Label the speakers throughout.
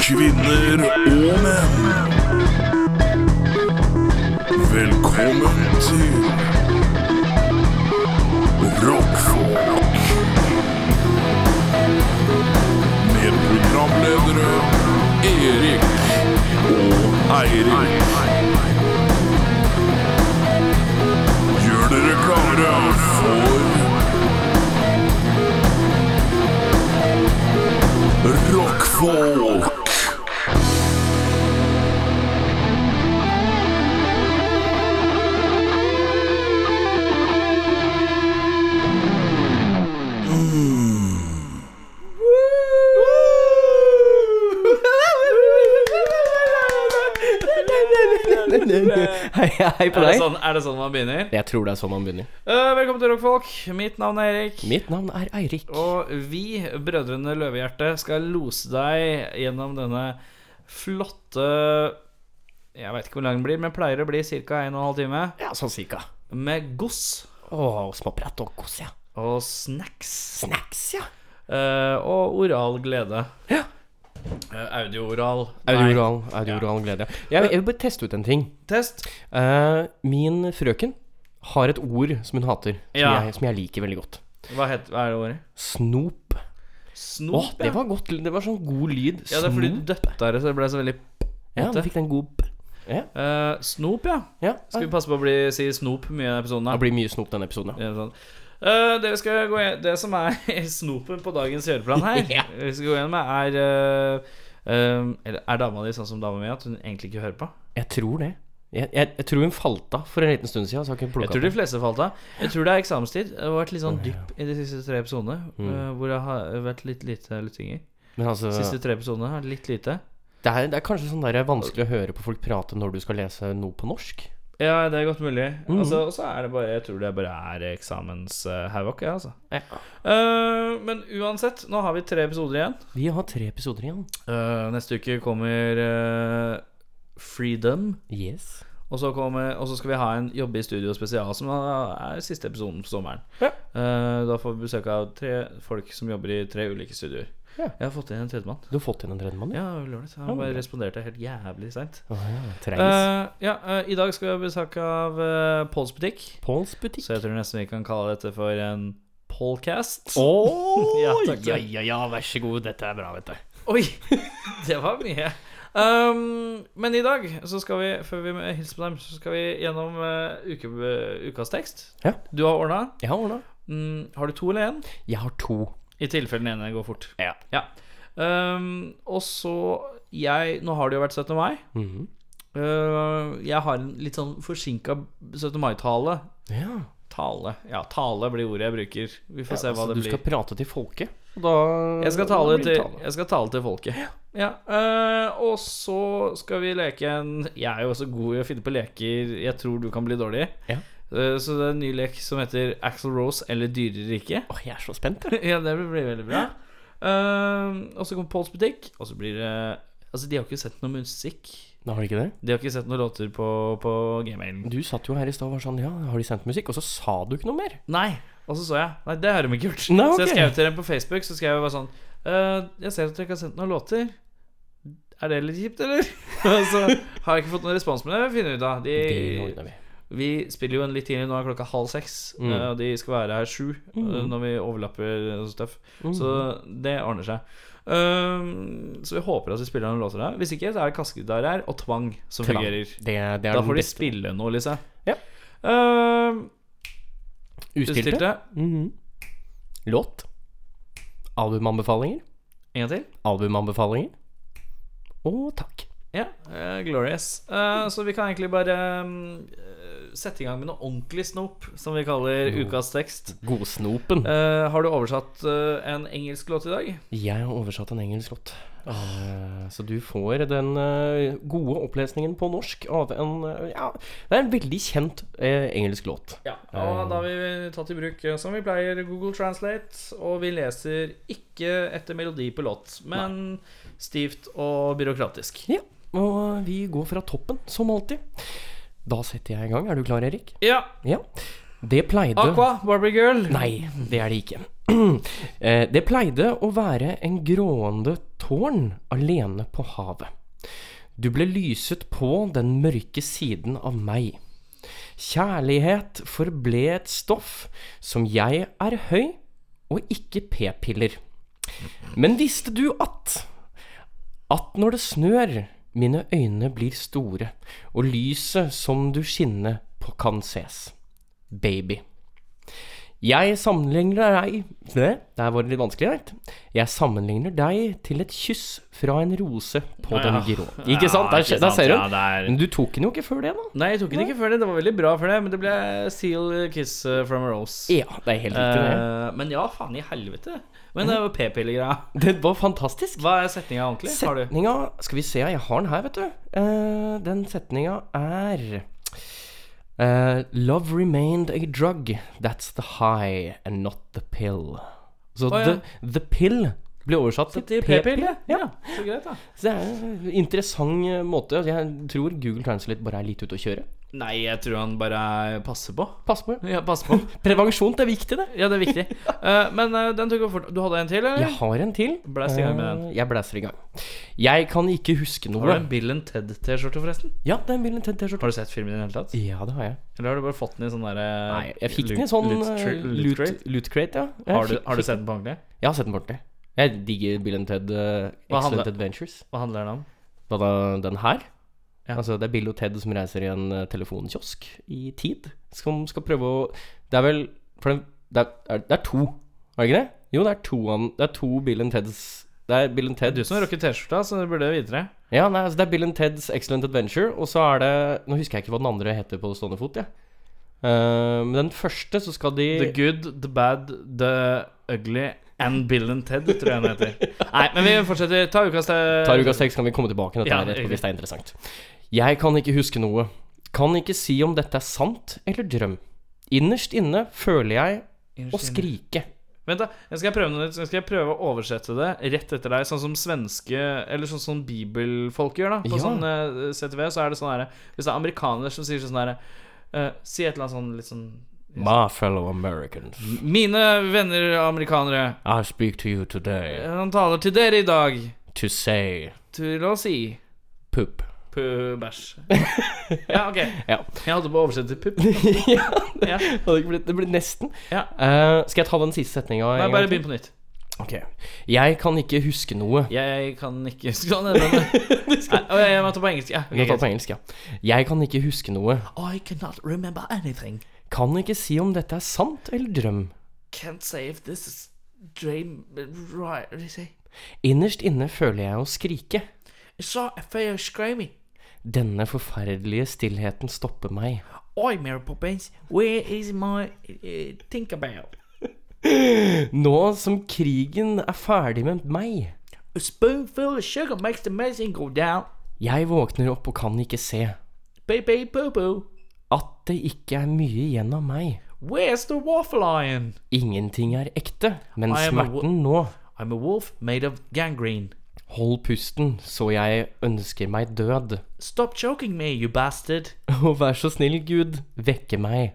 Speaker 1: kvinner og menn. Velkommen til Rockfolk. Med programledere Erik og Eirik. Gjør dere klare for Rockfolk.
Speaker 2: Hei, hei på
Speaker 3: Er det,
Speaker 2: deg.
Speaker 3: sånn, er det sånn man begynner?
Speaker 2: Jeg tror det er sånn man begynner.
Speaker 3: Eh, velkommen til Rockfolk. Mitt navn er Erik.
Speaker 2: Mitt navn er Eirik.
Speaker 3: Og vi, brødrene Løvehjerte, skal lose deg gjennom denne flotte Jeg veit ikke hvor lang den blir, men pleier å bli ca. 1 12 time.
Speaker 2: Ja, sånn cirka.
Speaker 3: Med goss
Speaker 2: Å, småprat og kos, ja.
Speaker 3: og snacks.
Speaker 2: Snacks, ja.
Speaker 3: eh, og oral glede.
Speaker 2: Ja.
Speaker 3: Eh, Audio-oral. Nei,
Speaker 2: Audioral, audioral glede. Jeg, jeg vil bare teste ut en ting.
Speaker 3: Test.
Speaker 2: Eh, min frøken har et ord som hun hater, som,
Speaker 3: Ja.
Speaker 2: jeg, som jeg liker veldig godt.
Speaker 3: Hva, het, hva er det ordet?
Speaker 2: Snop. Å,
Speaker 3: Snop.
Speaker 2: det var godt. Det var sånn god lyd.
Speaker 3: ja, det er fordi du
Speaker 2: Snop.
Speaker 3: døtta det, så det ble så veldig
Speaker 2: Ja, du fikk den god p. Ja.
Speaker 3: Eh, Snop, ja.
Speaker 2: ja.
Speaker 3: Skal vi passe på å bli, si snop mye i denne episoden?
Speaker 2: Det
Speaker 3: her?
Speaker 2: blir mye snop denne episoden, ja.
Speaker 3: Ja, sånn. Eh, det, vi skal gå igjen, det som er snopen på dagens kjøreplan her,
Speaker 2: Ja.
Speaker 3: vi skal gå igjen med, er eh, eh, Eller er dama di sånn som dama mi, at hun egentlig ikke hører på?
Speaker 2: Jeg tror det. Jeg, jeg, jeg tror hun falt av for en liten stund siden. Så har ikke hun
Speaker 3: Jeg
Speaker 2: plukket
Speaker 3: tror
Speaker 2: opp
Speaker 3: de fleste falt av. Jeg tror det er eksamenstid. Det har vært litt sånn dypp i de siste tre episodene. eh, hvor det har vært litt lite lytting i.
Speaker 2: det. Men altså,
Speaker 3: Siste tre episodene har litt lite.
Speaker 2: Det er, det er kanskje sånn der vanskelig å høre på folk prate når du skal lese noe på norsk.
Speaker 3: Ja, det er godt mulig. Altså, Og så er det bare Jeg tror det bare er eksamenshavoc, jeg, ja, altså.
Speaker 2: Ja.
Speaker 3: Eh, men uansett, nå har vi tre episoder igjen.
Speaker 2: Vi har tre episoder igjen.
Speaker 3: Eh, neste uke kommer eh, Freedom.
Speaker 2: Yes.
Speaker 3: Og så, kommer, og så skal vi ha en Jobbe i studio spesial, som er siste episoden på sommeren.
Speaker 2: Ja.
Speaker 3: Eh, da får vi besøk av tre folk som jobber i tre ulike studioer.
Speaker 2: Ja.
Speaker 3: Jeg har fått inn en tredjemann.
Speaker 2: Du har fått inn en tredjemann?
Speaker 3: Ja, lovlig. Han bare responderte helt jævlig seint.
Speaker 2: Oh, ja. Treis.
Speaker 3: Eh, ja, eh, I dag skal vi ha besøk av uh, Pols butikk.
Speaker 2: Pauls butikk.
Speaker 3: Så jeg tror nesten vi kan kalle dette for en Polcast.
Speaker 2: Å
Speaker 3: Ja,
Speaker 2: ja,
Speaker 3: takk,
Speaker 2: ja,
Speaker 3: takk.
Speaker 2: ja, ja, vær så god. Dette er bra, vet du.
Speaker 3: Oi! Det var mye. Um, men i dag, så skal vi før vi hilser på dem, så skal vi gjennom eh, uke, ukas tekst.
Speaker 2: Ja.
Speaker 3: Du har ordna.
Speaker 2: Jeg har ordna.
Speaker 3: Mm, har du to eller én?
Speaker 2: Jeg har to.
Speaker 3: I tilfelle den ene går fort.
Speaker 2: Ja.
Speaker 3: Um, og så jeg Nå har det jo vært 17. mai.
Speaker 2: Mhm.
Speaker 3: Uh, jeg har en litt sånn forsinka 17. mai-tale.
Speaker 2: ja.
Speaker 3: Tale. Ja, tale blir ordet jeg bruker. Vi får se hva
Speaker 2: Altså,
Speaker 3: det
Speaker 2: du
Speaker 3: blir.
Speaker 2: skal prate til folket. og Da
Speaker 3: Jeg skal
Speaker 2: da
Speaker 3: tale
Speaker 2: blir det
Speaker 3: til, jeg skal tale til folket. Ja, øh, Og så skal vi leke en Jeg er jo også god i å finne på leker jeg tror du kan bli dårlig i.
Speaker 2: Ja.
Speaker 3: Eh, Så det er en ny lek som heter Axel Rose eller dyrere ikke.
Speaker 2: Åh, jeg er så spent, jeg.
Speaker 3: Ja, det blir veldig bra. Eh, og så kommer Pauls butikk, og så blir det Altså, de har ikke sett noe musikk.
Speaker 2: Da har de ikke det?
Speaker 3: De har ikke sett noen låter på, på gmailen.
Speaker 2: Du satt jo her i stad og var sånn Ja, har de sendt musikk? Og så sa du ikke noe mer.
Speaker 3: Nei. Og så så jeg Nei, det har de ikke gjort.
Speaker 2: Nei, ok.
Speaker 3: Så jeg skrev til dem på Facebook Så skrev jeg bare sånn «Eh, Jeg ser at dere ikke har sendt noen låter. Er det litt kjipt, eller? Og så har jeg ikke fått noen respons, men det vil vi finne ut av.
Speaker 2: Det
Speaker 3: De,
Speaker 2: ordner vi.
Speaker 3: vi spiller jo en litt tidlig, nå er klokka halv seks,
Speaker 2: Mm.
Speaker 3: eh, og de skal være her sju eh, når vi overlapper og stuff.
Speaker 2: Mm.
Speaker 3: Så det ordner seg. Um, så vi håper at vi spiller noen låter der. Hvis ikke, så er det kassegitar her, og tvang som
Speaker 2: Tvang.
Speaker 3: fungerer.
Speaker 2: Det, det er
Speaker 3: Da
Speaker 2: den
Speaker 3: får de
Speaker 2: beste.
Speaker 3: spille noe, Lise.
Speaker 2: Ja.
Speaker 3: Um,
Speaker 2: Ustilte.
Speaker 3: utstilte.
Speaker 2: Låt. Albumanbefalinger.
Speaker 3: En gang til.
Speaker 2: Albumanbefalinger. Og takk.
Speaker 3: Ja, eh, glorious. Eh, så vi kan egentlig bare mm, eh, sette i gang med noe ordentlig snop, som vi kaller
Speaker 2: Mm.
Speaker 3: ukas tekst.
Speaker 2: Godsnopen.
Speaker 3: Eh, har du oversatt eh, en engelsk låt i dag?
Speaker 2: Jeg har oversatt en engelsk låt. Eh, Så du får den eh, gode opplesningen på norsk av en eh, Ja, det er en veldig kjent eh, engelsk låt.
Speaker 3: Ja. Og da har vi tatt i bruk, eh, som vi pleier, Google Translate. Og vi leser ikke etter melodi på låt, men stivt og byråkratisk.
Speaker 2: Ja, og vi går fra toppen, som alltid. Da setter jeg i gang. Er du klar, Erik?
Speaker 3: Ja.
Speaker 2: Ja. Det pleide
Speaker 3: Aqua, Barbie Girl.
Speaker 2: Nei, det er det ikke. Eh, det pleide å være en grående tårn alene på havet. Du ble lyset på den mørke siden av meg. Kjærlighet forble et stoff som jeg er høy, og ikke p-piller. Men visste du at At når det snør, mine øyne blir store, og lyset som du skinner på kan ses. Baby. Jeg sammenligner deg Det, Der var det litt vanskelig. Right? Jeg sammenligner deg til et kyss fra en rose på den grå. Ikke sant? Der,
Speaker 3: ikke
Speaker 2: der
Speaker 3: sant,
Speaker 2: ser
Speaker 3: ja,
Speaker 2: hun.
Speaker 3: der.
Speaker 2: Men du tok den jo ikke før det, da.
Speaker 3: Nei, jeg tok den ikke før det. Det var veldig bra før det, men det ble Seal Kiss eh, from a Rose.
Speaker 2: Ja, det er helt riktig. det.
Speaker 3: Eh, men ja, faen i helvete. Men det var p-pillegreia.
Speaker 2: Det var fantastisk.
Speaker 3: Hva er setninga ordentlig? Har du?
Speaker 2: Setninga Skal vi se, jeg har den her, vet du. Eh, den setninga er eh, Love remained a drug. That's the high and not the pill. Så
Speaker 3: Å, ja.
Speaker 2: the, the pill blir oversatt
Speaker 3: Til p-pille? Ja. Så greit, da.
Speaker 2: Så det er en interessant eh, måte. Jeg tror Google Translate bare er litt ute å kjøre.
Speaker 3: Nei, jeg tror han bare passer på.
Speaker 2: Pass på.
Speaker 3: Ja, pass på.
Speaker 2: Prevensjon, det er viktig, det.
Speaker 3: Ja, det er viktig. Eh, men eh, den tok jeg fort. Du hadde en til, eller?
Speaker 2: Jeg har en til.
Speaker 3: Blæs i gang med den.
Speaker 2: Eh, Jeg blæser i gang. Jeg kan ikke huske noe.
Speaker 3: Har du en Bill and Ted-T-skjorte, forresten?
Speaker 2: Ja, det er en Bill T-skjorte.
Speaker 3: Har du sett filmen i det hele tatt?
Speaker 2: Ja, det har jeg.
Speaker 3: Eller har du bare fått den i sånn derre
Speaker 2: Nei, jeg fikk den i sånn
Speaker 3: loot,
Speaker 2: eh,
Speaker 3: loot,
Speaker 2: loot,
Speaker 3: crate?
Speaker 2: loot crate, ja. Jeg
Speaker 3: Har du,
Speaker 2: fikk-
Speaker 3: har du
Speaker 2: fikk-
Speaker 3: sett den på ordentlig?
Speaker 2: Jeg har sett den på ordentlig. Jeg digger Bill and Ted eh,
Speaker 3: Hva handler-
Speaker 2: Excellent Adventures.
Speaker 3: Hva handler den om?
Speaker 2: Hva da, den her?
Speaker 3: Ja.
Speaker 2: Altså, det er Bill og Ted som reiser i en eh, telefonkiosk i tid. Som skal prøve å Det er vel For den, det, er, det er to, er det ikke det? Jo, det er to, an- det er to Bill and Teds Det er Bill and Teds
Speaker 3: Du som rocker T-skjorta, så du burde vite det.
Speaker 2: Ja, nei, altså det er Bill and Teds Excellent Adventure, og så er det Nå husker jeg ikke hva den andre heter på stående fot, jeg. Eh, men den første, så skal de
Speaker 3: The good, the bad, the ugly and Bill and Ted, tror jeg den heter. Nei, men vi fortsetter. Ta ukas eh, te-
Speaker 2: Tar uka seks, kan vi komme tilbake til dette
Speaker 3: Ja,
Speaker 2: her etterpå
Speaker 3: riktig.
Speaker 2: hvis det er interessant. Jeg kan ikke huske noe. Kan ikke si om dette er sant eller drøm. Innerst inne føler jeg å skrike.
Speaker 3: Vent, da. Jeg skal prøve noe nytt. Jeg skal prøve å oversette det rett etter deg, sånn som svenske Eller sånn som bibelfolk gjør, da. På
Speaker 2: Ja.
Speaker 3: sånn eh, CTV så er det sånn herre Hvis det er amerikanere som sier sånn herre eh, Si et eller annet sånn litt sånn
Speaker 2: My fellow Americans,
Speaker 3: Mine venner amerikanere,
Speaker 2: I speak to you today
Speaker 3: han taler til dere i dag.
Speaker 2: to say
Speaker 3: Til å si
Speaker 2: poop.
Speaker 3: Puh, bæsj. Ja, ok.
Speaker 2: Ja.
Speaker 3: Jeg holdt på å oversette til pupp.
Speaker 2: ja, det,
Speaker 3: Ja.
Speaker 2: hadde ikke blitt, det ble nesten.
Speaker 3: Ja.
Speaker 2: Eh, skal jeg ta den siste setninga?
Speaker 3: Nei, bare begynn på nytt.
Speaker 2: Jeg kan ikke huske noe.
Speaker 3: Jeg kan ikke sånn, men, Nei, å, jeg må ta på engelsk. Ja,
Speaker 2: Vi kan ta det
Speaker 3: ok, greit.
Speaker 2: på engelsk, ja. Jeg kan ikke huske noe.
Speaker 3: I cannot remember anything.
Speaker 2: Kan ikke si om dette er sant eller drøm.
Speaker 3: Can't say if this is dream right. what do you say?
Speaker 2: Innerst inne føler jeg å skrike.
Speaker 3: I saw a fair screaming.
Speaker 2: Denne forferdelige stillheten stopper meg.
Speaker 3: Oi, Mary Poppins, where is my uh, Tinkerbell?
Speaker 2: Nå som krigen er ferdig med meg.
Speaker 3: A spoonful of sugar makes the medicine go down.
Speaker 2: Jeg våkner opp og kan ikke se
Speaker 3: Baby boo boo.
Speaker 2: at det ikke er mye igjen av meg.
Speaker 3: Where's the waffle iron?
Speaker 2: Ingenting er ekte, men
Speaker 3: I am a wo-
Speaker 2: smerten nå.
Speaker 3: I'm a wolf made of gangrene.
Speaker 2: Hold pusten, så jeg ønsker meg død.
Speaker 3: Stop choking me, you bastard.
Speaker 2: Og vær så snill, Gud, vekke meg.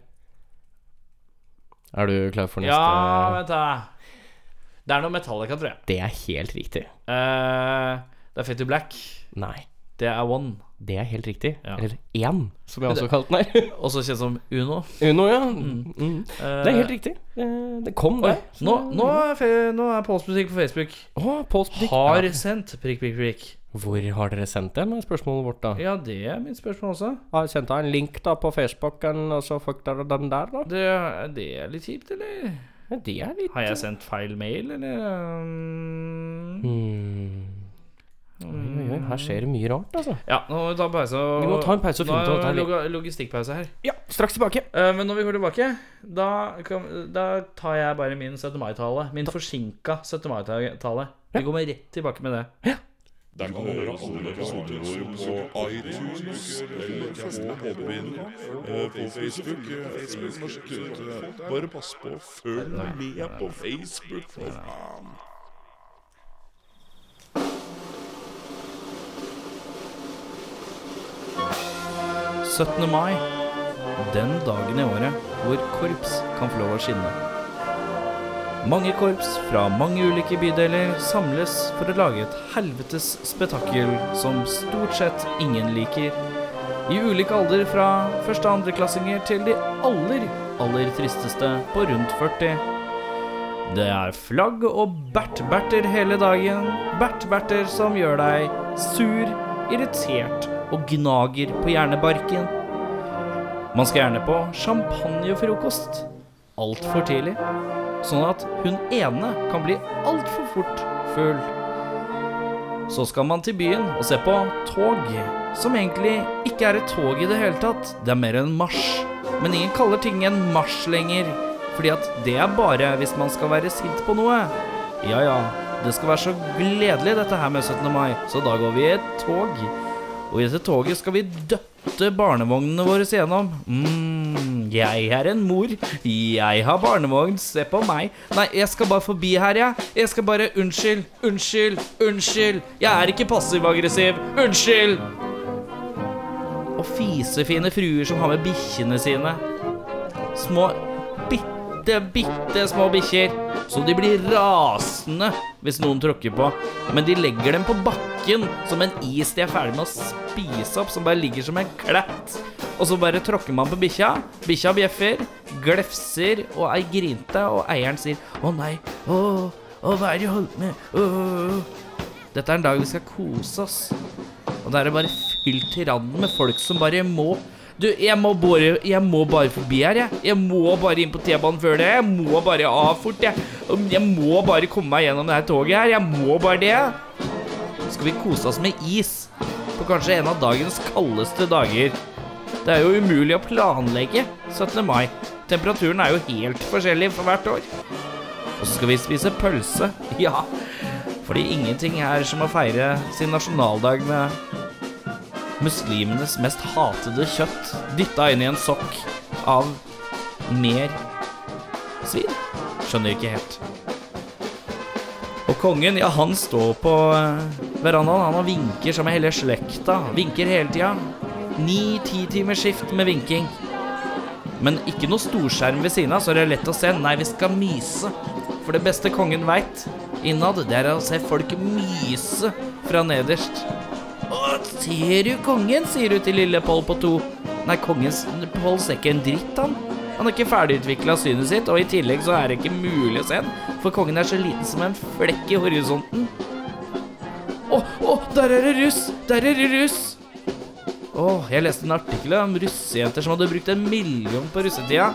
Speaker 2: Er du klar for neste?
Speaker 3: Ja, vent da. Det er noe Metallica, tror jeg.
Speaker 2: Det er helt riktig.
Speaker 3: Eh, det er Fetty Black.
Speaker 2: Nei,
Speaker 3: Det er One.
Speaker 2: det er helt riktig.
Speaker 3: Ja.
Speaker 2: Eller én, som jeg også har kalt den her.
Speaker 3: Også kjent som Uno.
Speaker 2: Uno, ja. Mm. Det er helt riktig. Eh, Det kom der. Så-
Speaker 3: Nå, nå, er, fe- nå er Pauls musikk på Facebook.
Speaker 2: Å, Pauls butikk.
Speaker 3: Har
Speaker 2: Ja.
Speaker 3: sendt prikk, prikk, prikk.
Speaker 2: Hvor har dere sendt den? er spørsmålet vårt, da.
Speaker 3: Ja, det er mitt spørsmål også.
Speaker 2: Har sendt deg en link da på Facebooken, og så fuck dere den der, da?
Speaker 3: Det, er- det er litt kjipt, eller?
Speaker 2: Ja, det er litt
Speaker 3: Har jeg sendt feil mail, eller?
Speaker 2: Mm.
Speaker 3: Um,
Speaker 2: Hmm. Oi, oi, oi, her skjer det mye rart, altså.
Speaker 3: Ja, nå må vi ta en pause. Og,
Speaker 2: Vi må ta en pause og finne ut av
Speaker 3: Nå
Speaker 2: dette
Speaker 3: er
Speaker 2: her
Speaker 3: det
Speaker 2: litt.
Speaker 3: loga- logistikkpause her.
Speaker 2: Ja, straks tilbake.
Speaker 3: Eh, men når vi går tilbake, da, kan, da tar jeg bare min 17. mai-tale. Min forsinka 17. mai-tale. Vi kommer rett tilbake med det.
Speaker 1: Du kan høre alle episodene våre på iTunes eller på Podbean, eh, på Facebook. eh, Facebook norsk Tute. Bare pass på, følg med på Facebook, for faen!
Speaker 3: mai. Den dagen i året hvor korps kan få lov å skinne. Mange korps fra mange ulike bydeler samles for å lage et helvetes spetakkel som stort sett ingen liker. I ulik alder fra første- og andreklassinger til de aller, aller tristeste på rundt 40. Det er flagg og bert-berter hele dagen. Bert-berter som gjør deg sur, irritert og gnager på hjernebarken. Man skal gjerne på champagnefrokost altfor tidlig, sånn at hun ene kan bli altfor fort full. Så skal man til byen og se på tog, som egentlig ikke er et tog i det hele tatt. Det er mer en marsj. Men ingen kaller ting en marsj lenger, fordi at det er bare hvis man skal være sint på noe. Ja ja, det skal være så gledelig dette her med 17. mai, så da går vi i et tog. Og i dette toget skal vi døtte barnevognene våre gjennom. Mm, jeg er en mor. Jeg har barnevogn. Se på meg. Nei, jeg skal bare forbi her, jeg. Jeg skal bare Unnskyld. Unnskyld. Unnskyld. Jeg er ikke passiv-aggressiv. Unnskyld. Og fisefine fruer som har med bikkjene sine. Små bitte, bitte små bikkjer. Så de blir rasende hvis noen tråkker på. Men de legger dem på bakken som en is de er ferdig med å spise opp, som bare ligger som en klett. Og så bare tråkker man på bikkja. Bikkja bjeffer, glefser og ei grinte, og eieren sier 'Å nei, å, å hva er det du holder på med?' Å.» Dette er en dag vi skal kose oss. Og da er det bare fylt til randen med folk som bare må Du, jeg må bare, jeg må bare forbi her, jeg. Jeg må bare inn på T-banen før det. Jeg må bare av fort, jeg. Om- Jeg må bare komme meg gjennom det her toget her. Jeg må bare det. Skal vi kose oss med is på kanskje en av dagens kaldeste dager? Det er jo umulig å planlegge 17. mai. Temperaturen er jo helt forskjellig for hvert år. Og så skal vi spise pølse. Ja, fordi ingenting er som å feire sin nasjonaldag med muslimenes mest hatede kjøtt dytta inn i en sokk av mer svin. Skjønner ikke helt. Og kongen, ja, han står på eh, verandaen. Han har vinker som hele slekta. Vinker hele tida. Ni-ti timers skift med vinking. Men ikke noe storskjerm ved siden av, så det er lett å se. Nei, vi skal myse. For det beste kongen veit innad, det er å se folk myse fra nederst. Å, ser du kongen, sier du til lille Pål på to. Nei, kongens Pål ser ikke en dritt, han. Han har ikke ferdigutvikla synet sitt, og i tillegg så er det ikke mulig å se han, for kongen er så liten som en flekk i horisonten. Å, å, der er det russ! Der er det russ! Å, jeg leste en artikkel om russejenter som hadde brukt en million på russetida.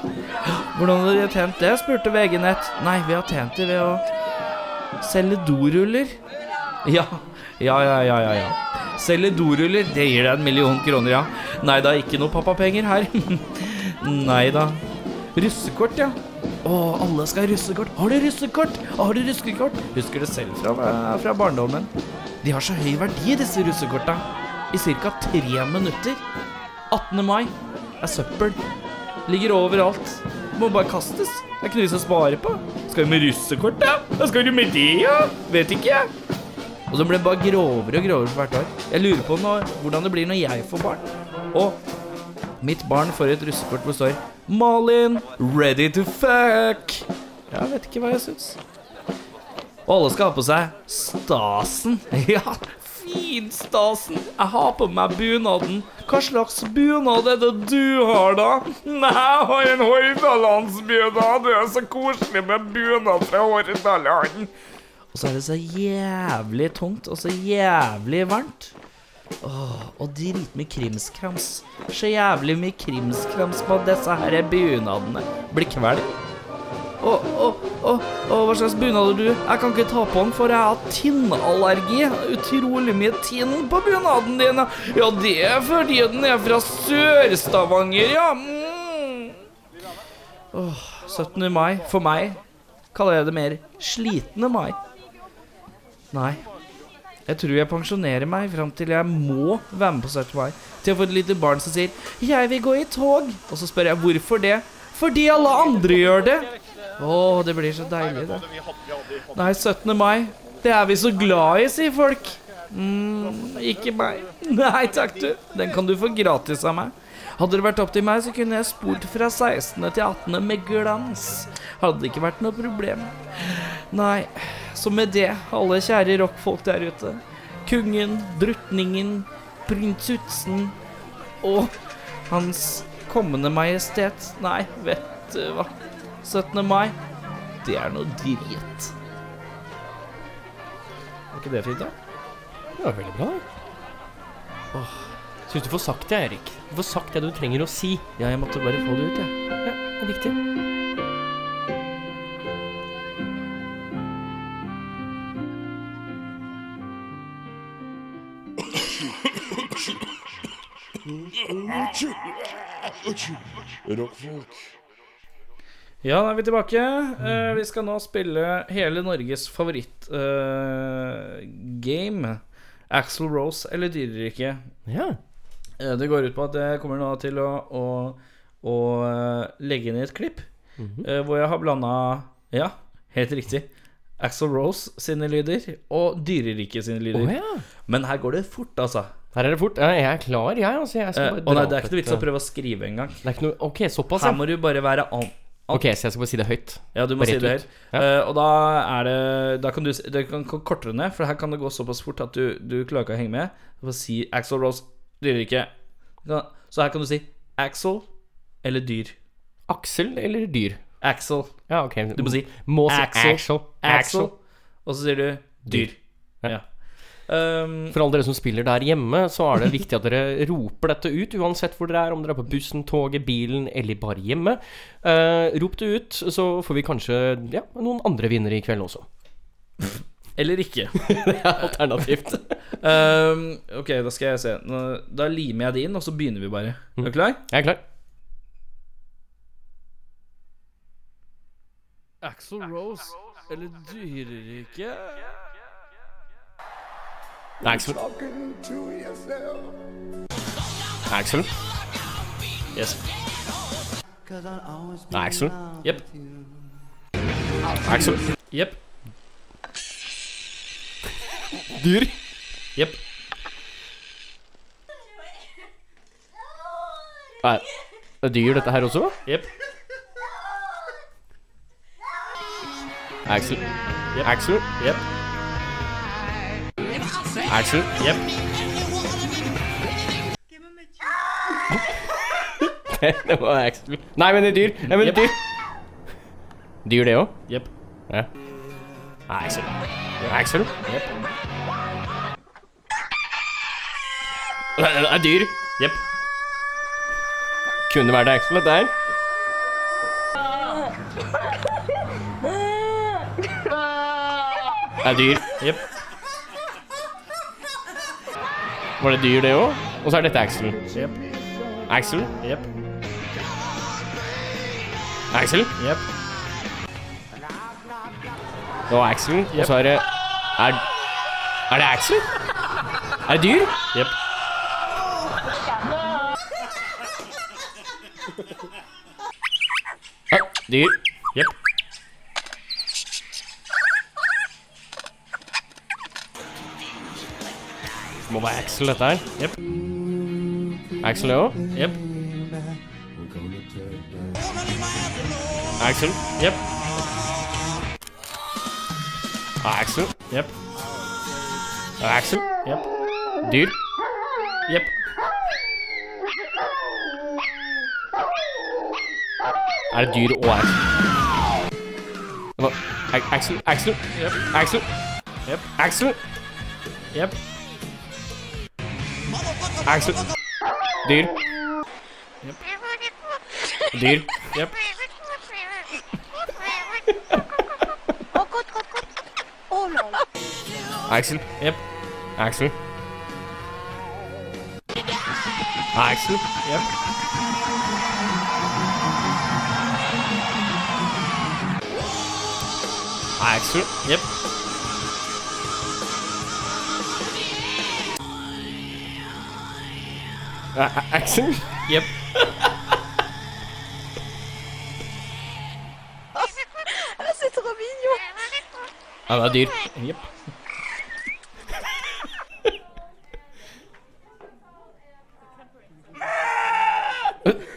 Speaker 3: Hvordan hadde de tjent det, spurte VG Nett. Nei, vi har tjent det ved å selge doruller. Ja, ja, ja, ja, ja, ja. Selge doruller, det gir deg en million kroner, ja. Nei da, ikke noe pappapenger her. Nei da. Russekort, ja. Å, alle skal ha russekort. Har du russekort? Har du russekort? Husker det selv fra, fra barndommen. De har så høy verdi, disse russekorta. I ca. tre minutter. 18. mai er søppel. Ligger overalt. Må bare kastes. Det er ikke noe vits å spare på. Skal du med russekort, da? Hva skal du med det, ja? Vet ikke jeg. Og så blir det bare grovere og grovere for hvert år. Jeg lurer på når, hvordan det blir når jeg får barn. Og mitt barn får et russekort hvor det står 'Malin, ready to fuck'. Jeg vet ikke hva jeg syns. Og alle skal ha på seg stasen. Ja, finstasen. Jeg har på meg bunaden. Hva slags bunad er det du har, da? Nei, jeg har en Hordalandsbunad. Det er så koselig med bunad fra Hordaland. Og så er det så jævlig tungt og så jævlig varmt. Åh, og dritmye krimskrams. Så jævlig mye krimskrams på at disse her bunadene. Blir kvelm. Å, å, å, å, hva slags bunad har du? Jeg kan ikke ta på den, for jeg har tinnallergi. Utrolig mye tinn på bunaden din. Ja, det er fordi den er fra Sør-Stavanger, ja. Mm. Åh, 17. mai for meg kaller jeg det mer slitne mai. Nei. Jeg tror jeg pensjonerer meg fram til jeg må være med på 17. mai. Til jeg får et lite barn som sier 'Jeg vil gå i tog'. Og så spør jeg hvorfor det. Fordi alle andre gjør det. Å, det blir så deilig, det. Nei, 17. mai, det er vi så glad i, sier folk. Mm, ikke meg. Nei takk, du. Den kan du få gratis av meg. Hadde det vært opp til meg, så kunne jeg spolt fra 16. til 18. med glans. Hadde det ikke vært noe problem. Nei, så med det, alle kjære rockfolk der ute. Kongen, drutningen, prinsutsen og Hans kommende majestet. Nei, vet du hva. 17. mai, det er noe drit. Er ikke det fint, da?
Speaker 2: Det var veldig bra. Åh, Syns du får sagt det, Erik. Du får sagt det du trenger å si.
Speaker 3: Ja, jeg måtte bare få det ut, jeg.
Speaker 2: Ja, det er viktig.
Speaker 1: Rockfolk.
Speaker 3: Ja, da er vi tilbake. Eh, vi skal nå spille hele Norges favorittgame. Axel Rose eller dyreriket.
Speaker 2: Ja.
Speaker 3: Eh, Det går ut på at jeg kommer nå til å, å, å eh, legge inn i et klipp
Speaker 2: Mhm.
Speaker 3: eh, hvor jeg har blanda Ja, helt riktig. Axel Rose sine lyder og Dyreriket sine
Speaker 2: Å
Speaker 3: lyder.
Speaker 2: ja.
Speaker 3: Men her går det fort, altså.
Speaker 2: Her er det fort. Ja, jeg er klar, jeg. Altså, jeg
Speaker 3: Eh,
Speaker 2: skal bare
Speaker 3: og nei,
Speaker 2: dra
Speaker 3: det er ikke
Speaker 2: opp
Speaker 3: noe vits
Speaker 2: et,
Speaker 3: å prøve å skrive engang.
Speaker 2: Det er ikke noe Ok, såpass,
Speaker 3: Her
Speaker 2: ja.
Speaker 3: må du bare være an...
Speaker 2: Ok, så jeg skal bare si det høyt.
Speaker 3: Ja, du må
Speaker 2: Rett
Speaker 3: si det
Speaker 2: ut.
Speaker 3: høyt. Eh, og da er det Da kan du Det kan gå kortere ned, for her kan det gå såpass fort at du, du klarer ikke å henge med. Du får si Axel Rose, Dyreriket. Du kan- Så her kan du si Axel eller Dyr.
Speaker 2: Aksel eller dyr?
Speaker 3: Axel.
Speaker 2: Ja, ok.
Speaker 3: Du må si
Speaker 2: Må si
Speaker 3: Axel.
Speaker 2: Axel.
Speaker 3: Axel. Og så sier du dyr. Ja. Um,
Speaker 2: For alle dere som spiller der hjemme, så er det viktig at dere roper dette ut, uansett hvor dere er, om dere er på bussen, toget, bilen eller bare hjemme. Eh, rop det ut, så får vi kanskje ja, noen andre vinnere i kveld også.
Speaker 3: eller ikke.
Speaker 2: Alternativt.
Speaker 3: Um, ok, da skal jeg se. Nå, da limer jeg det inn, og så begynner vi bare.
Speaker 2: Mm.
Speaker 3: Er du klar?
Speaker 2: Jeg er klar.
Speaker 3: Axel Rose eller dyrerike?
Speaker 2: Axel. Axel.
Speaker 3: Yes.
Speaker 2: Axel.
Speaker 3: Jepp.
Speaker 2: Axel.
Speaker 3: Jepp.
Speaker 2: Dyr.
Speaker 3: Jepp.
Speaker 2: Nei, det er dyr dette her også?
Speaker 3: Jepp.
Speaker 2: Axel. Axel.
Speaker 3: Jepp.
Speaker 2: Axel.
Speaker 3: Jepp.
Speaker 2: Det var Axel. Nei, men det er dyr. Jeg mener
Speaker 3: Jepp.
Speaker 2: dyr. Dyr, det òg?
Speaker 3: Jepp.
Speaker 2: Ja. Axel. Axel. Det er- det er dyr.
Speaker 3: Jepp.
Speaker 2: Kunne vært Axel, dette her. Det er dyr.
Speaker 3: Jepp.
Speaker 2: Var det dyr, det òg? Og så er dette Axel.
Speaker 3: Jepp.
Speaker 2: Axel.
Speaker 3: Jepp.
Speaker 2: Axel.
Speaker 3: Jepp.
Speaker 2: Det var Axel. Og så er det Er, er det Axel? Er det dyr?
Speaker 3: Jepp.
Speaker 2: Ja, dyr.
Speaker 3: Jepp.
Speaker 2: Må være Axel, dette her.
Speaker 3: Jepp.
Speaker 2: Axel, det òg?
Speaker 3: Jepp.
Speaker 2: Axel.
Speaker 3: Jepp.
Speaker 2: Axel.
Speaker 3: Jepp.
Speaker 2: Axel.
Speaker 3: Jepp.
Speaker 2: Dyr.
Speaker 3: Jepp.
Speaker 2: Er det dyr og Axel? Det var A- Axel, Axel,
Speaker 3: Jepp.
Speaker 2: Axel.
Speaker 3: Jepp.
Speaker 2: Axel,
Speaker 3: Jepp.
Speaker 2: Axel. Dyr. Dyr.
Speaker 3: Jepp.
Speaker 4: Oh là là
Speaker 2: Axel.
Speaker 3: Jepp.
Speaker 2: Axel. Axel.
Speaker 3: Jepp.
Speaker 2: Axel.
Speaker 3: Jepp.
Speaker 2: A- A- Axel.
Speaker 3: Jepp.
Speaker 4: C'est trop mignon
Speaker 2: Ja, det er dyr.
Speaker 3: Jepp.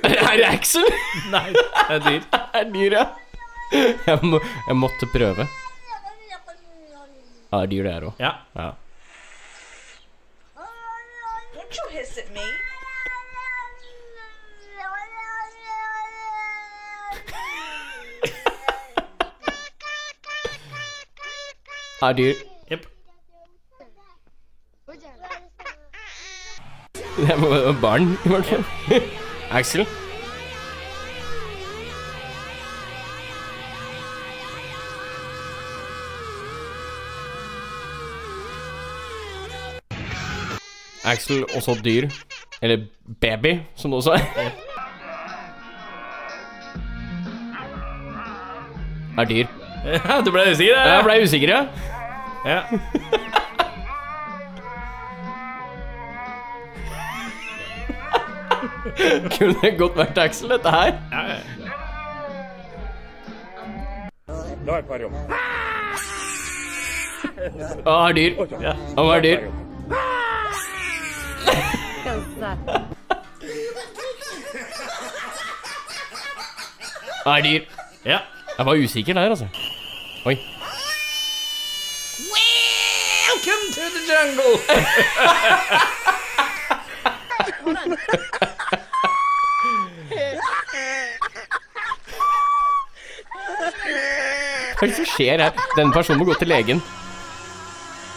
Speaker 2: Er det Axel?
Speaker 3: Nei, det er dyr.
Speaker 2: Er det dyr, ja? Jeg, må, jeg måtte prøve. Ja, det er dyr, det her òg.
Speaker 3: Ja.
Speaker 2: Ja.
Speaker 4: Don't you hiss at me.
Speaker 2: Er det dyr.
Speaker 3: Jepp.
Speaker 2: Det må være barn, i hvert fall. Axel? Axel, også dyr. Eller baby, som det også er. Er dyr.
Speaker 3: Ja, du ble usikker,
Speaker 2: Ja, Jeg
Speaker 3: eller?
Speaker 2: ble usikker, ja.
Speaker 3: Ja.
Speaker 2: Kunne godt vært Axel, dette her.
Speaker 5: Det var akvarium.
Speaker 2: Å, er dyr.
Speaker 5: Ja.
Speaker 2: Å, er dyr. Å, er dyr.
Speaker 3: ja.
Speaker 2: Jeg var usikker der, altså. Oi.
Speaker 3: Welcome to the jungle!
Speaker 2: Hva er det som skjer her? Denne personen må gå til legen.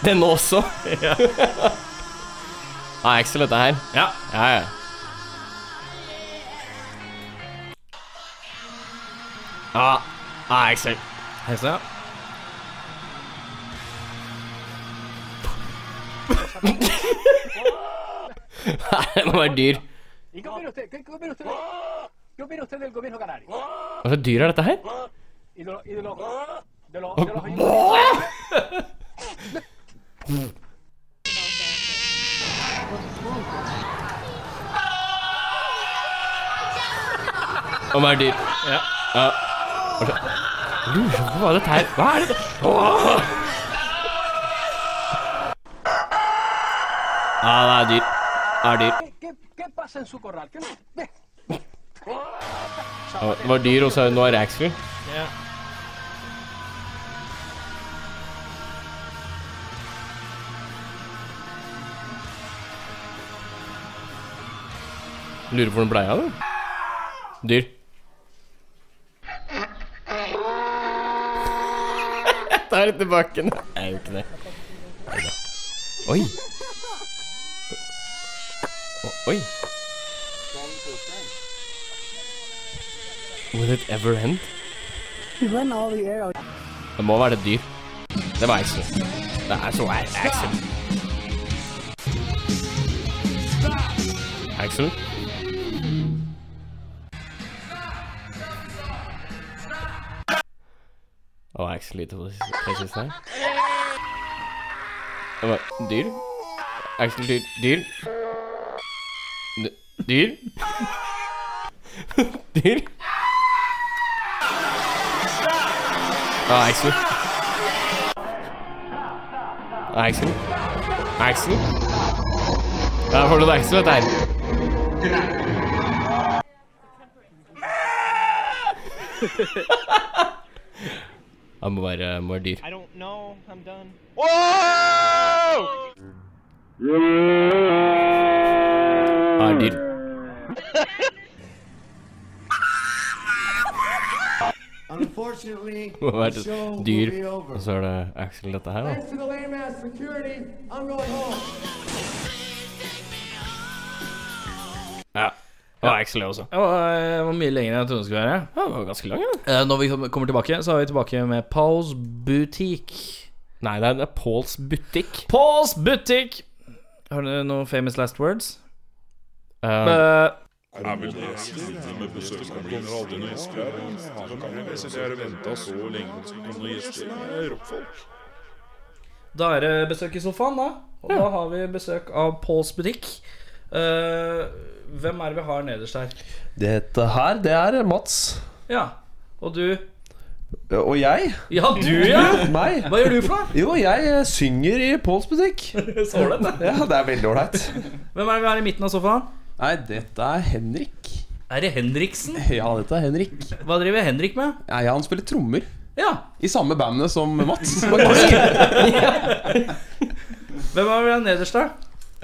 Speaker 2: Denne også.
Speaker 3: Ja.
Speaker 2: Nei, Axel, dette her.
Speaker 3: Ja.
Speaker 2: Ja, ja. Ja,
Speaker 3: Ah,
Speaker 2: ja, Axel.
Speaker 3: Hei sann.
Speaker 2: Det må være dyr.
Speaker 5: ¿Y qué opina usted? ¿Qué, qué opina usted? ¿Qué opina usted del gobierno canario?
Speaker 2: Hva slags dyr er dette her?
Speaker 5: Y de, lo- y de los de los de los
Speaker 2: Å være dyr. Ja. ja. Hva slags- Lurer på hva dette her Hva er dette? Åh! Ja, det er dyr. Det er dyr.
Speaker 5: ¿Qué, qué, qué pasa en su corral? ¿Qué le- ve?
Speaker 2: Ja, Det var dyr, og så er det nå er det Axel.
Speaker 3: Ja.
Speaker 2: Lurer på hvordan bleia det? Dyr. Jeg tar det tilbake nå. Jeg gjør ikke det. Neida. Oi. O- Oi. Will it ever end? Det må være et dyr. Det var Axel. Det er så er Axel. Axel? Og Axel lite på det siste- det siste her. Det var dyr. Axel dyr. Dyr. D- Dyr. Dyr. Og Ah, Axel. Axel. Axel. Der får du det Axel, dette her. Han må være, må være dyr.
Speaker 6: I don't know. I'm done.
Speaker 2: Er dyr.
Speaker 7: Unfortunately,
Speaker 2: Må
Speaker 7: the
Speaker 2: være
Speaker 7: show will
Speaker 2: dyr.
Speaker 7: be over.
Speaker 2: Og så er det Axel, dette her, da.
Speaker 7: Thanks to the lame ass security, I'm going home.
Speaker 2: Ja. Og Axel er også.
Speaker 3: Det var, det var eh, mye lenger enn jeg trodde det skulle være.
Speaker 2: Ja, den var ganske lang, ja.
Speaker 3: Eh, Når vi kom- kommer tilbake, så er vi tilbake med Pauls butikk.
Speaker 2: Nei, det er, det er Pauls butikk.
Speaker 3: Pauls butikk! Har du noen famous last words?
Speaker 2: Eh,
Speaker 3: Eh,
Speaker 1: Er vel det sliter med besøkskompliner og alle noen gjester her. Han kan jo jeg har ventet så lenge på at det skal komme noen gjester. Det er rockfolk.
Speaker 3: Da er det besøk i sofaen, da. Og da har vi besøk av Pauls butikk. Eh, hvem er det vi har nederst her?
Speaker 8: Dette her, det er Mats.
Speaker 3: Ja. Og du?
Speaker 8: Og jeg.
Speaker 3: Ja, du, ja!
Speaker 8: Meg.
Speaker 3: Hva gjør du for noe?
Speaker 8: Jo, jeg eh, synger i Påls butikk.
Speaker 3: Så ålreit, da.
Speaker 8: Ja, det er veldig ålreit.
Speaker 3: Hvem er det vi har i midten av sofaen?
Speaker 8: Nei, dette er Henrik.
Speaker 3: Er det Henriksen?
Speaker 6: Ja, dette er Henrik.
Speaker 3: Hva driver Henrik med?
Speaker 6: Nei, han spiller trommer.
Speaker 3: Ja,
Speaker 6: I samme bandet som Mats. faktisk.
Speaker 3: Hvem er vel nederst, da?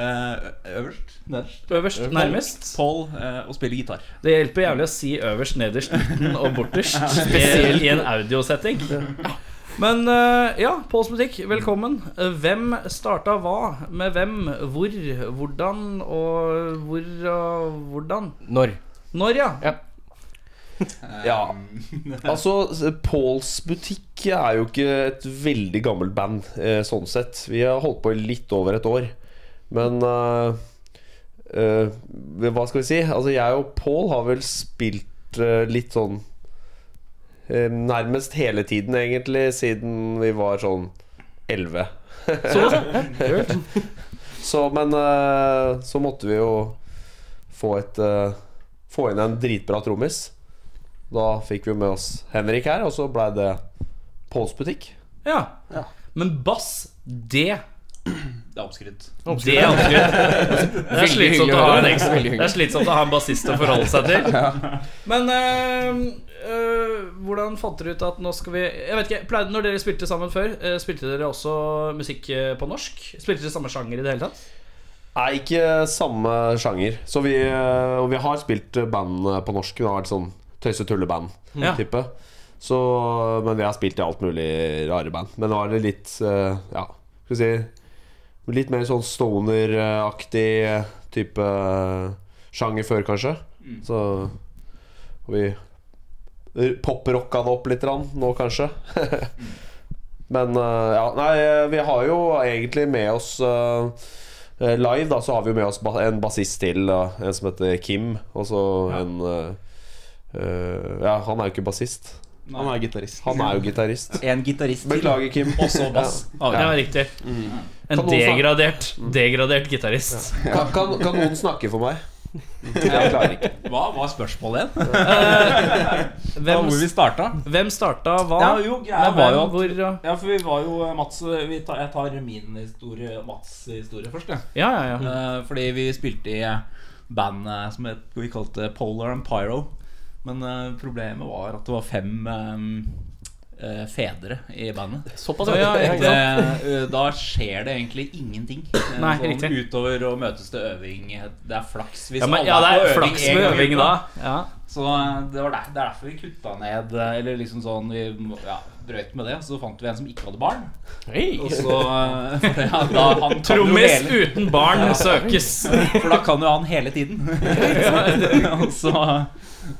Speaker 9: Eh, øverst? Nederst?
Speaker 3: Øverst? Nærmest?
Speaker 9: Paul eh, og spiller gitar.
Speaker 3: Det hjelper jævlig å si øverst, nederst, midten og borterst. Spesielt i en audiosetting. Men eh, ja, Påls butikk, velkommen. Eh, Hvem starta hva? Med hvem? Hvor? Hvordan? Og hvor og hvordan?
Speaker 2: Når?
Speaker 3: Når, ja.
Speaker 8: Ja. Altså, Pauls Butikk er jo ikke et veldig gammelt band, eh, sånn sett. Vi har holdt på i litt over et år. Men eh, eh, hva skal vi si? Altså, jeg og Paul har vel spilt eh, litt sånn eh, Nærmest hele tiden, egentlig, siden vi var sånn 11. så, men eh, så måtte vi jo få et eh, Få inn en dritbra trommis. Da fikk vi med oss Henrik her, og så blei det Pauls butikk.
Speaker 3: ja. Men bass, det
Speaker 9: Det er omskrytt.
Speaker 3: Det er alltid Det er
Speaker 2: Veldig hyggelig
Speaker 3: slitsomt
Speaker 2: å
Speaker 3: å ha
Speaker 2: høre.
Speaker 3: en ekstra
Speaker 2: Veldig hyggelig.
Speaker 3: Det er slitsomt å ha en bassist å forholde seg til. Men eh, eh, hvordan fant dere ut at nå skal vi Jeg vet ikke, pleide, Når dere spilte sammen før, eh, spilte dere også musikk eh, på norsk? Spilte dere samme sjanger i det hele tatt?
Speaker 8: Er ikke samme sjanger. Så vi, eh, og vi har spilt band eh, på norsk. Det har vært sånn
Speaker 3: Ja.
Speaker 8: tøyse-tulle-band-type. Så, men vi har spilt i alt mulig rare band. Men nå er det litt eh, Ja, skal vi si Litt mer sånn stoner-aktig eh, type eh, sjanger før, kanskje. Så Og vi poprocka det opp litt grann, nå, kanskje. men eh, ja, nei, vi har jo egentlig med oss eh, Eh, Live da, så har vi jo med oss ba- en bassist til, da, en som heter Kim. Og så en eh, eh, Ja, han er jo ikke bassist.
Speaker 6: Han er gitarist.
Speaker 8: Han er jo gitarist.
Speaker 9: En gitarist
Speaker 8: Beklager, Kim.
Speaker 9: Også bass.
Speaker 3: Ja, det var riktig. En
Speaker 8: Kan noen Mm. snakke-
Speaker 3: degradert Degradert gitarist.
Speaker 8: Kan, kan, kan noen snakke for meg? Jeg klarer ikke.
Speaker 9: Hva var spørsmålet igjen? Det var
Speaker 3: Hvem,
Speaker 9: hvor vi starta.
Speaker 3: hvem starta hva?
Speaker 9: Ja, jo, greia
Speaker 3: Med
Speaker 9: var
Speaker 3: hvem,
Speaker 9: jo at-
Speaker 3: hvor, og-
Speaker 9: Ja, for vi var jo eh, Mats eh, vi tar, Jeg tar min historie og Mats' historie først, jeg.
Speaker 3: ja, ja, ja.
Speaker 9: Eh, Fordi vi spilte i band eh, som het, vi kalte Polar and Pyro. Men eh, problemet var at det var fem eh, eh, fedre i bandet.
Speaker 2: Såpass,
Speaker 3: Å, ja, ja, ikke
Speaker 9: Det,
Speaker 3: sant?
Speaker 9: eh, da skjer det egentlig ingenting. Eh,
Speaker 3: Nei,
Speaker 9: sånn,
Speaker 3: riktig.
Speaker 9: Utover å møtes til øving. eh, Det er flaks hvis
Speaker 3: Ja, men,
Speaker 9: alle
Speaker 3: ja, det
Speaker 9: på
Speaker 3: er flaks
Speaker 9: en
Speaker 3: med
Speaker 9: gang i
Speaker 3: øving
Speaker 9: uka.
Speaker 3: da. Ja.
Speaker 9: Så eh, det, var der, det er derfor vi kutta ned eh, Eller liksom sånn Vi ja, brøt med det. Så fant vi en som ikke hadde barn. Og så eh, for det- ja, da, han kan jo
Speaker 3: Trommis
Speaker 9: hele-
Speaker 3: uten barn søkes.
Speaker 9: For da kan jo han hele tiden. og så,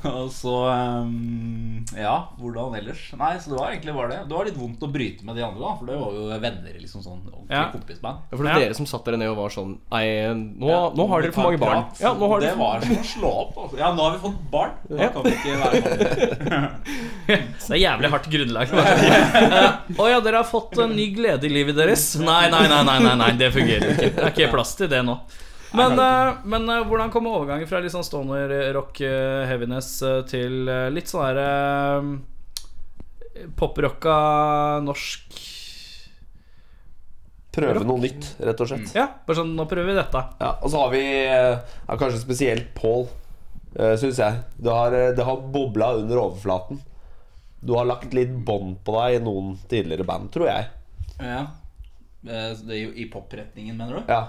Speaker 9: og så um, Ja, hvordan ellers? Nei, så det var egentlig bare det. Det var litt vondt å bryte med de andre, da. For det var jo venner, liksom sånn ordentlig
Speaker 3: Ja.
Speaker 9: kompisband.
Speaker 2: Ja, for det
Speaker 3: Ja.
Speaker 2: var dere som satt dere ned og var sånn Nei, nå, nå har dere for mange barn.
Speaker 9: Prat,
Speaker 2: Ja, nå har
Speaker 9: det
Speaker 2: dere
Speaker 9: var som å slå opp. Altså. Ja, nå har vi fått barn. Da kan vi ikke være sammen.
Speaker 3: Det er jævlig hardt grunnlag. Å ja, dere har fått en ny glede i livet deres. Nei, nei, nei, nei, nei, nei det fungerer ikke. Det er ikke plass til det nå. Men, eh, men eh, hvordan kom overgangen fra litt sånn stoner-rock, eh, heaviness, eh, til eh, litt sånn derre eh, poprocka norsk
Speaker 8: Prøve noe nytt, rett og slett.
Speaker 3: Ja, bare sånn Nå prøver vi dette.
Speaker 8: Ja, og så har vi eh, ja, kanskje spesielt Pål, uh, syns jeg. Det har, eh, det har bobla under overflaten. Du har lagt litt bånd på deg i noen tidligere band, tror jeg.
Speaker 9: Ja. Eh, så Det er jo i popretningen, mener du?
Speaker 8: Ja,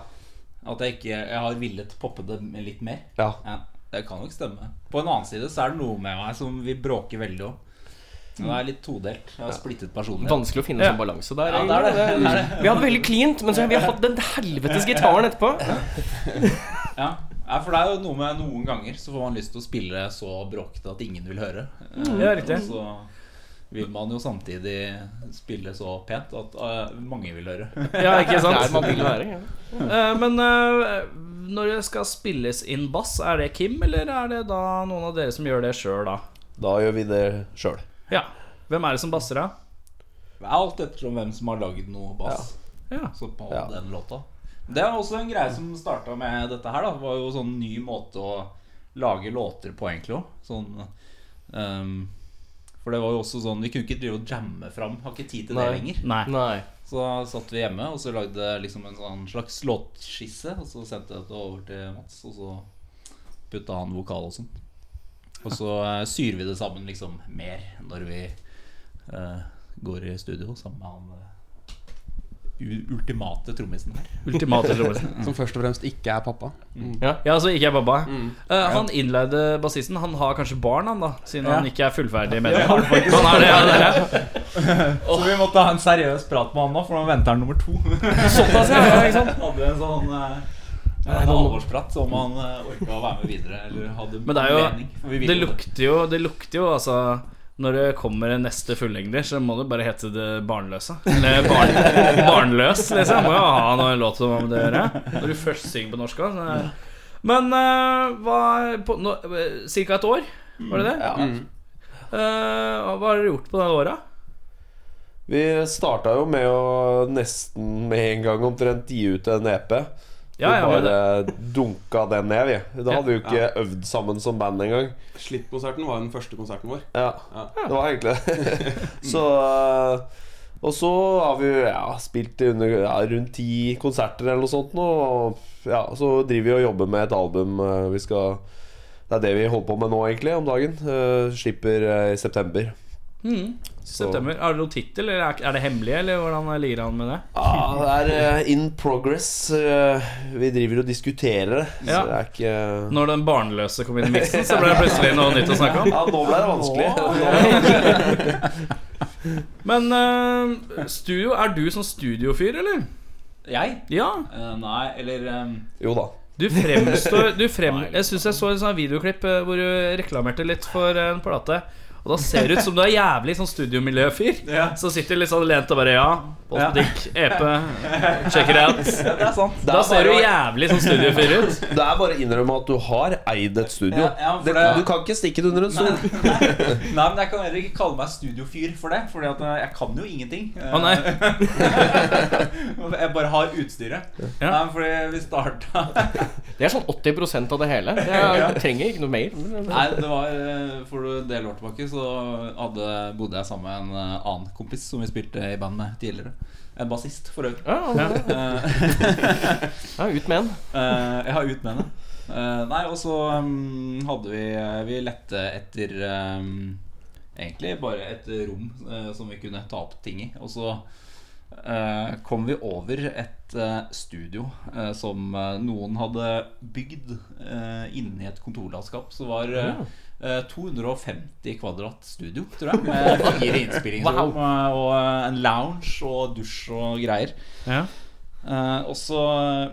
Speaker 9: At jeg ikke jeg har villet poppe det litt mer?
Speaker 8: ja.
Speaker 9: Ja, det kan nok stemme. På en annen side så er det noe med meg som vil bråke veldig om. Det er litt todelt. Jeg har splittet personlighet.
Speaker 2: Vanskelig å finne en sånn balanse der.
Speaker 9: Ja, det er det. det, er det.
Speaker 2: Vi hadde veldig cleant, men så har vi hatt den helvetes gitaren etterpå.
Speaker 9: Ja. ja, for det er jo noe med noen ganger så får man lyst til å spille så bråkete at ingen vil høre.
Speaker 3: Ja, Mm, riktig.
Speaker 9: Og så vil man jo samtidig spille så pent at eh, mange vil høre.
Speaker 3: Ja, ikke sant?
Speaker 2: Der man vil være. Ja.
Speaker 3: Eh, Men eh, når det skal spilles inn bass, er det Kim, eller er det da noen av dere som gjør det sjøl, da?
Speaker 8: Da gjør vi det sjøl.
Speaker 3: Ja. Hvem er det som basser, da?
Speaker 9: Alt ettersom hvem som har lagd noe bass.
Speaker 3: Ja.
Speaker 9: Så på
Speaker 8: Ja.
Speaker 9: den låta. Det er også en greie som starta med dette her. da Det var jo sånn ny måte å lage låter på, egentlig òg. Sånn ehm, For det var jo også sånn Vi kunne ikke drive og jamme fram. Har ikke tid til det
Speaker 2: Nei.
Speaker 9: lenger.
Speaker 3: Nei.
Speaker 2: Nei.
Speaker 9: Så da satt vi hjemme og så lagde liksom en sånn slags låtskisse. Og så sendte jeg det over til Mats, og så putta han vokal og sånn. Og så eh, syr vi det sammen liksom mer når vi eh, går i studio sammen med han eh, u- ultimate trommisen her.
Speaker 3: Ultimate trommisen.
Speaker 6: Som først og fremst ikke er pappa.
Speaker 3: Ja, ja altså ikke er pappa. Eh, han innleide bassisten. Han har kanskje barn, han da siden han ikke er fullferdig medlem. Han er det, ja, det er det.
Speaker 9: Så vi måtte ha en seriøs prat med han nå, for nå venter han nummer to.
Speaker 3: Såpass, ja, ja, ikke sant?
Speaker 9: Han hadde en sånn eh, en alvorsprat om han eh, orka å være med videre eller hadde
Speaker 3: Men det er jo
Speaker 9: mening. for vi ville
Speaker 3: Det
Speaker 9: jo
Speaker 3: lukter jo, det lukter jo altså Når det kommer en neste fullengder, så må det bare hete Det barnløse. Eller barn, Barnløs, liksom. Må jo ha noe låt om det å gjøre. Når du først synger på norsk òg. Men eh, hva på, nå, eh, Cirka et år, var det det? Eh, hva har dere gjort på det året?
Speaker 8: Vi starta jo med å nesten med en gang omtrent gi ut en E EP.
Speaker 3: Ja, ja,
Speaker 8: vi
Speaker 3: men det,
Speaker 8: bare dunka den ned, vi. Da hadde vi jo ikke øvd sammen som band engang.
Speaker 6: Slipp-konserten var den første konserten vår.
Speaker 8: Ja,
Speaker 6: Ja.
Speaker 8: det var egentlig det. så eh, Og så har vi ja, spilt i under, ja, rundt ti konserter eller noe sånt nå. Og ja, så driver vi og jobber med et album eh, vi skal Det er det vi holder på med nå, egentlig, om dagen. Eh, slipper eh, i september. Så-
Speaker 3: september. Har dere noen tittel, eller er- er det hemmelig, eller hvordan ligger han med det?
Speaker 8: Ja, det er eh, in progress. eh, vi driver og diskuterer det,
Speaker 3: Ja.
Speaker 8: så det er ikke
Speaker 3: Når den barnløse kom inn i miksen, så ble det plutselig noe nytt å snakke om.
Speaker 8: Ja, nå ble det vanskelig.
Speaker 3: Men eh, studio, er du sånn studiofyr, eller?
Speaker 9: Jeg?
Speaker 3: Ja.
Speaker 9: Eh, nei, eller ehm,
Speaker 8: Jo da.
Speaker 3: Du fremstår du frem, Jeg syns jeg så et sånt videoklipp eh, hvor du reklamerte litt for en plate. Og da ser det ut som du er jævlig sånn studiomiljøfyr.
Speaker 9: Ja.
Speaker 3: Så sitter du litt sånn lent og bare Ja,
Speaker 9: Ja.
Speaker 3: Postdikk, EP, check it out.
Speaker 9: Det er sant.
Speaker 3: Da ser du jævlig sånn studiofyr ut.
Speaker 8: Det er bare å innrømme at du har eid et studio.
Speaker 9: Ja, ja, for
Speaker 8: det,
Speaker 9: det-
Speaker 8: du kan ikke stikke det under en stol.
Speaker 9: Nei, men jeg kan heller ikke kalle meg studiofyr for det, Fordi at eh, jeg kan jo ingenting. Eh,
Speaker 3: Å, nei.
Speaker 9: jeg bare har utstyret.
Speaker 3: Ja.
Speaker 9: Nei, fordi vi starta
Speaker 2: Det er sånn 80 av det hele. Det er, trenger ikke noe mer.
Speaker 9: Nei, det var eh, for en del år tilbake så hadde, bodde jeg sammen med en eh, annen kompis som vi spilte i band med tidligere. En bassist, for øvrig.
Speaker 2: Ja, ja.
Speaker 9: Eh,
Speaker 2: ja, ut med den.
Speaker 9: Eh, jeg har ut med det. Eh, nei, og så mm, hadde vi Vi lette etter mm, Egentlig bare et rom eh, som vi kunne ta opp ting i. Og så eh, kom vi over et eh, studio eh, som eh, noen hadde bygd uh, inni et kontorlandskap. Så var eh, eh, 250 kvadrat studio, tror jeg. Med fire innspillingsrom eh, og eh, en lounge og dusj og greier.
Speaker 3: Ja.
Speaker 9: Eh, også,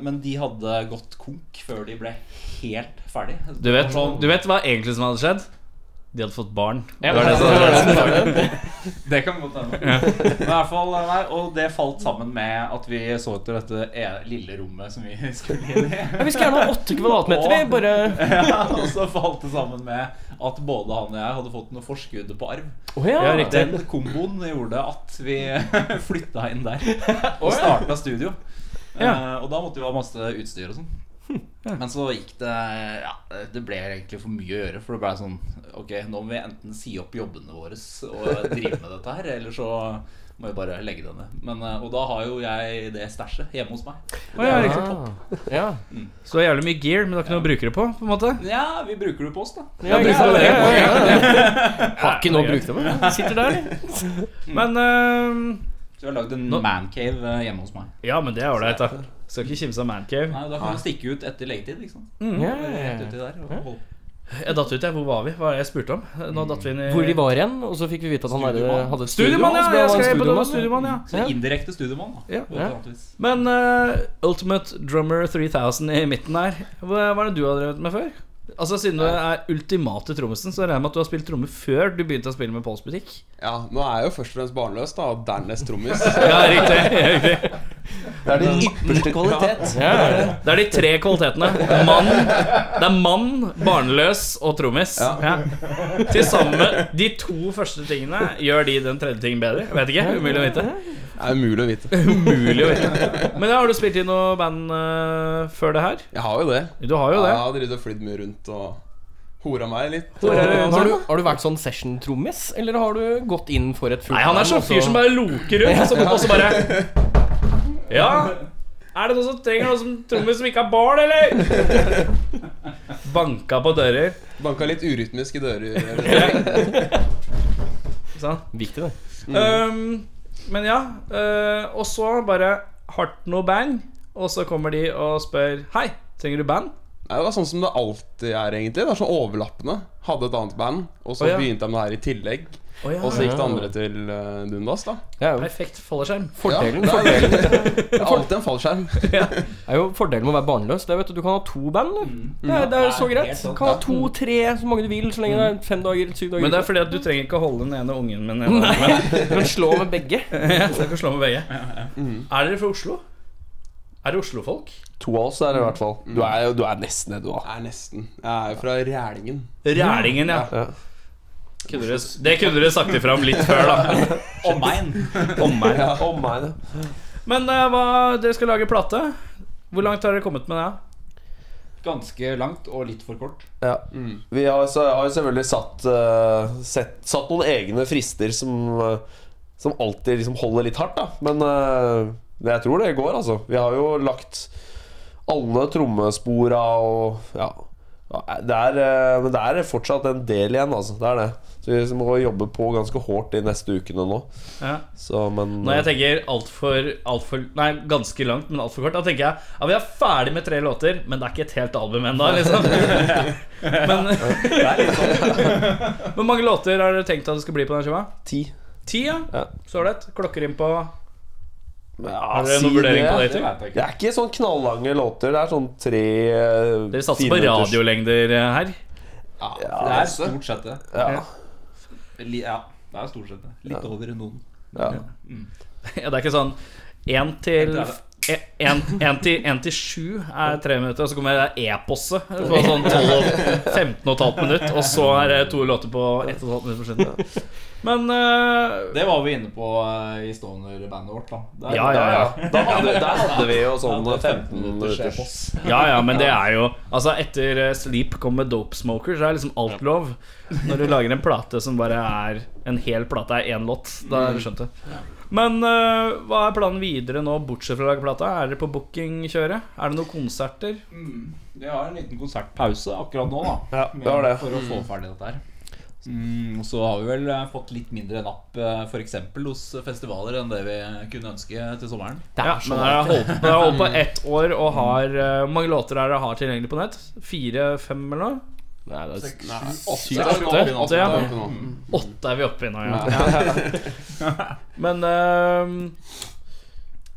Speaker 9: men de hadde gått konk før de ble helt ferdig.
Speaker 3: Du vet, du vet hva egentlig som hadde skjedd? De hadde fått barn.
Speaker 2: Ja,
Speaker 3: Det var det som hadde skjedd.
Speaker 9: Det kan godt hende. Men i hvert fall, eh, nei, Og det falt sammen med at vi så etter dette e- lille rommet som vi skulle inn i.
Speaker 2: Ja, vi skal gjerne ha åtte kvadratmeter, vi. Bare
Speaker 9: Ja, og så falt det sammen med at både han og jeg hadde fått noe forskudd på arv.
Speaker 2: Å ja.
Speaker 3: Ja, riktig.
Speaker 9: Den komboen gjorde at vi flytta inn der og starta studio.
Speaker 3: Ja.
Speaker 9: Eh, og da måtte vi ha masse utstyr og sånn.
Speaker 2: Hm,
Speaker 9: Men så gikk det ja, Det ble egentlig for mye å gjøre. For det ble sånn Ok, nå må vi enten si opp jobbene våre og drive med dette her, eller så må vi bare legge det ned. Men, eh, og da har jo jeg det stæsjet hjemme hos meg.
Speaker 3: Å, ja, riktig.
Speaker 2: Ah, ja.
Speaker 3: Så det er jævlig mye gear, men du har ikke noe å bruke det på? på en måte
Speaker 9: Ja, vi bruker det på oss, da.
Speaker 2: Ja,
Speaker 3: bruker
Speaker 2: ja,
Speaker 3: det.
Speaker 2: ja, ja. Har ikke noe å bruke det med.
Speaker 3: Sitter der, eller? Men øhm,
Speaker 9: Så vi har lagd en
Speaker 3: Nå-
Speaker 9: mancave eh, hjemme hos meg.
Speaker 3: Ja, men det er ålreit, da. Skal ikke kimse av mancave. Mm.
Speaker 9: Nei, Da kan vi stikke ut etter legetid, ikke sant.
Speaker 2: Ja,
Speaker 9: Rett
Speaker 2: ja, ja.
Speaker 9: uti der og holde
Speaker 3: Jeg datt ut, jeg. Hvor var vi? Hva var det jeg spurte om? Nå datt vi inn i
Speaker 2: Hvor de var igjen, og så fikk vi vite at han hadde,
Speaker 9: Studiomann.
Speaker 2: hadde et studio.
Speaker 3: Studiomann,
Speaker 2: og
Speaker 3: ja!
Speaker 2: så ble
Speaker 3: Jeg
Speaker 2: han
Speaker 3: skrev på det var
Speaker 2: studiomann.
Speaker 3: studiomann, ja.
Speaker 9: Så indirekte studiemann, da.
Speaker 3: Ja,
Speaker 9: på et
Speaker 2: ja.
Speaker 9: eller annet vis.
Speaker 3: Men øh, Ultimate Drummer 3000 i midten her, hva hva er det du har drevet med før? Altså Siden du er ultimate trommisen, så regner jeg med at du har spilt trommer før du begynte å spille med Pols butikk.
Speaker 6: Ja, Nå er jeg jo først og fremst barnløs, da, og dernest trommis.
Speaker 3: Ja, riktig, riktig
Speaker 8: Det er din ypperste kvalitet.
Speaker 2: Ja, ja, ja.
Speaker 3: Det er de tre kvalitetene. Mann, det er mann, barnløs og trommis. Ja. Til sammen de to første tingene gjør de den tredje tingen bedre. Jeg vet ikke, Umulig å vite.
Speaker 6: Det er umulig å vite.
Speaker 3: Umulig å vite Men har du spilt i noe band eh, før det her?
Speaker 6: Jeg har jo det.
Speaker 3: Du har jo
Speaker 6: Ja,
Speaker 3: det.
Speaker 6: Jeg har drevet og flydd mye rundt og hora meg litt.
Speaker 3: Hvor er det
Speaker 2: Har
Speaker 3: rundt
Speaker 2: du,
Speaker 3: om?
Speaker 2: har du vært sånn session-trommis, eller har du gått inn for et fullt
Speaker 3: Nei, han er sånn
Speaker 2: band, Altså,
Speaker 3: fyr som bare loker rundt, og så, og så bare Ja. Er det noen som trenger noe som trommis som ikke har barn, eller? Banka på dører.
Speaker 6: Banka litt urytmisk i dører.
Speaker 3: Sånn.
Speaker 2: Viktig, det.
Speaker 3: Um, men ja, eh, og så bare hardt noe bang, og så kommer de og spør Hei, trenger du band?
Speaker 6: Nei, det var sånn som det alltid er, egentlig. Det er sånn overlappende. Hadde et annet band, og så
Speaker 3: Å, ja.
Speaker 6: begynte de med det her i tillegg.
Speaker 3: Å ja,
Speaker 6: Og så gikk det andre til eh, Dundas, da.
Speaker 2: Ja,
Speaker 3: Perfekt fallskjerm.
Speaker 2: fordelen,
Speaker 6: Ja, det
Speaker 2: fordelen,
Speaker 6: Det er alltid en fallskjerm.
Speaker 2: er jo fordelen med å være barnløs. Det er, vet du, du kan ha to band. du.
Speaker 3: Mm.
Speaker 2: Det, er, det er så
Speaker 9: Det er helt
Speaker 2: greit. Du
Speaker 3: sånn.
Speaker 9: sant,
Speaker 2: kan ha
Speaker 9: ja.
Speaker 2: to, tre, så mange du vil, så lenge det er fem dager, syv dager.
Speaker 3: Men det
Speaker 2: ute.
Speaker 3: er fordi at du trenger ikke å holde den ene ungen med den ene. ungen.
Speaker 2: Du kan slå med begge.
Speaker 3: Ja, så jeg kan slå med begge. Er dere fra Oslo? Er dere Oslo-folk?
Speaker 8: To av oss er det i hvert fall. Du er, jo- du er nesten det, du, da.
Speaker 6: Er nesten. Jeg er jo fra Rælingen.
Speaker 3: Rælingen, ja.
Speaker 8: Ja.
Speaker 3: Kunne dere- Det kunne dere sagt ifra om litt før, da.
Speaker 9: Omegn.
Speaker 3: Omegn.
Speaker 8: Ja. Å, meg, det.
Speaker 3: Men eh, hva, dere skal lage plate. Hvor langt har dere kommet med det?
Speaker 9: Ganske langt og litt for kort.
Speaker 8: Ja. Vi har, så, har jo selvfølgelig satt, eh, sett, satt noen egne frister som, eh, som alltid liksom holder litt hardt, da. Men eh, det- jeg tror det går, altså. Vi har jo lagt alle trommespora og ja. Ja, Det er, eh, men det er fortsatt en del igjen, altså. Det er det. Så vi må jobbe på ganske hårdt de neste ukene nå.
Speaker 3: Ja.
Speaker 8: Så, men eh,
Speaker 3: Når jeg tenker altfor alt for, Nei, ganske langt, men altfor kort, da tenker jeg ja, vi er ferdig med tre låter, men det er ikke et helt album ennå, liksom. Men Hvor mange låter har dere tenkt at det skal bli på den skiva?
Speaker 8: ti.
Speaker 3: Ti, ja.
Speaker 8: Ja.
Speaker 3: Så ålreit. Klokker inn på
Speaker 8: Ja,
Speaker 3: Har dere
Speaker 8: si
Speaker 3: noen vurdering på det?
Speaker 9: Det
Speaker 8: det.
Speaker 3: Til?
Speaker 9: vet jeg
Speaker 8: Det
Speaker 9: ikke.
Speaker 8: er ikke sånn knallange låter. Det er sånn tre
Speaker 3: Dere satser på radiolengder eh, her.
Speaker 9: Ja, det er
Speaker 2: altså.
Speaker 9: stort sett det.
Speaker 8: Ja.
Speaker 9: Li- Ja, det er stort sett det. Litt over noen.
Speaker 8: Ja.
Speaker 3: Ja, det er ikke sånn én til e,
Speaker 9: Jeg tror
Speaker 3: en, en til, en til sju er tre minutter, og så kommer det e-posse på sånn 12, og 15 og et halvt minutt, og så er det to låter på 1 og et halvt minutt forskjellig. Men eh,
Speaker 9: Det var vi inne på eh, i Stoner-bandet vårt, da. Der,
Speaker 3: ja, ja, ja.
Speaker 8: Da hadde, der hadde vi jo sånn
Speaker 9: Ja, det er
Speaker 8: 15
Speaker 9: minutter
Speaker 8: minutter.
Speaker 9: sjef.
Speaker 3: Ja, ja, men det er jo Altså, etter eh, Sleep kom med Dope Smoker, så er liksom alt lov. Når du lager en plate som bare er En hel plate er én låt, da har du skjønt det. Men eh, hva er planen videre nå, bortsett fra å lage plate? Er dere på bookingkjøret? Er det noen konserter?
Speaker 9: Mm. Vi har en liten konsertpause akkurat nå, da.
Speaker 8: Ja, vi har det.
Speaker 9: For å få ferdig dette her. Mm, og så har vi vel eh, fått litt mindre napp f.eks. hos festivaler enn det vi kunne ønske til sommeren.
Speaker 3: ja, men dere har holdt, dere har holdt på ett år og har eh, Hvor mange låter er det dere har tilgjengelig på nett? Fire-fem, eller noe?
Speaker 2: Nei, det er
Speaker 6: Nei,
Speaker 2: sykt.
Speaker 6: åtte.
Speaker 3: åtte,
Speaker 6: Åtte,
Speaker 3: åtte, ja.
Speaker 6: åtte nå.
Speaker 3: Åtte er vi oppe i nå, ja. Men eh,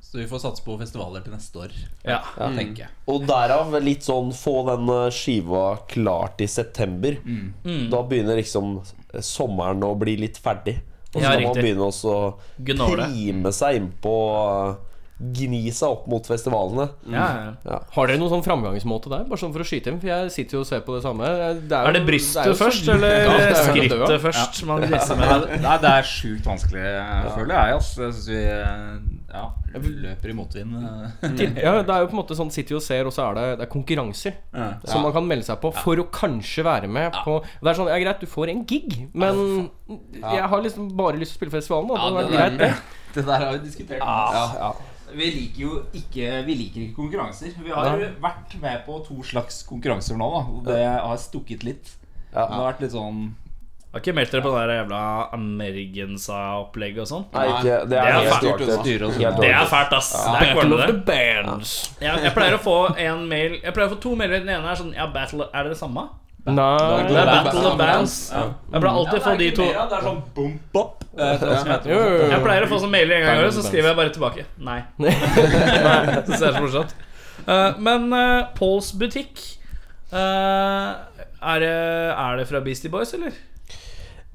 Speaker 9: Så vi får satse på festivaler til neste år,
Speaker 3: ja.
Speaker 9: tenker jeg.
Speaker 8: Og derav litt sånn få den eh, skiva klart i september.
Speaker 3: Mm.
Speaker 8: Da begynner liksom sommeren å bli litt ferdig. Og
Speaker 3: Ja,
Speaker 8: så kan man
Speaker 3: riktig.
Speaker 8: begynne også å
Speaker 3: Gnåle.
Speaker 8: prime seg innpå Gni seg opp mot festivalene.
Speaker 3: ja, ja.
Speaker 2: Har dere noen sånn framgangsmåte der? Bare sånn for å skyte inn, for jeg sitter jo og ser på det samme. jo-
Speaker 3: Er det
Speaker 2: er jo
Speaker 3: brystet
Speaker 2: så-
Speaker 3: først, eller
Speaker 2: Ja, det er jo
Speaker 3: skrittet
Speaker 2: døra.
Speaker 3: først? Man liksom. rister med det.
Speaker 9: Nei, det er sjukt vanskelig, føler jeg. Altså. Jeg syns vi eh, ja, løper i motvind.
Speaker 3: Mm.
Speaker 9: eh.
Speaker 2: Ja, det er jo på en måte sånn sitter jo og ser, og så er det, det er konkurranser som man kan melde seg på for å kanskje være med på Det er sånn, ja greit, du får en gig, men jeg har liksom bare lyst til å spille festivalen, da. det hadde vært greit, det.
Speaker 9: Det der har vi diskutert.
Speaker 3: Ah.
Speaker 6: Ja, ja.
Speaker 9: Vi liker jo ikke Vi liker ikke konkurranser. Vi har vært med på to slags konkurranser nå, da. Og det har stukket litt. Det har vært litt sånn
Speaker 3: Har ikke meldt dere på det der jævla Amerigensa-opplegget og sånn?
Speaker 8: Nei, ikke, det
Speaker 3: Det
Speaker 8: er,
Speaker 3: er
Speaker 8: helt
Speaker 3: fælt.
Speaker 8: klart det.
Speaker 9: styre og
Speaker 8: Helt
Speaker 9: sånn.
Speaker 3: Det
Speaker 8: klart.
Speaker 3: er fælt, ass. Det er ikke
Speaker 2: Battle
Speaker 3: ordentlig,
Speaker 2: of
Speaker 3: det.
Speaker 2: the bands.
Speaker 3: Jeg, jeg pleier å få en mail Jeg pleier å få to mailer. Den ene er sånn Ja, battle Er det det samme? Det
Speaker 2: Nei
Speaker 3: er Battle of Bands. Jeg pleier alltid å få de to.
Speaker 9: Det er sånn boom, bop. eh, tror jeg som heter.
Speaker 2: Jo, jo, jo.
Speaker 3: Jeg pleier å få sånn mailer en gang i året, så skriver jeg bare tilbake. Nei. Nei så det er så morsomt. Eh, men uh, Pauls butikk eh, er, det, er det fra Beastie Boys, eller?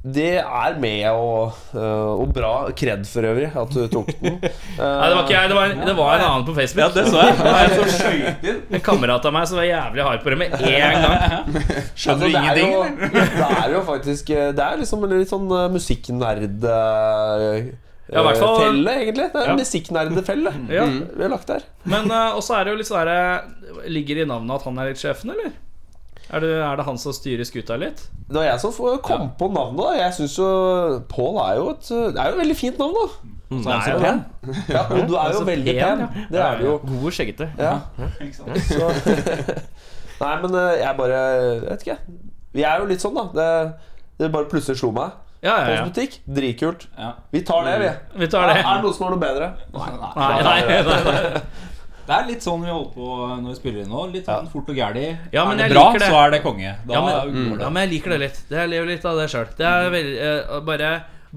Speaker 8: Det er med og, øh, og bra kred for øvrig, at du tok den.
Speaker 3: Nei, det var ikke jeg. Det var, det var en annen på Facebook. Ja, det så jeg. En kamerat av meg som var jævlig hard på det med en gang.
Speaker 8: Skjønner du ingenting, eller? Det er jo faktisk eh, Det er liksom en litt sånn eh, musikknerd... eh,
Speaker 3: Ja, i hvert fall-
Speaker 8: Felle, egentlig. Det er
Speaker 3: Ja.
Speaker 8: en musikknerdefelle
Speaker 3: Ja.
Speaker 8: vi har lagt der.
Speaker 3: Men uh, også er det jo litt sånn herre Ligger det i navnet at han er litt sjefen, eller? Er det, er det han som styrer skuta litt?
Speaker 8: Det var jeg som får- kom på navnet. da. Jeg syns jo Pål er jo et Det er jo et veldig fint navn, da.
Speaker 3: Nei,
Speaker 8: Så pen. Ja, og du er jo
Speaker 3: så
Speaker 8: veldig
Speaker 3: Altså, pen,
Speaker 8: pen. Det er du jo.
Speaker 2: God og skjeggete.
Speaker 8: Ja.
Speaker 9: Ikke sant?
Speaker 8: Så, Nei, men eh, jeg bare Jeg vet ikke. Vi er jo litt sånn, da. Det, det bare plutselig slo meg.
Speaker 3: Ja, ja, ja.
Speaker 8: Postbutikk, dritkult.
Speaker 9: Ja.
Speaker 8: Vi tar det, vi.
Speaker 3: Vi tar det.
Speaker 8: Er det noen som har noe bedre?
Speaker 3: Nei, nei, nei, nei.
Speaker 9: Det er litt sånn vi holder på når vi spiller inn nå. Litt sånn fort og gæli.
Speaker 3: Ja, men
Speaker 9: er
Speaker 3: jeg
Speaker 9: det bra,
Speaker 3: liker det.
Speaker 9: så er det konge. Da
Speaker 3: Ja,
Speaker 9: går
Speaker 3: men,
Speaker 9: det.
Speaker 3: ja, men jeg liker det litt. Det jeg lever litt av det sjøl. Bare,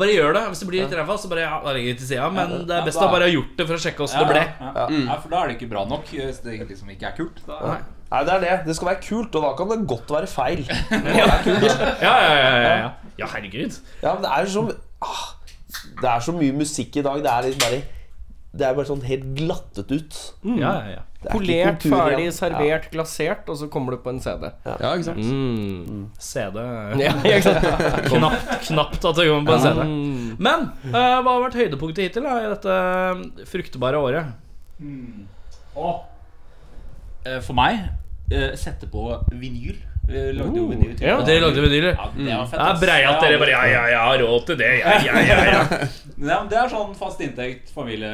Speaker 3: bare gjør det. Hvis det blir litt ræva, så bare ja, da legger jeg det til sida. Men det
Speaker 9: Ja,
Speaker 3: er best
Speaker 9: da-
Speaker 3: å bare ha gjort det for å sjekke åssen
Speaker 9: Ja,
Speaker 3: det ble.
Speaker 9: Ja, ja. ja, for da er det ikke bra nok. Hvis det liksom ikke er kult. Da.
Speaker 3: Nei.
Speaker 8: Nei, det er det. Det skal være kult, og da kan det godt være feil.
Speaker 3: Ja, ja, ja, ja, ja. ja herregud.
Speaker 8: Ja, men det er så ah, Det er så mye musikk i dag. Det er liksom bare Det er bare sånn helt glattet ut.
Speaker 3: Ja, ja, ja.
Speaker 8: Det er ikke
Speaker 2: Polert,
Speaker 8: kultur igjen.
Speaker 2: ferdig, servert, glasert, og så kommer du på en CD.
Speaker 6: Ja, ikke sant?
Speaker 3: CD
Speaker 2: Ja, ikke sant?
Speaker 3: knapt, knapt at det kommer på en CD. Men eh, hva har vært høydepunktet hittil da, i dette fruktbare året?
Speaker 9: Eh, For meg eh, sette på vinyl. Vi lagde jo vinyl. til-
Speaker 3: Ja, dere lagde vinyler.
Speaker 9: Ja, det var fett.
Speaker 3: Det er
Speaker 9: ass.
Speaker 3: brei at dere bare Ja, ja, jeg har råd til det. Ja, ja, ja, ja.
Speaker 9: Ja, men det er sånn fast inntekt, familie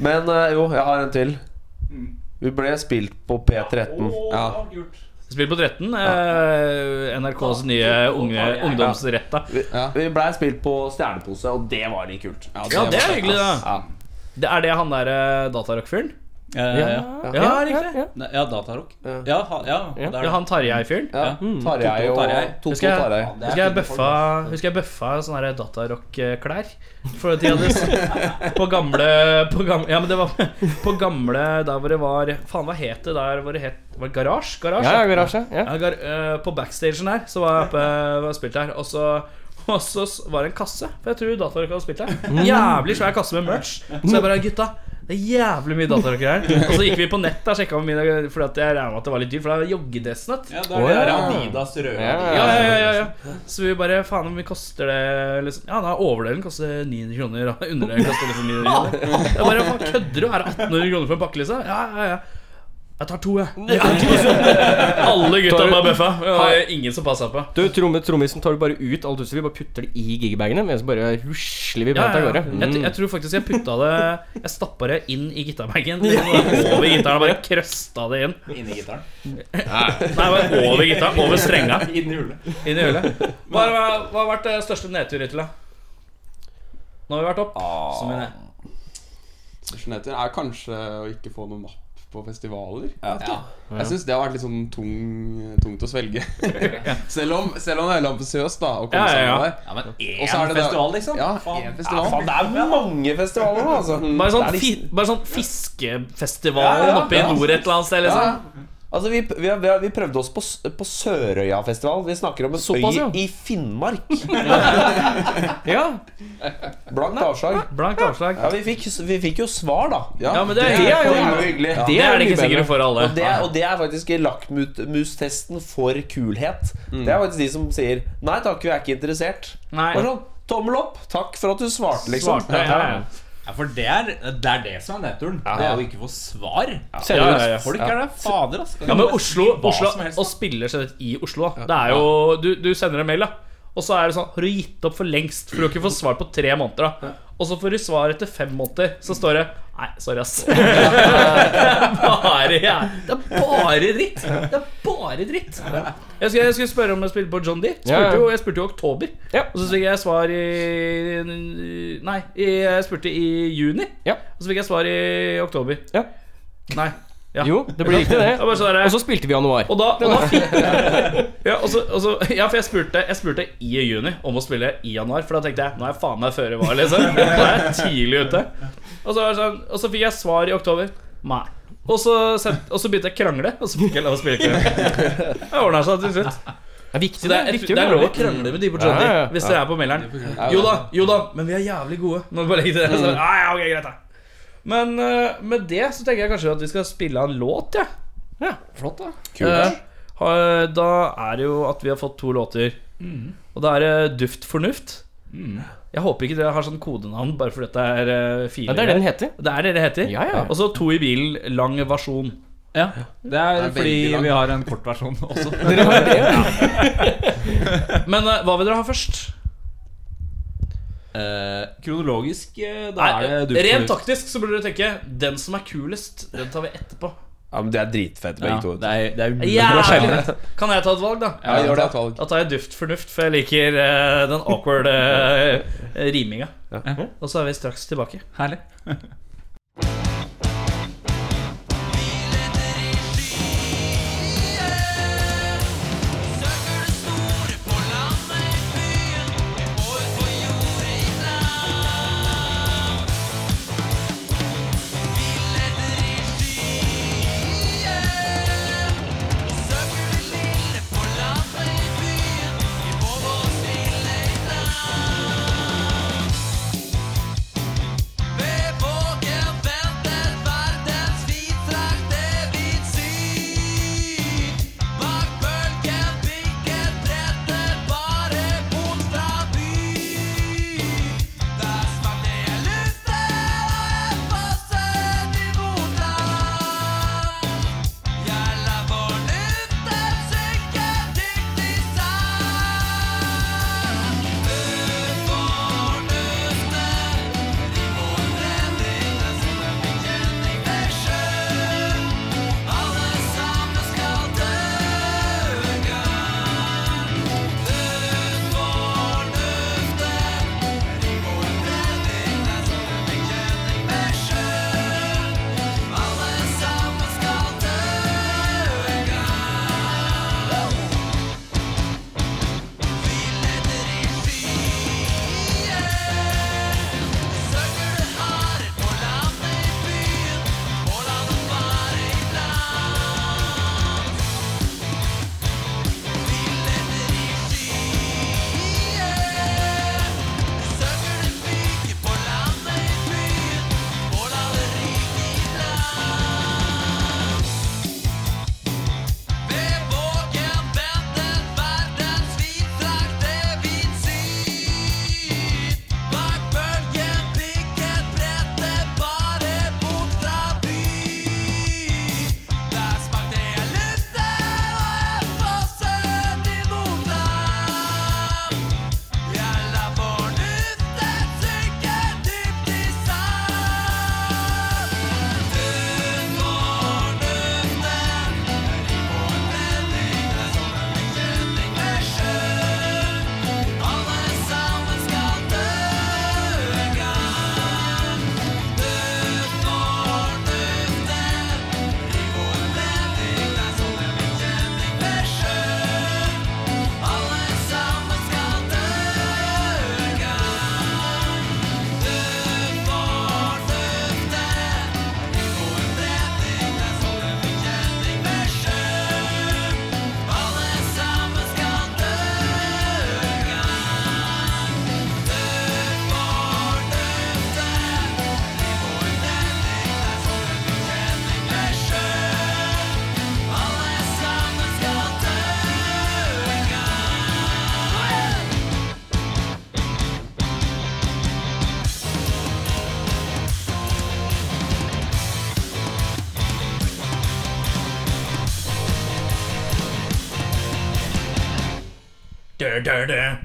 Speaker 8: Men eh, jo, jeg har en til. Vi ble spilt på P13.
Speaker 9: Ja. kult.
Speaker 3: Spill på 13. Eh, NRKs nye unge, ungdomsretta.
Speaker 8: Vi,
Speaker 6: Ja.
Speaker 8: vi blei spilt på Stjernepose, og det var litt kult.
Speaker 6: Ja,
Speaker 3: Ja, det er
Speaker 6: var-
Speaker 3: hyggelig, da. Det er det han der eh, datarock-fyren?
Speaker 9: Eh, ja.
Speaker 3: Ja, riktig.
Speaker 9: Nei, ja, datarock. Ja, ha- ja, det er
Speaker 3: Ja,
Speaker 9: det.
Speaker 3: han Tarjei-fyren.
Speaker 8: Ja, Tarjei
Speaker 9: Toto og
Speaker 8: og
Speaker 9: Tarjei.
Speaker 8: Toto
Speaker 3: Husker
Speaker 8: og
Speaker 3: jeg-
Speaker 8: Tarjei.
Speaker 9: Det er
Speaker 3: Husker jeg
Speaker 9: fine
Speaker 3: bøffa, husker jeg bøffa sånne her datarock-klær. For at de hadde s- På gamle på gamle, Ja, men det var på gamle der hvor det var Faen, hva het det der hvor det het var det Garasje? Garasje?
Speaker 2: Ja, ja, garasje. Ja.
Speaker 3: Ja, gar, eh, på backstagen her så var jeg oppe eh, var jeg spilt her, og så og så s- var det en kasse, for jeg tror Datarock hadde spilt her. Jævlig svær kasse med merch. Så jeg bare Gutta, det er jævlig mye Datarock her. Og så gikk vi på nett og sjekka om mine Fordi at jeg regna med at det var litt dyrt, for det er joggedressen. vet du.
Speaker 9: Ja, det er
Speaker 2: Å,
Speaker 9: det der
Speaker 2: ja.
Speaker 9: Adidas røde.
Speaker 2: Ja,
Speaker 9: Adidas.
Speaker 3: Ja, ja, ja, ja, ja. Så vi bare Faen, hvor mye koster det? Liksom. Ja, da overdelen koster 900 kroner. Og underdelen koster liksom 900 kroner. Jeg bare, faen, Kødder du? Er det 1800 kroner for en pakke, liksom? Ja, ja, ja. Jeg tar to, jeg. Alle gutta bare bøffa. Det var ingen som passa på.
Speaker 2: Du, tromme, Trommisen tar du bare ut alt utstyret. Vi bare putter det i gigbagene, mens bare rusler vi
Speaker 3: Ja,
Speaker 2: pent av
Speaker 3: ja, ja.
Speaker 2: gårde. Mm.
Speaker 3: Jeg, jeg tror faktisk jeg putta det Jeg stappa det inn i gitarbagen. Over gitaren og bare krøsta det inn.
Speaker 9: Inni gitaren.
Speaker 3: Nei, bare over gitaren. Over strenga.
Speaker 9: Inni hullet.
Speaker 3: Inn i hullet. Hva, hva, hva har vært eh, største nedtur hittil, da? Nå har vi vært opp. Som vi ned.
Speaker 6: Skjønnheter er kanskje å ikke få noen mapp på festivaler. Jeg syns det har vært litt sånn tung, tungt å svelge. selv, om, selv om det er veldig ambisiøst da, å komme
Speaker 3: Ja, ja, ja.
Speaker 6: sammen der.
Speaker 9: Ja, men én
Speaker 6: Og så er det det-
Speaker 9: festival, liksom?
Speaker 6: Ja,
Speaker 9: Faen.
Speaker 6: én festival.
Speaker 8: Faen, det er mange festivaler nå, altså.
Speaker 3: Bare sånn,
Speaker 8: Det er
Speaker 3: fi,
Speaker 8: liksom-
Speaker 3: bare sånn fiskefestival
Speaker 8: Ja, ja,
Speaker 3: oppe i
Speaker 8: ja.
Speaker 3: nord et eller annet sted, liksom.
Speaker 8: Ja. Altså, vi, vi, har- vi, har- vi prøvde oss på, S- på Sørøyafestival. Vi snakker om en
Speaker 2: Såpass,
Speaker 8: øy
Speaker 2: ja.
Speaker 8: i Finnmark.
Speaker 2: Ja,
Speaker 8: Blankt avslag.
Speaker 3: Blankt avslag.
Speaker 8: Ja, vi fikk, vi fikk jo svar, da.
Speaker 3: Ja, men det er,
Speaker 8: Det er jo
Speaker 3: det,
Speaker 8: hyggelig.
Speaker 2: det
Speaker 3: er
Speaker 2: mye
Speaker 3: det ikke
Speaker 2: bedre.
Speaker 3: sikkert for alle.
Speaker 8: Og det, og det er faktisk lakmustesten for kulhet. Det er faktisk de som sier 'nei takk, vi er ikke interessert'.
Speaker 3: Nei.
Speaker 8: Bare sånn, Tommel opp! Takk for at du svarte, liksom.
Speaker 3: Svarte, ja, ja.
Speaker 9: Ja, for det er det, er det som er nedturen. Det er å ikke få svar.
Speaker 3: Ja, ja, ja.
Speaker 9: Folk er det fader, ass.
Speaker 3: Ja, men Oslo,
Speaker 9: Hva
Speaker 3: Oslo
Speaker 9: som helst.
Speaker 3: og spiller seg ut i Oslo, da. Det er jo, du, du sender en mail, da. Og så er det sånn Har du gitt opp for lengst? For du har ikke fått svar på tre måneder. da Og så får du svar etter fem måneder. Så står det Nei, sorry, ass. Det er bare, ja. det er bare dritt. Det er bare dritt. Jeg skulle, jeg skulle spørre om jeg spilte på John D.
Speaker 2: Ja, ja.
Speaker 3: Spurte jo, jeg spurte jo i oktober.
Speaker 2: Ja.
Speaker 3: Og så fikk jeg svar i Nei, i- jeg spurte i juni.
Speaker 2: Ja.
Speaker 3: Og så fikk jeg svar i oktober.
Speaker 2: Ja.
Speaker 3: Nei. Ja.
Speaker 2: Jo, det blir riktig,
Speaker 3: Det var
Speaker 2: det.
Speaker 3: bare sånn der-
Speaker 2: Og så spilte vi januar.
Speaker 3: og da, og da fikk ja, og så, og så, ja, for jeg spurte, jeg spurte i juni om å spille i januar, for da tenkte jeg nå er jeg faen meg føre var, liksom. Nå er jeg tidlig ute. Og så, var det sånn, og så fikk jeg svar i oktober. Nei. Og så, sendte- og så begynte jeg å krangle, og så fikk jeg lov å spille krangle. Det ordna seg til slutt.
Speaker 2: Det er viktig,
Speaker 3: Så det
Speaker 2: det.
Speaker 3: er, jeg tror-
Speaker 2: viktig
Speaker 3: det
Speaker 2: å
Speaker 3: er lov å
Speaker 2: være- sånn-
Speaker 3: krangle med de på Johnny
Speaker 2: Ja, ja, ja.
Speaker 3: hvis dere er på maileren. Jo da, jo da, men vi er jævlig gode. Nå bare legger
Speaker 2: Mm.
Speaker 3: jeg til det. Så, ah, ja, ja, ok, greit da. Men eh, med det så tenker jeg kanskje at vi skal spille en låt, jeg. Ja. flott, da. Eh, ha- da er det jo at vi har fått to låter.
Speaker 2: Mm.
Speaker 3: Og da er det Duft fornuft. Jeg håper ikke dere har sånn kodenavn bare fordi dette er eh, fire.
Speaker 2: Ja, det er det den heter.
Speaker 3: Det er det det heter.
Speaker 2: Ja, ja.
Speaker 3: Og så To i bilen, lang versjon.
Speaker 9: Ja, det er,
Speaker 6: Det er
Speaker 9: fordi
Speaker 6: veldig langt.
Speaker 9: vi har en kort versjon også.
Speaker 3: Men eh, hva vil dere ha først?
Speaker 9: Eh, kronologisk, eh, da
Speaker 3: Nei,
Speaker 9: er det duft.
Speaker 3: rent taktisk så burde dere tenke Den som er kulest, den tar vi etterpå.
Speaker 8: Ja, men De er dritfete, begge
Speaker 10: Ja,
Speaker 8: to. vet du.
Speaker 10: det er, det er umulig å skjelne.
Speaker 3: Ja, kan jeg ta et valg, da?
Speaker 11: Ja, gjør det.
Speaker 3: Da tar jeg duft fornuft, for jeg liker eh, den awkward eh, riminga. Og så er vi straks tilbake.
Speaker 10: Herlig. Dør, dør, dør.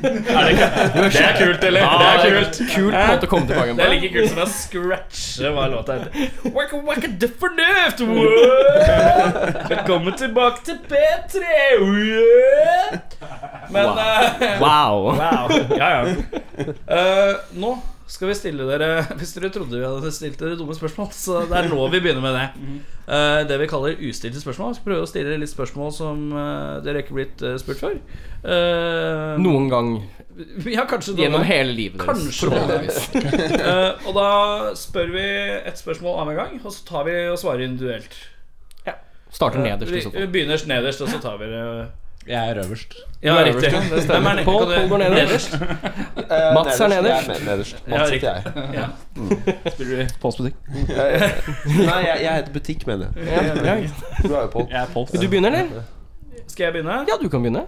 Speaker 3: Det er kult, eller? det er kult.
Speaker 2: Kult måte å komme tilbake
Speaker 3: Det er like kult som å scratche hva låta heter. Waka waka de fornuft! Wow! Velkommen tilbake til P3! Yeah! Men eh,
Speaker 2: Wow.
Speaker 3: Wow. Ja, ja. Eh, nå skal vi stille dere Hvis dere trodde vi hadde stilt dere dumme spørsmål, så det er nå vi begynner med det. Eh, det vi kaller ustilte spørsmål. Så prøve å stille litt spørsmål som eh, dere ikke er blitt eh, spurt før. Eh,
Speaker 2: Noen gang
Speaker 3: Ja, kanskje noen.
Speaker 2: gjennom hele livet deres.
Speaker 3: Kanskje.
Speaker 2: forhåpentligvis.
Speaker 3: Eh, og da spør vi et spørsmål av en gang, og så tar vi og svarer individuelt.
Speaker 2: Starter nederst i
Speaker 3: vi,
Speaker 2: så
Speaker 3: vi
Speaker 2: fall.
Speaker 3: begynner nederst, og så tar vi det
Speaker 10: Jeg er øverst.
Speaker 3: Ja,
Speaker 2: er
Speaker 3: riktig.
Speaker 2: øverst, ja. Det
Speaker 3: Hvem
Speaker 2: stemmer.
Speaker 3: er ned-
Speaker 2: Pål-
Speaker 3: kan du-
Speaker 2: Pål går nederst.
Speaker 8: Eh,
Speaker 2: Mats er nederst.
Speaker 8: Jeg er ned- nederst.
Speaker 3: Ja,
Speaker 8: Mats heter jeg.
Speaker 10: Postbutikk.
Speaker 8: Nei, jeg, jeg heter Butikk, mener jeg.
Speaker 2: Ja, ja.
Speaker 8: Du er jo Pål.
Speaker 10: Jeg er post.
Speaker 2: Vil du begynne, eller?
Speaker 3: Skal jeg begynne?
Speaker 2: Ja, du kan begynne.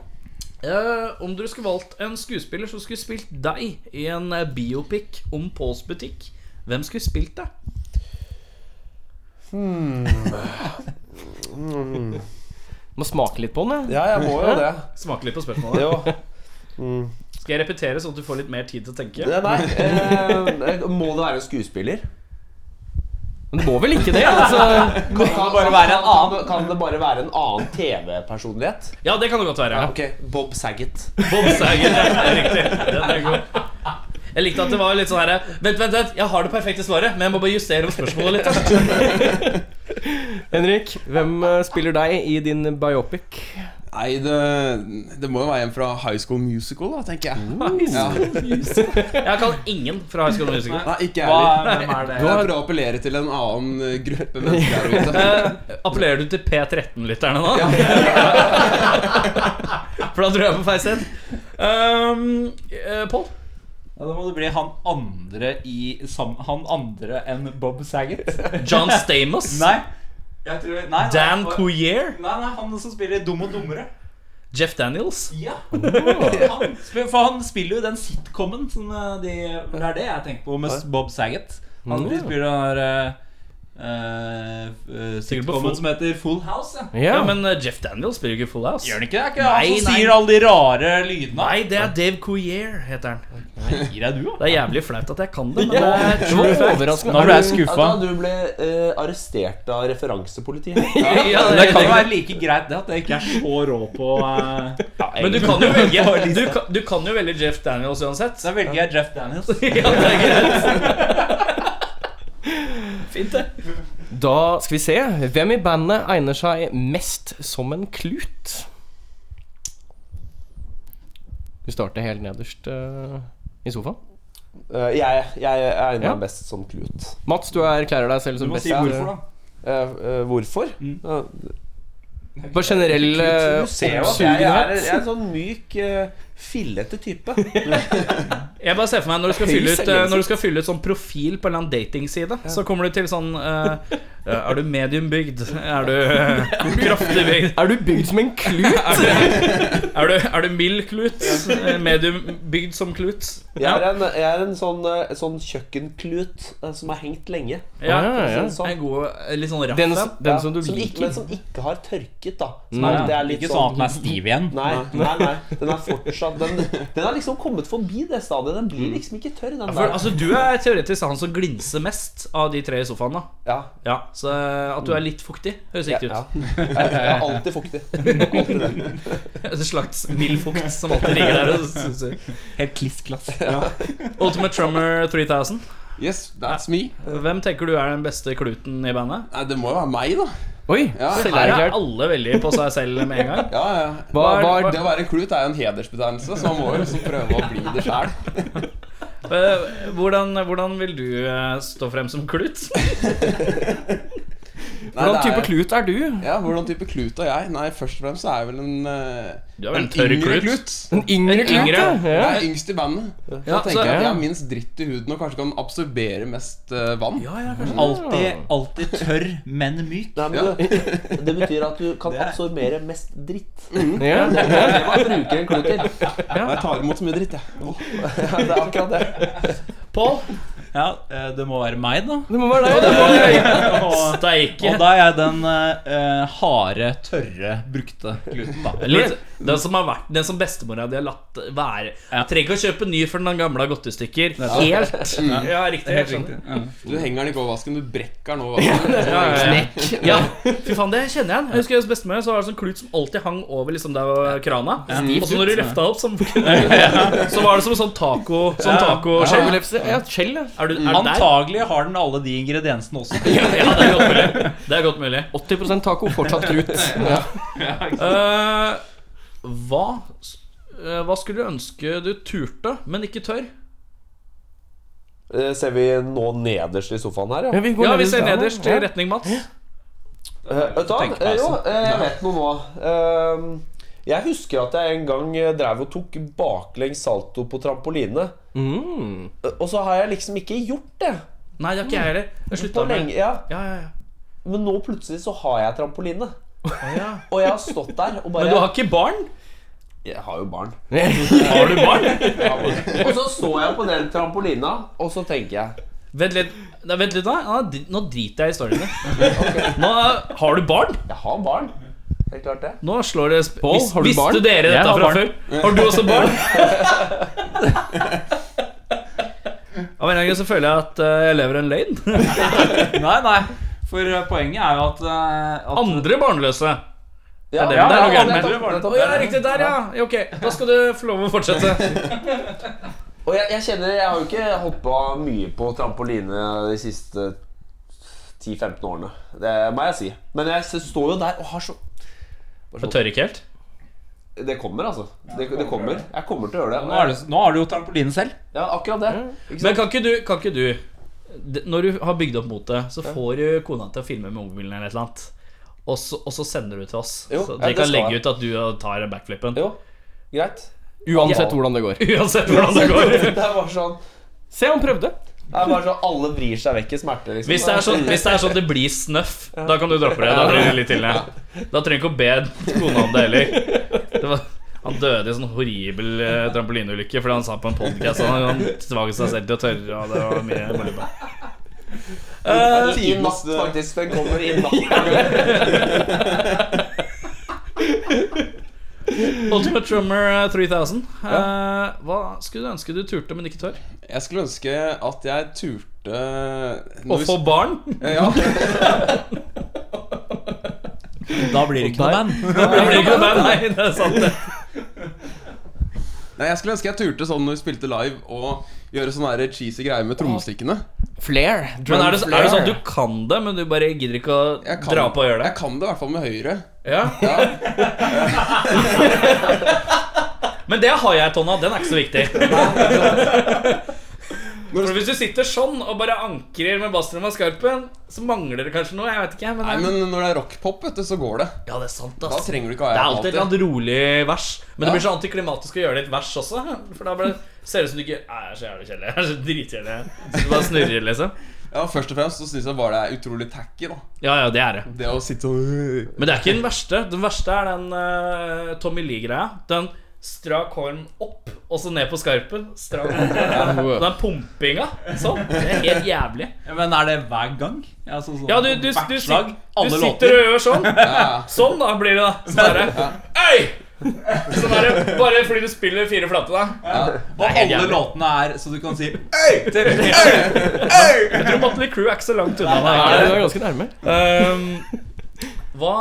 Speaker 3: Eh, om dere skulle valgt en skuespiller som skulle spilt deg i en eh, biopic om Pauls butikk, hvem skulle spilt deg?
Speaker 2: Må smake litt på den. jeg.
Speaker 8: Ja, jeg må jo det.
Speaker 3: Smaker litt på spørsmålet.
Speaker 8: Jo.
Speaker 3: Skal jeg repetere, sånn at du får litt mer tid til å tenke?
Speaker 8: Ja, Nei, eh, må det være en skuespiller?
Speaker 3: Men det må vel ikke det? Altså.
Speaker 8: Kan,
Speaker 9: det bare være en annen-
Speaker 8: kan det bare være en annen TV-personlighet?
Speaker 3: Ja, det kan det godt være.
Speaker 8: Ah, Ok, Bob Saget.
Speaker 3: Bob Saget. Det er riktig. Den er god. Jeg likte at det var litt sånn herre Vent, vent, vent. Jeg har det perfekte svaret, men jeg må bare justere om spørsmålet litt. først. Henrik, hvem eh, spiller deg i din biopic?
Speaker 10: Nei, det, det må jo være en fra High School Musical, da, tenker jeg.
Speaker 9: Mm.
Speaker 10: Ja.
Speaker 3: Jeg kan ingen fra High School
Speaker 8: Ah,
Speaker 3: Musical.
Speaker 10: Nei, ikke jeg
Speaker 9: Hva,
Speaker 10: heller.
Speaker 9: hvem er det?
Speaker 10: Det er bra å appellere til en annen eh, gruppe mennesker der ute.
Speaker 3: Eh, appellerer du til P13-lytterne nå? For da tror jeg på feil sted. Um, eh, Pål?
Speaker 9: Ja, da må det bli han andre i sam, Han andre enn Bob Saget.
Speaker 3: John Stamos?
Speaker 9: Nei. Jeg tror, nei, nei,
Speaker 3: Dan
Speaker 9: for-
Speaker 3: Coulier?
Speaker 9: Nei, nei, han som spiller Dum og dummere.
Speaker 3: Jeff Daniels?
Speaker 9: Ja. Han, spiller- for han spiller jo den sitcomen som eh, de for Det er det jeg tenker på med s- Bob Saget. Han de spiller den der eh, eh,
Speaker 3: Sikkert på Full-
Speaker 9: sitcomen som heter Full House.
Speaker 3: Ja,
Speaker 9: Ja.
Speaker 3: men eh, Jeff Daniels spiller jo ikke Full House.
Speaker 9: Gjør han ikke det? Er ikke
Speaker 3: Nei,
Speaker 9: han som
Speaker 3: nei.
Speaker 9: sier alle de rare lydene?
Speaker 3: Nei, det er Dave Coulier, heter han.
Speaker 9: Gir deg du, da?
Speaker 3: Det er jævlig flaut at jeg kan det, men det er overraskende.
Speaker 9: Nå ble jeg skuffa.
Speaker 8: du ble eh, arrestert av referansepolitiet.
Speaker 3: Ja,
Speaker 9: Men
Speaker 3: det
Speaker 9: det
Speaker 3: er
Speaker 9: kan jo
Speaker 3: det.
Speaker 9: være like greit det at jeg ikke er så rå på eh,
Speaker 3: Men du kan jo velge du kan, du kan jo velge Jeff Daniels uansett.
Speaker 9: Da velger jeg Jeff Daniels.
Speaker 3: Ja, det er greit. Fint, det. Da skal vi se. Hvem i bandet egner seg mest som en klut? Du starter helt nederst eh, i sofaen.
Speaker 8: Eh, jeg, jeg er en
Speaker 3: Ja.
Speaker 8: av best som klut.
Speaker 3: Mats, du erklærer deg selv
Speaker 9: Du
Speaker 3: som
Speaker 9: må
Speaker 3: best.
Speaker 9: si hvorfor, da.
Speaker 8: Eh, eh, hvorfor? Eh,
Speaker 3: På generell eh,
Speaker 8: du ser jo at jeg, er, jeg
Speaker 3: oppsugenhet.
Speaker 8: er en sånn myk, eh, fillete type.
Speaker 3: Jeg bare ser for meg når du skal
Speaker 8: Høy
Speaker 3: fylle ut, eh,
Speaker 8: selvinnsikt.
Speaker 3: når du skal fylle ut sånn profil på en eller annen datingside, så kommer du til sånn eh, Er du mediumbygd? Er du eh, kraftig bygd?
Speaker 8: Er du bygd som en klut?
Speaker 3: Er du, er du, er du mild klut? Eh, Medium bygd som klut?
Speaker 8: Jeg er en, jeg er en sånn, eh, sånn kjøkkenklut eh, som er hengt lenge.
Speaker 3: Ja,
Speaker 8: For å si
Speaker 3: ja.
Speaker 8: det sånn.
Speaker 9: En god, eh, litt sånn raff
Speaker 3: Den,
Speaker 9: en.
Speaker 3: den
Speaker 8: Ja,
Speaker 3: som du
Speaker 8: ikke,
Speaker 3: liker.
Speaker 8: men som ikke har tørket, da. Som
Speaker 9: Nei,
Speaker 8: er, det er litt
Speaker 9: Ikke sånn
Speaker 8: sånn
Speaker 9: at den er stiv igjen.
Speaker 8: Nei, nei, nei. Den er fortsatt Den, den er liksom kommet forbi det stadiet. Den blir liksom ikke tørr, den
Speaker 3: Mm. For,
Speaker 8: der.
Speaker 3: altså, du er teoretisk han som glinser mest av de tre i sofaen. da
Speaker 8: Ja,
Speaker 3: Ja, Så eh, at du er litt fuktig, høres
Speaker 8: ja,
Speaker 3: riktig
Speaker 8: ja.
Speaker 3: ut.
Speaker 8: Jeg er alltid fuktig. Alltid det.
Speaker 3: En slags mild fukt som alltid ligger der og suser.
Speaker 9: Helt kliss glass.
Speaker 3: Ultimate Trummer 3000.
Speaker 10: Yes, that's me.
Speaker 3: Hvem tenker du er den beste kluten i bandet?
Speaker 10: Nei, det må jo være meg, da.
Speaker 3: Oi,
Speaker 10: Ja,
Speaker 3: så her er alle veldig på seg selv med en gang.
Speaker 10: Ja, ja.
Speaker 3: Hva er- hva er-
Speaker 10: det å være en klut er jo en hedersbetegnelse, så man må jo liksom prøve å bli det sjæl.
Speaker 3: Eh, Hvordan, hvordan vil du eh, stå frem som klut? Hvordan type klut er du?
Speaker 10: Ja, hvordan type klut er jeg? Nei, først og fremst så er jeg vel en eh,
Speaker 3: Du er vel en
Speaker 10: en
Speaker 3: tørr
Speaker 10: yngre
Speaker 3: klut.
Speaker 10: klut.
Speaker 3: En yngre
Speaker 10: klut,
Speaker 3: Ja.
Speaker 10: Jeg er yngst i bandet. Så
Speaker 3: Ja,
Speaker 10: tenker
Speaker 3: så-
Speaker 10: jeg at jeg
Speaker 3: ja.
Speaker 10: har minst dritt i huden og kanskje kan absorbere mest eh, vann.
Speaker 3: Ja, ja, kanskje.
Speaker 9: Alltid, alltid tørr, men myk.
Speaker 8: Nei, men det, det betyr at du kan absorbere mest dritt.
Speaker 3: Ja.
Speaker 8: Hva bruker en klut til?
Speaker 10: Og Jeg tar imot så mye dritt, jeg. Åh.
Speaker 8: Ja, det er akkurat det.
Speaker 3: Pål,
Speaker 9: Ja, eh, det må være meg, da.
Speaker 3: det må være deg.
Speaker 9: Og,
Speaker 3: Steike.
Speaker 9: og da er jeg den eh, harde, tørre, brukte kluten, da.
Speaker 3: Litt, den som har vært Den som bestemora di har latt være.
Speaker 9: Ja.
Speaker 3: Trenger ikke å kjøpe ny for den gamle har gått i stykker. Helt. Ja, riktig. Helt riktig.
Speaker 10: Du henger den ikke over vasken, du brekker den over vasken.
Speaker 3: Ja, ja, ja. ja, fy faen, det kjenner jeg igjen. Jeg husker hos bestemor så var det sånn klut som alltid hang over liksom der var krana. Og så når du løfta opp, så, så var det som en sånn taco Sånn taco skjell.
Speaker 8: Ja, skjell, ja.
Speaker 3: Er du er du der?
Speaker 9: Antagelig har den alle de ingrediensene også.
Speaker 3: Ja, det er godt mulig. Det er godt mulig.
Speaker 8: 80 taco, fortsatt klut.
Speaker 3: Eh, hva, eh, hva skulle du ønske du turte, men ikke tør?
Speaker 8: Eh, Ser vi nå nederst i sofaen her, ja?
Speaker 3: Vi ja, vi ser nederst i retning Mats.
Speaker 8: Eh, Vet du hva?
Speaker 9: Tenk på
Speaker 8: Eh,
Speaker 9: det,
Speaker 8: Jo,
Speaker 9: altså.
Speaker 8: eh, jeg vet noe nå. Ehm, Jeg husker at jeg en gang eh, drev og tok baklengs salto på trampoline.
Speaker 3: Mm.
Speaker 8: Eh, Og så har jeg liksom ikke gjort det
Speaker 3: Nei, det har ikke jeg heller. Jeg
Speaker 8: på
Speaker 3: slutta med
Speaker 8: lenge. Ja,
Speaker 3: ja, ja, ja.
Speaker 8: men nå plutselig så har jeg trampoline.
Speaker 3: ja.
Speaker 8: Og jeg har stått der og bare
Speaker 3: Men du har ikke barn?
Speaker 8: Jeg har jo barn.
Speaker 3: Har du barn?
Speaker 8: Og så står jeg på den trampolina, og så tenker jeg
Speaker 3: Vent litt, Nei, vent litt da. Ja, dri- Nå driter jeg i historiene. Nå eh, har du barn.
Speaker 8: Jeg har barn. Helt klart det.
Speaker 3: Nå slår det sp Vis,
Speaker 9: har du
Speaker 3: Visste
Speaker 9: barn?
Speaker 3: dere
Speaker 9: Jeg
Speaker 3: dette
Speaker 9: har
Speaker 3: fra
Speaker 9: barn.
Speaker 3: før? Har du også barn? Av en eller annen grunn så føler jeg at eh, jeg lever en løgn.
Speaker 9: Nei, nei. For eh, poenget er jo at, eh, at
Speaker 3: Andre barnløse. det
Speaker 9: Ja,
Speaker 3: det er
Speaker 9: ja,
Speaker 3: noe
Speaker 9: ja,
Speaker 3: gærent med.
Speaker 9: nettopp,
Speaker 3: Å
Speaker 9: nettopp.
Speaker 3: ja, riktig. Der, ja. Ja, Ok, da skal du få lov å fortsette.
Speaker 8: Og jeg, jeg kjenner Jeg har jo ikke hoppa mye på trampoline de siste 10-15 årene. Det må jeg si. Men jeg s- står jo der og har så
Speaker 3: Du tør ikke helt?
Speaker 8: Det kommer, altså. Det, det kommer. Jeg kommer til å gjøre det.
Speaker 9: Nå, er det, nå har du jo trampoline selv.
Speaker 8: Ja, akkurat det. Ikke
Speaker 3: Men
Speaker 8: sant?
Speaker 3: kan ikke du, kan ikke du d- Når du har bygd opp motet, så får du kona til å filme med mobilen eller et eller annet. Og så, og så sender du til oss.
Speaker 8: Jo,
Speaker 3: så
Speaker 8: ja,
Speaker 3: dere
Speaker 8: det
Speaker 3: kan
Speaker 8: skal
Speaker 3: legge
Speaker 8: jeg.
Speaker 3: ut at du tar backflipen.
Speaker 8: Jo, greit.
Speaker 2: Uansett hvordan det går.
Speaker 3: Uansett hvordan det går.
Speaker 8: Det er bare sånn
Speaker 2: Se, han prøvde.
Speaker 8: Det er bare sånn Alle vrir seg vekk i smerte, liksom.
Speaker 3: Hvis det er sånn, hvis det, er sånn det blir snøff, da kan du droppe det. Da trenger du litt til ned. Da trenger du ikke å be kona om det heller. Det var, han døde i en sånn horribel eh, trampolineulykke fordi han sa på en podkast han, han tvang seg selv til å tørre. Og det var mye moro.
Speaker 8: Eh, I natt, faktisk. Den kommer i natt.
Speaker 3: Ultimate Drummer eh, 3000. Eh, hva skulle du ønske du turte, men ikke tør?
Speaker 6: Jeg skulle ønske at jeg turte
Speaker 3: Å få barn?
Speaker 6: Ja.
Speaker 9: Da blir det ikke noe band.
Speaker 3: Da blir det ikke band, nei, det er sant. det.
Speaker 6: Nei, jeg skulle ønske jeg turte sånn når vi spilte live, og gjøre sånne der cheesy greier med trommestikkene.
Speaker 2: Flair.
Speaker 3: Men er det, er det sånn at du kan det, men du bare gidder ikke å
Speaker 6: Jeg kan-
Speaker 3: dra på og gjøre
Speaker 6: Jeg
Speaker 3: det?
Speaker 6: kan det i hvert fall med høyre.
Speaker 3: Ja. Men det har jeg, Tonna. Den er ikke så viktig. For Hvis du sitter sånn og bare ankrer med bassrommet og skarpen, så mangler det kanskje noe. Jeg vet ikke, men,
Speaker 6: Nei, men når det er rockpop, vet du, så går det.
Speaker 3: Ja, det er sant,
Speaker 6: Da
Speaker 3: ass.
Speaker 6: trenger du ikke ha
Speaker 3: Det er
Speaker 6: jeg
Speaker 3: alltid et eller annet rolig vers. Men det blir så antiklimatisk å gjøre det i et vers også. For da bare ser det ut som du ikke Nei, jeg er så jævlig kjedelig. Jeg er så dritkjedelig. Så du bare snurrer, liksom.
Speaker 6: Ja, Først og fremst så syns jeg bare det er utrolig tacky, da.
Speaker 3: Ja, ja, det er det.
Speaker 6: Det å sitte og
Speaker 3: Men det er ikke den verste. Den verste er den eh, Tommy Lee-greia. Den strak horn opp, og så ned på skarpen. Strak horn ned. Den pumpinga. Sånn. Det er helt jævlig.
Speaker 9: Men er det hver gang? Altså, sånn,
Speaker 3: Ja, du, du,
Speaker 9: hvert
Speaker 3: du, sit-
Speaker 9: slag,
Speaker 3: du
Speaker 9: alle
Speaker 3: sitter
Speaker 9: låter.
Speaker 3: og gjør sånn. Sånn, da blir det, da. Så bare Øy! Så bare, bare fordi du spiller fire flate, da.
Speaker 9: Og
Speaker 3: helt
Speaker 9: alle
Speaker 3: jævlig.
Speaker 9: låtene er så du kan si
Speaker 3: Jeg tror Motley Crew er ikke så langt unna. da.
Speaker 2: Nei, du er ganske nærme.
Speaker 3: Ehm, hva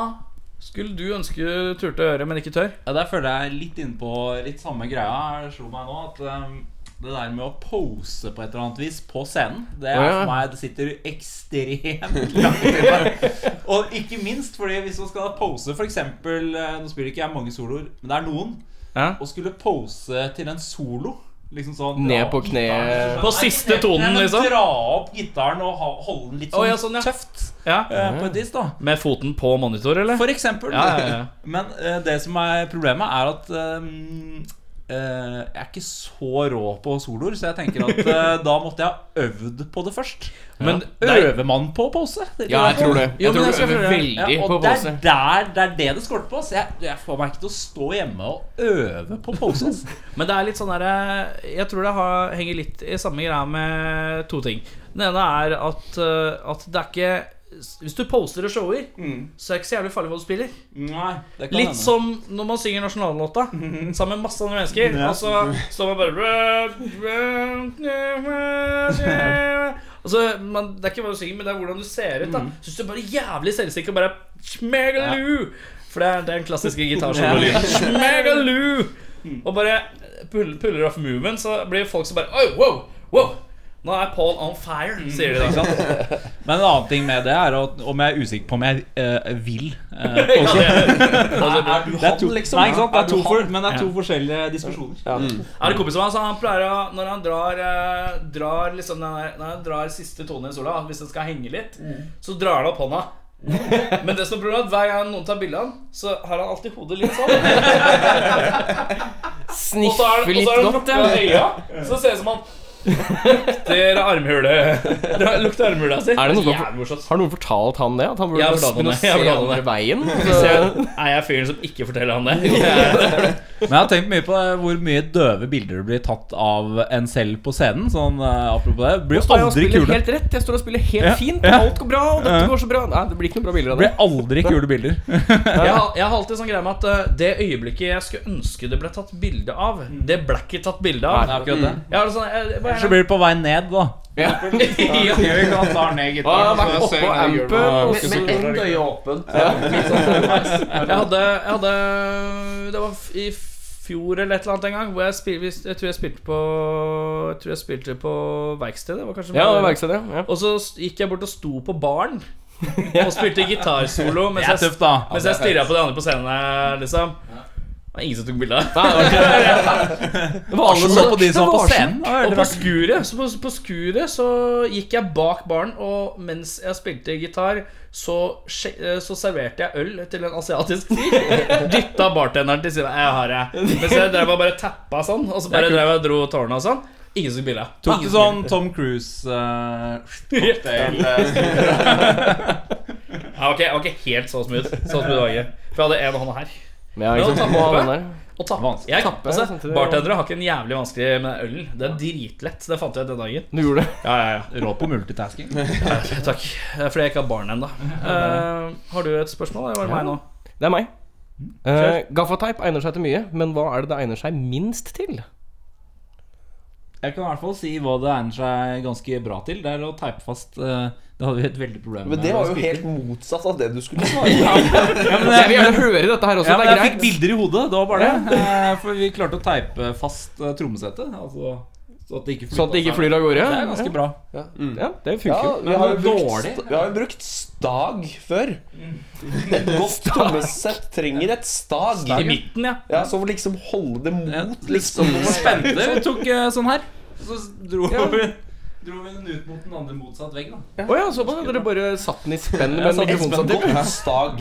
Speaker 3: skulle du ønske du turte å gjøre, men ikke tør?
Speaker 9: Ja, Der føler jeg litt innpå litt samme greia. slo meg nå at ehm, Det der med å pose på et eller annet vis på scenen, det er
Speaker 2: Å, ja.
Speaker 9: for meg Det sitter ekstremt langt inne. Og ikke minst fordi hvis man skal pose f.eks. Nå spiller ikke jeg mange soloer, men det er noen.
Speaker 3: Ja.
Speaker 9: Å skulle pose til en solo Liksom sånn
Speaker 2: Ned
Speaker 9: dra
Speaker 2: på
Speaker 9: opp
Speaker 2: kne.
Speaker 9: gitaren,
Speaker 3: På siste tonen,
Speaker 9: Nei, men
Speaker 3: liksom?
Speaker 9: Dra opp gitaren og ha, holde den litt sånn,
Speaker 3: Å, ja, sånn, ja.
Speaker 9: tøft
Speaker 3: Ja.
Speaker 9: eh, på et vis, da.
Speaker 3: Med foten på monitor, eller?
Speaker 9: For eksempel.
Speaker 3: Ja, ja, ja.
Speaker 9: Men eh, det som er problemet, er at ehm, eh, jeg er ikke så rå på soloer, så jeg tenker at eh, da måtte jeg ha øvd på det først. Men øver man på pose? Det
Speaker 2: Ja, jeg tror det.
Speaker 3: Jo,
Speaker 2: Jeg
Speaker 3: men
Speaker 2: tror
Speaker 3: jeg
Speaker 2: du
Speaker 3: skal
Speaker 2: øver
Speaker 3: prøve.
Speaker 9: Ja,
Speaker 2: veldig på
Speaker 9: og det
Speaker 2: pose.
Speaker 9: er, der, det er det det skorter på. Så jeg, jeg får meg ikke til å stå hjemme og øve på pose. ass.
Speaker 3: Men det er litt sånn der, Jeg tror det har, henger litt i samme greia med to ting. Den ene er at, eh, at det er ikke Hvis du poster og shower,
Speaker 2: Mm.
Speaker 3: så er det ikke så jævlig farlig hva du spiller.
Speaker 9: Nei, det kan
Speaker 3: Litt
Speaker 9: hende.
Speaker 3: som når man synger nasjonallåta sammen med masse andre mennesker. Og så står man bare Og så, Altså, man, Det er ikke hva du synger, men det er hvordan du ser ut. da Syns du er bare jævlig selvsikker og bare Smegalu! For det er det er den klassiske gitarsolen. Smegalu! Og bare pull- puller off movement, så blir folk som bare Oi, wow! wow Nå er Paul on fire, sier de da.
Speaker 9: Ikke sant? Men en annen ting med det er at om jeg er usikker på om jeg eh, vil eh, pose.
Speaker 3: Er
Speaker 9: Det er to, Nei, ikke sant? Det er to for, men det er to forskjellige diskusjoner.
Speaker 3: Er det kompisen hans, han pleier å Når han drar, eh, drar liksom den der, Når han drar siste tonen i sola, hvis den skal henge litt, så drar han opp hånda. Men det som er problemet er at hver gang noen tar bilde av han, så har han alltid hodet litt sånn. Og så er
Speaker 2: Sniffer
Speaker 3: det- og så
Speaker 2: litt
Speaker 3: er det
Speaker 2: godt,
Speaker 3: lukka
Speaker 2: ja.
Speaker 3: øya, så ser det ut som han lukter armhulet Det Lukter armhula si.
Speaker 2: Er det noe-
Speaker 3: Jævlig morsomt.
Speaker 2: Har noen fortalt han det? At han burde
Speaker 3: Jeg har
Speaker 2: bare
Speaker 3: fortalt han
Speaker 2: begynne å
Speaker 3: det.
Speaker 2: se
Speaker 3: Jeg har fortalt
Speaker 2: andre veien? Så-
Speaker 3: Så Er jeg fyren som ikke forteller han det? Jeg-
Speaker 9: Men jeg har tenkt mye på det, hvor mye døve bilder blir tatt av en selv på scenen. Sånn eh, apropos det. Blir jo
Speaker 2: Står jeg og
Speaker 9: aldri
Speaker 2: spiller
Speaker 9: kule.
Speaker 2: helt rett. Jeg står og spiller helt
Speaker 9: Ja,
Speaker 2: fint.
Speaker 9: ja.
Speaker 2: Alt går bra, og dette
Speaker 9: Ja.
Speaker 2: går så bra. Nei, det blir ikke noen bra bilder av det.
Speaker 9: Blir aldri kule bilder.
Speaker 3: Jeg, har- jeg har alltid sånn greie med at eh, det øyeblikket jeg skulle ønske det ble tatt bilde av, det ble ikke tatt bilde av.
Speaker 9: Mm. Nei, akkurat det.
Speaker 3: Jeg har det sånn, jeg, jeg,
Speaker 9: Så blir det på vei ned, da.
Speaker 6: Ja.
Speaker 9: Ja, ikke sant? Tar ned
Speaker 2: Og jeg har
Speaker 9: gitaren.
Speaker 2: vært
Speaker 9: så
Speaker 2: oppå
Speaker 9: synger jeg, gjør
Speaker 2: ampen
Speaker 9: noe.
Speaker 2: med, med ett øye åpent. Litt sånn underveis.
Speaker 3: Jeg hadde, jeg hadde eh, Det var f- i fjor eller et eller annet en gang hvor jeg, spil, vi- jeg tror jeg spilte på Jeg tror jeg spilte på verkstedet. Var kanskje
Speaker 2: Ja, det var verkstedet. Ja.
Speaker 3: Og så s- gikk jeg bort og sto på baren og spilte gitarsolo mens
Speaker 9: Det er
Speaker 3: jeg,
Speaker 9: tøft, da.
Speaker 3: mens jeg stirra på de andre på scenen her, liksom. Det var ingen som tok bilde av
Speaker 2: Nei, det var ikke det.
Speaker 3: det. var alle som var på de som var på scenen.
Speaker 9: Ja,
Speaker 3: Og på
Speaker 9: det var-
Speaker 3: skuret, så på, på skuret så gikk jeg bak baren, og mens jeg spilte gitar, så, sje- eh, så serverte jeg øl til en asiatisk fyr. Dytta bartenderen til siden. Jeg har det. Mens jeg drev og bare tappa sånn, og så bare drev jeg og dro tårna og sånn. Ingen som bilde.
Speaker 9: Tok du sånn Tom eh, Cruise-cocktail?
Speaker 3: Ja, ok, jeg var ikke helt så smooth. Så smooth var jeg ikke. For jeg hadde en hånd her.
Speaker 2: Ja, ikke sant. Må ha den der.
Speaker 3: Og tappe. Jeg,
Speaker 2: Tappe,
Speaker 3: altså,
Speaker 9: sånn
Speaker 2: samtidig.
Speaker 3: bartendere har ikke en jævlig vanskelig med ølen. Det er dritlett. Det fant jeg ut den dagen.
Speaker 2: Du gjorde det.
Speaker 3: Ja, ja, ja.
Speaker 9: Rå på multitasking.
Speaker 3: Takk. Det er fordi jeg ikke har barn ennå. Eh, har du et spørsmål? Eller var det meg nå?
Speaker 2: Det er meg. Uh, Gaffateip egner seg til mye, men hva er det det egner seg minst til?
Speaker 9: Jeg kan i hvert fall si hva det egner seg ganske bra til. Det er å teipe fast eh, Det hadde vi et veldig problem med.
Speaker 8: Men det var
Speaker 9: å
Speaker 8: jo
Speaker 9: spille.
Speaker 8: helt motsatt av det du skulle svare.
Speaker 9: ja, men,
Speaker 2: Jeg vil
Speaker 9: jeg,
Speaker 2: gjerne høre dette her også.
Speaker 9: ja, men
Speaker 2: det
Speaker 9: jeg
Speaker 2: er
Speaker 9: fikk
Speaker 2: greit.
Speaker 9: bilder i hodet. Det var bare det. Eh, For vi klarte å teipe fast eh, trommesettet. Altså, så at det ikke
Speaker 2: Sånn at det ikke flyr av gårde.
Speaker 9: Det er ganske bra.
Speaker 2: Ja, det
Speaker 8: Ja,
Speaker 2: funker jo.
Speaker 8: vi har jo
Speaker 9: Men
Speaker 8: brukt,
Speaker 9: dårlig.
Speaker 8: st- vi har jo brukt stag før. Et godt trommesett trenger et stag.
Speaker 3: I midten, ja.
Speaker 8: Ja, Så for liksom holde det mot, liksom.
Speaker 9: Spente. Vi tok eh, sånn her. Så dro vi Dro vi den ut mot den andre motsatt vegg, da.
Speaker 2: Å ja, så bare, dere bare satt den i spenn med
Speaker 8: Ja, så et
Speaker 2: mikrofonstativ?
Speaker 8: godt stag.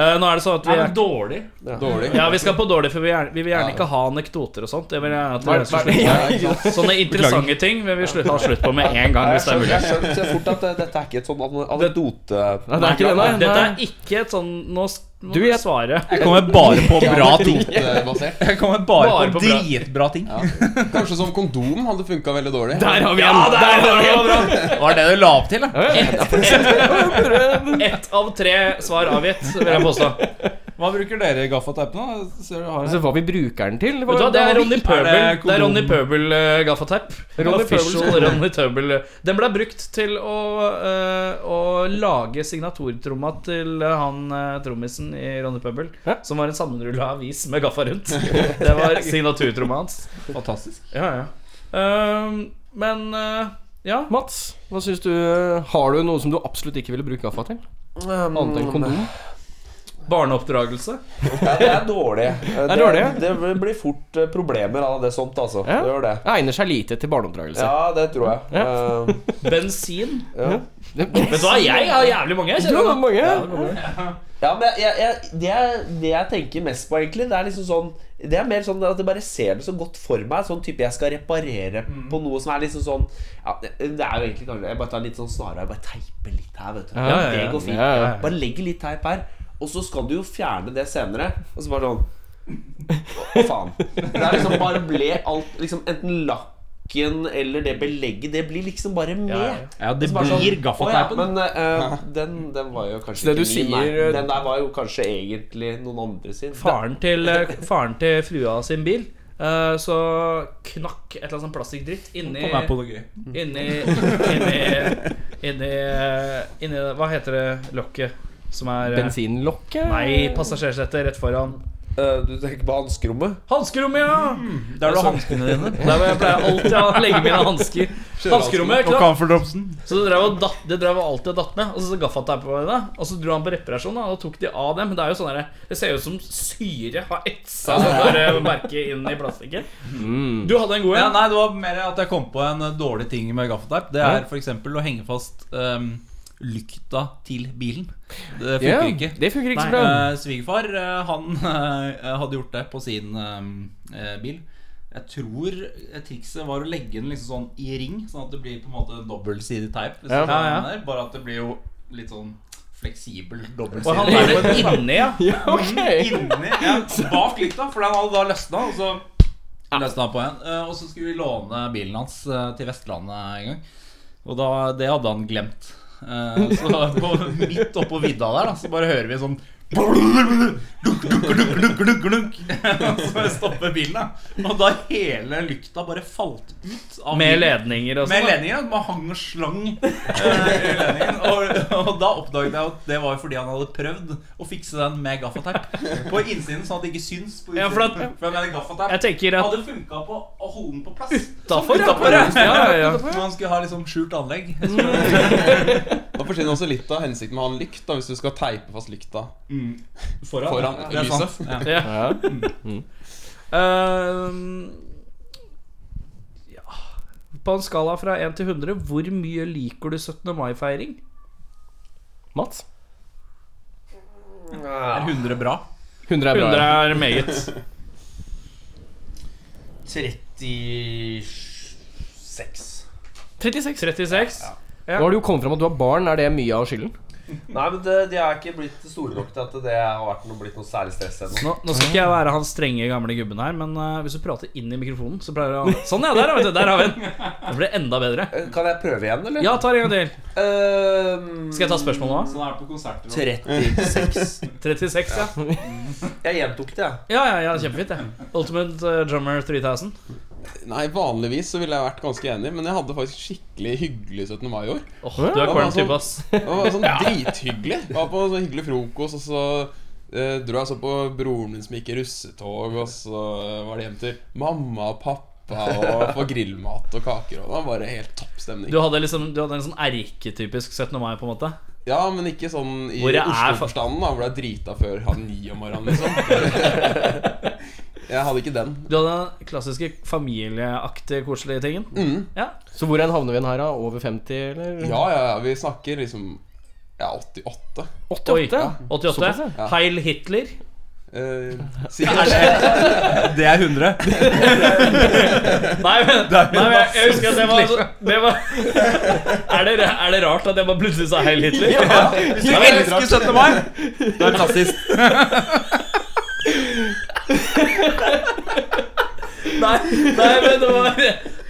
Speaker 3: Eh, nå er det sånn at vi
Speaker 9: Nei,
Speaker 3: er
Speaker 9: men dårlig.
Speaker 6: Dårlig.
Speaker 3: ja, vi skal på dårlig, for vi, gjerne, vi vil gjerne ikke ha anekdoter og sånt. Det vil jeg at dere skal slutte
Speaker 2: Ja,
Speaker 3: med. Sånne interessante ting vil vi slutt, ha slutt på med en gang,
Speaker 8: Jeg
Speaker 3: hvis det er
Speaker 8: skjønte
Speaker 3: mulig.
Speaker 8: jeg skjønte så fort at eh, dette er ikke et sånn ane- anekdote...
Speaker 2: Nei, det er ikke det, nei.
Speaker 3: Dette er
Speaker 2: nei.
Speaker 3: ikke et sånn Nå s- må
Speaker 2: Du,
Speaker 3: du
Speaker 2: jeg-
Speaker 3: svare.
Speaker 9: Jeg kommer bare på bra ting.
Speaker 6: Anekdotebasert.
Speaker 9: Jeg kommer bare,
Speaker 3: Bare på
Speaker 9: på,
Speaker 3: bra-
Speaker 9: dritbra ting.
Speaker 6: Kanskje som kondom hadde funka veldig dårlig.
Speaker 2: Der har vi en! Der har vi en.
Speaker 9: Var det det du la opp til, da?
Speaker 3: Ett av tre svar avgitt, vil jeg påstå.
Speaker 9: Hva bruker dere gaffateip nå? Ser du har
Speaker 2: Altså, hva vi bruker den til? Hva,
Speaker 3: Vet du hva, det er Ronny Pøbel
Speaker 9: Er det
Speaker 3: Det er Ronny
Speaker 9: kondom?
Speaker 3: Pøbel uh, gaffateip.
Speaker 2: Ronny
Speaker 3: Official
Speaker 2: Pøbel.
Speaker 3: Ronny Pøbel. Den ble brukt til å, eh, å lage signaturtromma til eh, han eh, trommisen i Ronny Pøbel.
Speaker 2: Hæ?
Speaker 3: Som var en sammenrulla avis med gaffa rundt. Det var signaturtromma hans.
Speaker 9: Fantastisk.
Speaker 3: Ja, ja. Ehm, men eh, ja.
Speaker 2: Mats, hva syns du? Har du noe som du absolutt ikke ville bruke gaffa til?
Speaker 3: Um,
Speaker 2: Annet enn kondom?
Speaker 3: Barneoppdragelse.
Speaker 8: Ja, det er dårlig. Eh,
Speaker 2: er dårlig, ja.
Speaker 8: det blir fort eh, problemer av det sånt, altså.
Speaker 2: Ja.
Speaker 8: Det gjør det.
Speaker 2: Det egner seg lite til barneoppdragelse.
Speaker 8: Ja, det tror jeg. Eh,
Speaker 3: Bensin.
Speaker 2: Ja.
Speaker 3: Vet du hva, jeg har jævlig mange. Jeg
Speaker 2: Du har
Speaker 3: kjenner.
Speaker 2: mange.
Speaker 8: Ja, men jeg, jeg, det, jeg, det jeg tenker mest på, egentlig, det er liksom sånn Det er mer sånn at jeg bare ser det så godt for meg. Sånn type jeg skal reparere
Speaker 2: Mm.
Speaker 8: på noe som er liksom sånn ja, Det det er jo egentlig kanskje Jeg bare tar litt sånn snarere og bare teiper litt her, vet du.
Speaker 2: Ja, ja,
Speaker 8: det
Speaker 2: ja.
Speaker 8: går fint.
Speaker 2: Ja, ja.
Speaker 8: Bare legger litt teip her, og så skal du jo fjerne det senere. Og så bare sånn Å, faen. Det er liksom bare ble alt liksom Enten lakken eller det belegget, det blir liksom bare med.
Speaker 9: Ja, det
Speaker 8: Så bare sånn,
Speaker 9: blir
Speaker 8: «Å
Speaker 9: gaffateipen.
Speaker 8: ja, men eh, den, den var jo kanskje
Speaker 2: Så det
Speaker 8: ikke
Speaker 2: du
Speaker 8: min, nei.
Speaker 2: sier-
Speaker 8: Den der var jo kanskje egentlig noen andre sin.
Speaker 3: Faren til, eh, faren til frua sin bil. eh, så knakk et eller annet sånn plastikkdritt inni
Speaker 9: Kom her Mm. på noe gøy.
Speaker 3: Inni Inni Inni, inni Hva heter det lokket som er eh,
Speaker 2: Bensinlokket?
Speaker 3: Nei, passasjersetet rett foran.
Speaker 8: Eh, du tenker på hanskerommet?
Speaker 3: Hanskerommet, ja!
Speaker 9: Mm. Der du har hanskene dine.
Speaker 3: Der hvor jeg pleier alltid å legge mine hansker. Hanskerommet,
Speaker 9: Og
Speaker 3: klart.
Speaker 9: camferdropsen.
Speaker 3: Så det drev, og datt, det drev og alltid og datt med, og så gaffateip på det. Og så dro han på reparasjon, da, og da tok de av det. Men det er jo sånn der, det ser ut som syre har etsa det der merket eh, inn i plastikken. Du hadde en god
Speaker 9: Mm. Ja,
Speaker 3: en.
Speaker 9: nei, det var mer at jeg kom på en eh, dårlig ting med gaffateip. Det er f.eks. å henge fast eh, lykta til bilen. Det funker
Speaker 2: Ja,
Speaker 9: ikke.
Speaker 2: det funker ikke så bra.
Speaker 9: Eh, Svigerfar eh, han eh, hadde gjort det på sin eh, eh, bil. Jeg tror eh, trikset var å legge den liksom sånn i ring, sånn at det blir på en måte en dobbeltsidig teip. hvis
Speaker 2: Ja.
Speaker 9: du skjønner
Speaker 3: Ja, ja.
Speaker 9: hva jeg mener. Bare at det blir jo litt sånn fleksibel
Speaker 3: Og han
Speaker 9: dobbeltsidig
Speaker 3: er jo en inni, ja.
Speaker 2: Ja, ok.
Speaker 9: inni ja, bak lykta, for den hadde da løsna. Og så løsna han på igjen. Eh, Og så skulle vi låne bilen hans eh, til Vestlandet en gang. Og da, det hadde han glemt. Eh, Så på, midt oppå vidda der, da, så bare hører vi sånn
Speaker 10: Dunk, dunk, dunk, dunk, dunk, dunk. Og Så stopper bilen, da. Og da hele lykta bare falt ut. Av
Speaker 3: Med
Speaker 10: bilen.
Speaker 3: ledninger og
Speaker 10: Med
Speaker 3: sånn. da.
Speaker 10: ledningen, at man hang og slang eh, i ledningen. Og, og da oppdaget jeg at det var jo fordi han hadde prøvd å fikse den med gaffateip. På innsiden, sånn at det ikke syns. På
Speaker 3: Ja, for at-
Speaker 10: utsiden, for jeg mener gaffateip
Speaker 3: Jeg tenker at
Speaker 10: hadde funka på å holde den på plass.
Speaker 9: sånn
Speaker 3: Utafor, ja.
Speaker 10: Utenfor, ja.
Speaker 3: Ja, ja, ja.
Speaker 10: Så Man skulle ha liksom skjult anlegg.
Speaker 8: Da forsvinner også litt av hensikten med å ha en lykt, da, hvis du skal teipe fast lykta
Speaker 10: Foran,
Speaker 8: foran
Speaker 10: Det er sant.
Speaker 8: lyset.
Speaker 10: Ja.
Speaker 3: Ja. Ehm, ja. På en skala fra 1 til 100, hvor mye liker du 17. mai-feiring?
Speaker 2: Mats?
Speaker 10: Er 100 bra?
Speaker 2: 100 er
Speaker 3: 100
Speaker 2: bra.
Speaker 3: er meget.
Speaker 12: 36.
Speaker 2: 36.
Speaker 3: 36.
Speaker 2: Nå har du jo kommet fram at du har barn. Er det mye av skylden?
Speaker 12: Nei, men det, de er ikke blitt store nok til at det har vært noe, blitt noe særlig stress ennå.
Speaker 3: Nå, nå skal ikke jeg være han strenge gamle gubben her, men eh, hvis du prater inn i mikrofonen, så pleier jeg å Sånn, ja. Der, vet du, der har vi den. Det blir enda bedre.
Speaker 12: Eh, Kan jeg prøve igjen, eller?
Speaker 3: Ja, ta en gang til.
Speaker 12: Ehm,
Speaker 3: Skal jeg ta spørsmålet nå?
Speaker 10: Sånn er det på konserter.
Speaker 12: 36.
Speaker 3: 36, ja.
Speaker 12: Jeg gjentok det, jeg.
Speaker 3: Ja, ja, ja kjempefint. Ja. Ultimate eh, Drummer 3000.
Speaker 8: Nei, vanligvis så ville jeg vært ganske enig, men jeg hadde faktisk skikkelig hyggelig 17. mai i år.
Speaker 3: Åh, du er
Speaker 12: altså-
Speaker 3: kvalm type, ass.
Speaker 8: Det var sånn drithyggelig. Jeg var på sånn hyggelig frokost, og så eh, dro jeg så på broren min som gikk i russetog, og så eh, var det hjem til mamma og pappa og få grillmat og kaker, og det var bare helt topp stemning.
Speaker 3: Du hadde, liksom, du hadde en sånn erketypisk 17. mai, på en måte.
Speaker 8: Ja, men ikke sånn i
Speaker 3: Hvor jeg er for-
Speaker 8: Oslo-forstanden, da, hvor jeg er drita før halv ni om morgenen, liksom. Jeg hadde ikke den.
Speaker 3: Du hadde den klassiske familieaktige, koselige tingen.
Speaker 8: Mm.
Speaker 3: Ja.
Speaker 2: Så hvor hen havner vi her, da? Over 50,
Speaker 3: Mm.
Speaker 2: eller?
Speaker 8: Ja, ja, ja, vi snakker liksom Ja, 88.
Speaker 2: 88?
Speaker 3: Oi,
Speaker 2: ja.
Speaker 3: 88.
Speaker 8: ja.
Speaker 3: Heil Hitler.
Speaker 8: Eh, sikkert.
Speaker 10: Det er 100.
Speaker 3: Nei, men, nei, men jeg, jeg husker at det var, så- det var er, det, er det rart at jeg bare plutselig sa Heil Hitler?
Speaker 10: Hvis du elsker 17. mai, da er du rasist.
Speaker 3: Nei, nei, men det var,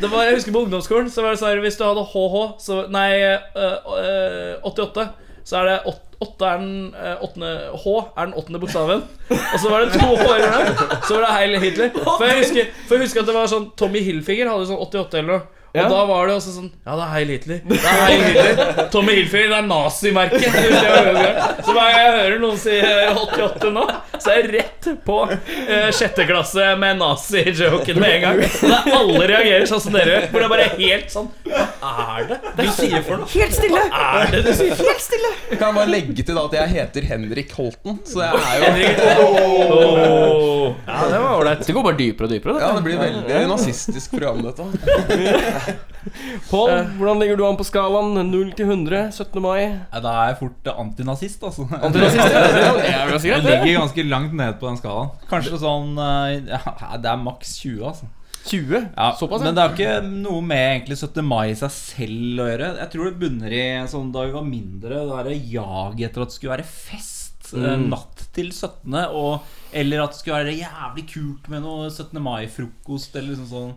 Speaker 3: det var Jeg husker på ungdomsskolen Så var det sånn her, Hvis du hadde HH så, Nei, øh, øh, 88 Så er det 8 er den øh, åttende, H er den åttende bokstaven Og så var det to H-er der Så var det Heil Hitler For jeg husker, for jeg husker at det var sånn Tommy Hilfiger hadde sånn 88 eller noe og da var det også sånn Ja, det er Heil Hitler. Det er Heil Hitler Tommy Hilfiger, det er nazimerket. Det husker jeg var veldig bra. Så hver gang jeg hører noen si eh, 88 nå, så er jeg rett på eh, sjette klasse med nazi-joken med en gang. Og det er alle reagerer sånn som dere gjør. Hvor det er bare helt sånn Hva er det du sier for noe? Helt stille. Hva er det du sier? Helt stille.
Speaker 8: Kan jeg bare legge til da at jeg heter Henrik Holten, så jeg er jo
Speaker 3: Ja, det var ålreit.
Speaker 2: Det går bare dypere og dypere.
Speaker 8: Ja,
Speaker 2: dette.
Speaker 8: det blir veldig nazistisk program, dette.
Speaker 2: Pål,
Speaker 12: Eh.
Speaker 2: hvordan ligger du an på skalaen 0 til 100 17. mai?
Speaker 10: Nei, Da er jeg fort antinazist, altså. Jeg
Speaker 2: Antinazist?
Speaker 10: ligger ganske langt ned på den skalaen. Kanskje sånn eh, ja, Det er maks 20, altså.
Speaker 2: 20?
Speaker 10: Ja,
Speaker 2: Såpass, ja.
Speaker 10: men det er jo ikke noe med egentlig 17. mai i seg selv å gjøre. Jeg tror det bunner i sånn da vi var mindre, det derre jaget etter at det skulle være fest eh, natt til 17., og, eller at det skulle være jævlig kult med noe 17. mai-frokost, eller liksom sånn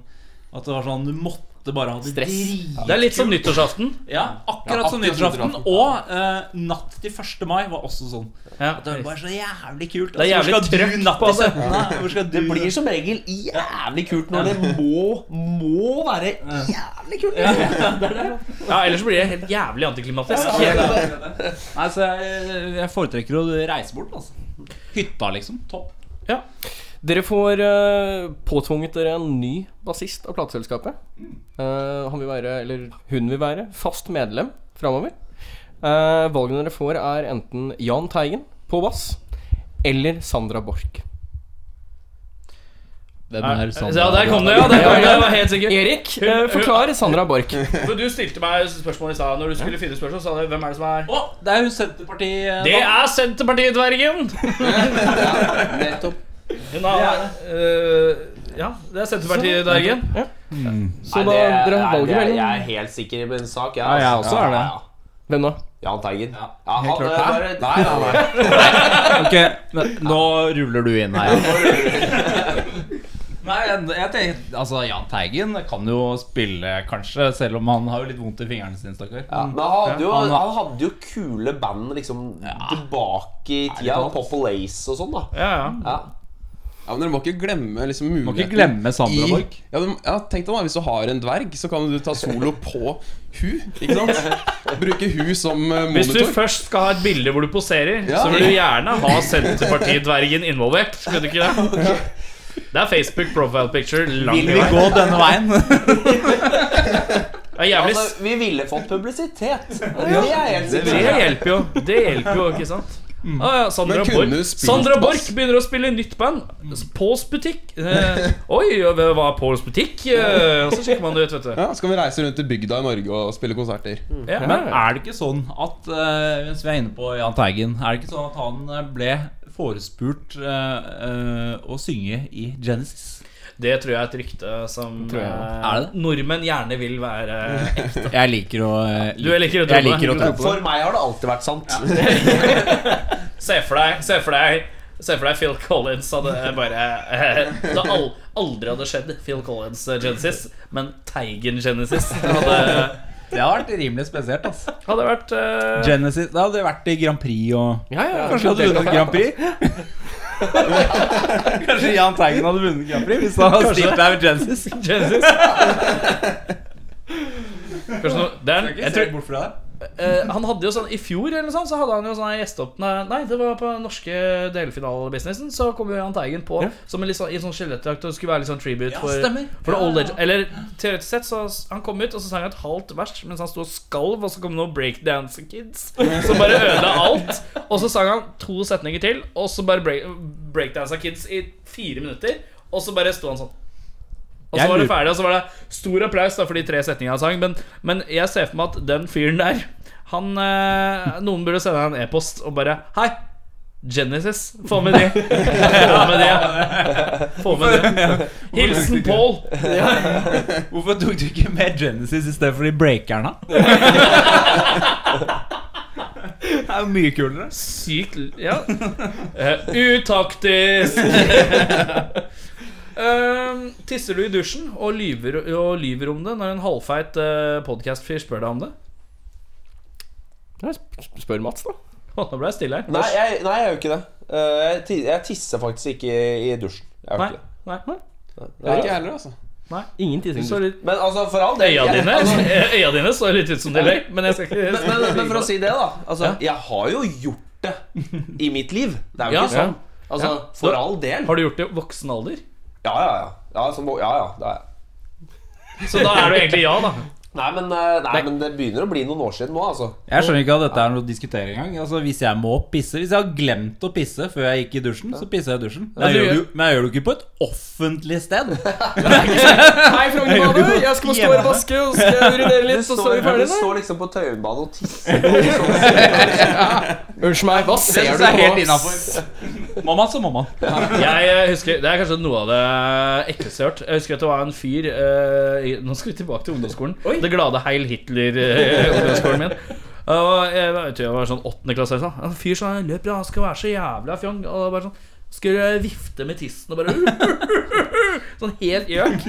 Speaker 10: At det var sånn du måtte bare ha det drit.
Speaker 3: Det er litt som nyttårsaften.
Speaker 10: Ja, akkurat som
Speaker 8: akkurat
Speaker 10: nyttårsaften.
Speaker 8: nyttårsaften.
Speaker 10: Og eh, natt til 1. mai var også sånn.
Speaker 3: Ja.
Speaker 10: Det var bare så jævlig kult.
Speaker 3: Det er
Speaker 10: Altså,
Speaker 3: jævlig
Speaker 10: hvor skal
Speaker 3: trøkk
Speaker 10: du natt
Speaker 3: på
Speaker 10: til 17.? Hvor skal du
Speaker 12: Det blir som regel jævlig kult når det må, må være jævlig kult.
Speaker 3: Ja, Ellers blir det helt jævlig antiklimatisk.
Speaker 10: Nei, så jeg, jeg foretrekker å reise bort, altså. Hytta, liksom. Topp.
Speaker 2: Dere får eh, påtvunget dere en ny bassist av plateselskapet. Eh, han vil være, eller hun vil være, fast medlem framover. Eh, valgene dere får, er enten Jahn Teigen på bass eller Sandra Borch.
Speaker 10: Hvem
Speaker 3: Ja, ja, der kom det, ja. Der kom det, jeg var helt sikker.
Speaker 2: Erik, uh, forklar Sandra Borch.
Speaker 3: For du stilte meg spørsmål i stad. Når du skulle finne spørsmål, sa du hvem er det som er
Speaker 10: Å, det er jo Senterpartiet
Speaker 3: Det er Senterpartidvergen!
Speaker 12: Nettopp.
Speaker 3: Hun er øh, Ja, det er Senterpartidvergen.
Speaker 2: Så da dere har valget
Speaker 12: jeg,
Speaker 2: mellom
Speaker 12: jeg er helt sikker i min sak. Jeg, altså.
Speaker 10: Ja, jeg også er det.
Speaker 12: Ja, ja.
Speaker 2: Hvem da?
Speaker 12: Jahn Teigen. Ja, han,
Speaker 10: helt klart.
Speaker 12: eh, bare, nei, nei, nei.
Speaker 10: Ok, men nå ruller du inn her.
Speaker 9: Nei, jeg, jeg tenker, altså Jahn Teigen kan jo spille, kanskje, selv om han har jo litt vondt i fingrene sine, stakkar.
Speaker 8: Ja, men han hadde, jo,
Speaker 9: Han
Speaker 8: han
Speaker 9: har-
Speaker 8: hadde jo kule band liksom tilbake i tida.
Speaker 10: sant?
Speaker 8: Pop og Lace og sånn, da. Ja.
Speaker 10: Ja, men Dere må ikke glemme liksom, muligheten
Speaker 9: ikke glemme Sandra
Speaker 10: i-
Speaker 9: Borch.
Speaker 10: Ja, de, ja, tenk deg da, Hvis du har en dverg, så kan du ta solo på hu. Ikke sant? Bruke hu som eh,
Speaker 3: Hvis du
Speaker 10: monitor.
Speaker 3: først skal ha et bilde hvor du poserer,
Speaker 10: Ja.
Speaker 3: så vil du gjerne ha Senterparti-dvergen involvert. Skulle du ikke det? Det er Facebook profile picture. Langt
Speaker 9: Vil vi gå denne veien?
Speaker 3: Det er jævlig s-
Speaker 8: Altså, vi ville fått publisitet. Det er jeg helt
Speaker 3: Det
Speaker 8: sikker på.
Speaker 3: hjelper jo. Det hjelper jo, ikke sant? Ah, ja, Sandra
Speaker 10: Mm. Men kunne
Speaker 3: Borch
Speaker 10: du spilt
Speaker 3: Sandra Borch
Speaker 10: bass?
Speaker 3: begynner å spille i nytt band.
Speaker 10: Mm.
Speaker 3: Pauls butikk. Eh, oi, hva er Pauls butikk? Eh, og så sjekker man det ut, vet du.
Speaker 10: Ja, Så kan vi reise rundt i bygda i Norge og spille konserter.
Speaker 3: Ja,
Speaker 9: Men er det ikke sånn at eh, Mens vi er inne på Jahn Teigen Er det ikke sånn at han eh, ble forespurt eh, eh, å synge i Genesis?
Speaker 3: Det tror jeg er et rykte som eh,
Speaker 9: Er det det?
Speaker 3: nordmenn gjerne vil være ekte.
Speaker 9: Jeg liker å eh,
Speaker 3: Du liker å tro på
Speaker 9: Jeg
Speaker 3: det.
Speaker 9: liker å tro på det.
Speaker 8: For meg har det alltid vært sant.
Speaker 3: Se for deg, se for deg Se for deg Phil Collins hadde bare eh, Det al aldri hadde skjedd Phil Collins eh, Genesis, men Teigen Genesis hadde,
Speaker 9: Det har vært rimelig spesielt. ass
Speaker 3: hadde vært eh,
Speaker 9: Genesis Det hadde vært i Grand Prix og
Speaker 3: ja, ja,
Speaker 9: Kanskje hadde vunnet Grand Prix? Kanskje Jahn Teigen hadde vunnet Grand Prix hvis han hadde
Speaker 3: Kanskje.
Speaker 9: stilt der med Genesis?
Speaker 3: Genesis. Kanskje noe, det er, jeg tror,
Speaker 9: bort fra det.
Speaker 3: eh, han hadde jo sånn I fjor eller noe sånt, så hadde han jo sånn gjesteoppnevnt Nei, det var på den norske delfinalebusinessen. Så kom jo Jahn Teigen på som en litt sånn, i sånn skjelettdrakt og skulle være litt sånn tribute for,
Speaker 9: stemmer.
Speaker 3: for
Speaker 9: Ja,
Speaker 3: the old
Speaker 9: ja,
Speaker 3: legend. Eller teoretisk sett, så s- han kom ut, og så sang han et halvt vers mens han sto og skalv, og så kom noen breakdance kids som bare ødela alt. Og så sang han to setninger til, og så bare break, breakdansa kids i fire minutter, og så bare sto han sånn. Og så
Speaker 9: Jeg
Speaker 3: var det
Speaker 9: lurer-
Speaker 3: ferdig, og så var det stor applaus da for de tre setningene han sang. Men, men jeg ser for meg at den fyren der Han eh, Noen burde sende han en e-post og bare Hei! Genesis. Få med det. Få med det. Få med det. Hilsen Paul.
Speaker 9: Hvorfor tok du ikke med Genesis i stedet for de breakerne? det er jo mye kulere.
Speaker 3: Sykt l- Ja. Eh, utaktisk! Eh, tisser du i dusjen og lyver, og lyver om det når en halvfeit uh, podcastfyr spør deg om det?
Speaker 13: Spør Mats, da.
Speaker 3: Å, nå ble jeg stille her.
Speaker 14: Nei,
Speaker 8: Jeg, nei, jeg gjør ikke det. Eh, jeg, ti- jeg tisser faktisk ikke i, i dusjen. Jeg
Speaker 3: Nei,
Speaker 8: gjør ikke det.
Speaker 3: nei, nei.
Speaker 10: Det er ikke jeg heller, altså.
Speaker 13: Ingen tissing.
Speaker 3: Så litt,
Speaker 8: Men altså, for all del
Speaker 3: øya,
Speaker 8: jeg,
Speaker 3: dine, Eh,
Speaker 8: altså,
Speaker 3: øya dine så litt ut som de løy, men jeg skal ikke
Speaker 8: men, men, men for å si det, da. Altså, jeg har jo gjort det i mitt liv. Det er jo
Speaker 3: Ja.
Speaker 8: ikke sånn. Altså, For all del.
Speaker 3: Har du gjort det i voksen alder?
Speaker 8: Ja, ja, ja. Ja, som, ja, ja det er jeg.
Speaker 3: Så da er du egentlig ja, da.
Speaker 8: Nei, men, eh, nei, men det begynner å bli noen år siden nå, altså.
Speaker 9: Jeg skjønner ikke at dette er noe å diskutere engang. Altså, hvis jeg må pisse Hvis jeg har glemt å pisse før jeg gikk i dusjen, så pisser jeg i dusjen. Men
Speaker 3: Ja,
Speaker 9: jeg
Speaker 3: du
Speaker 9: gjør det
Speaker 3: gjør-
Speaker 9: jo- men jeg gjør det jo ikke på et offentlig sted.
Speaker 13: Hei, Frognerbadet! Jeg skal bare stå og vaske, og så skal jeg urinere litt, så står vi
Speaker 8: Du
Speaker 13: ferdig der.
Speaker 8: står liksom på Tauenbadet og tisser.
Speaker 13: Unnskyld meg, hva
Speaker 9: Det
Speaker 13: ser
Speaker 9: synes
Speaker 13: du
Speaker 9: jeg er helt
Speaker 13: på?
Speaker 9: innafor. Må man, så må man.
Speaker 3: Jeg eh, husker, Det er kanskje noe av det ekleste jeg har hørt. Jeg husker at det var en fyr eh, i- Nå skal vi tilbake til ungdomsskolen. Det glade Heil Hitler-ungdomsskolen min. Og jeg, var- jeg tror jeg var sånn åttende klasse. eller sånn. En fyr som løper og han skal være så jævla fjong. Og det var bare sånn skulle vifte med tissen og bare Sånn helt gjøk.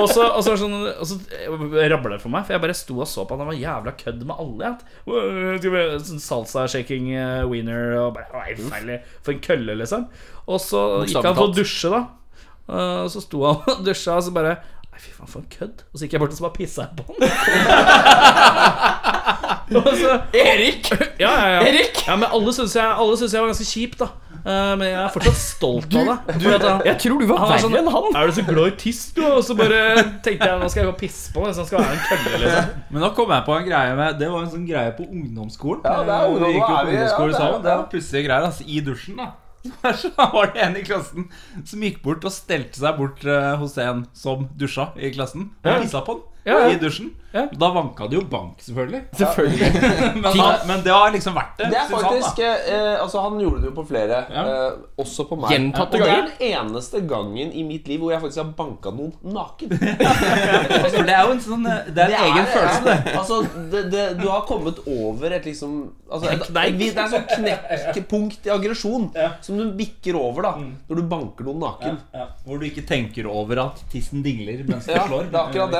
Speaker 3: Og så, og så, var det sånn, og så rabla det for meg, for jeg bare sto og så på han. Han var jævla kødd med alle. jeg. Øh, skal vi- Sånn Salsa-shaking eh, wiener og bare «Å, helt feil, For en kølle, liksom. Og så gikk han for å dusje, da. Eh, Så sto han og dusja, og så bare Nei, fy faen, for en kødd. Og så gikk jeg bort og så bare pissa jeg på han. og så, Erik! Altså, Ja, ja, ja. Ja, men alle syns jeg, alle syns jeg var ganske kjip, da. Eh, men jeg er fortsatt stolt av det. Fordi at han-
Speaker 13: Jeg tror du var
Speaker 3: han var
Speaker 13: verre
Speaker 3: sånn,
Speaker 13: enn han.
Speaker 3: Er du så glad i tiss, du? Og så bare tenkte jeg nå skal jeg gå og pisse på han. Så han skal være en kølle, liksom.
Speaker 9: Men nå kom jeg på en greie med Det var en sånn greie på ungdomsskolen.
Speaker 8: Ja, det er ungdom,
Speaker 9: Vi gikk jo
Speaker 8: da
Speaker 9: på
Speaker 8: er vi- ja,
Speaker 9: ungdomsskolen
Speaker 8: det er-
Speaker 9: sammen. Det var pussige greier. Altså, I dusjen, da. Så var det en i klassen som gikk bort og stelte seg bort eh, hos en som dusja i klassen. Og pissa på han
Speaker 3: Ja, ja.
Speaker 9: i dusjen. Da vanka det jo bank, selvfølgelig.
Speaker 3: Selvfølgelig.
Speaker 9: men, han, men det har liksom vært det.
Speaker 8: Det er
Speaker 9: synes han, da.
Speaker 8: faktisk eh, Altså, han gjorde det jo på flere. Eh, også på meg.
Speaker 9: Gjentatte
Speaker 8: Og det er
Speaker 9: ganger.
Speaker 8: den eneste gangen i mitt liv hvor jeg faktisk har banka noen naken.
Speaker 9: For det er jo en sånn eh, Det er en egen følelse, det.
Speaker 8: Altså, det, det. Du har kommet over et liksom altså, et,
Speaker 9: Kneik.
Speaker 8: Det er sånn knekkpunkt i aggresjon som du bikker over da når du banker noen naken.
Speaker 9: Hvor du ikke tenker over at tissen dingler mens du
Speaker 8: Ja,
Speaker 9: slår.
Speaker 8: det er akkurat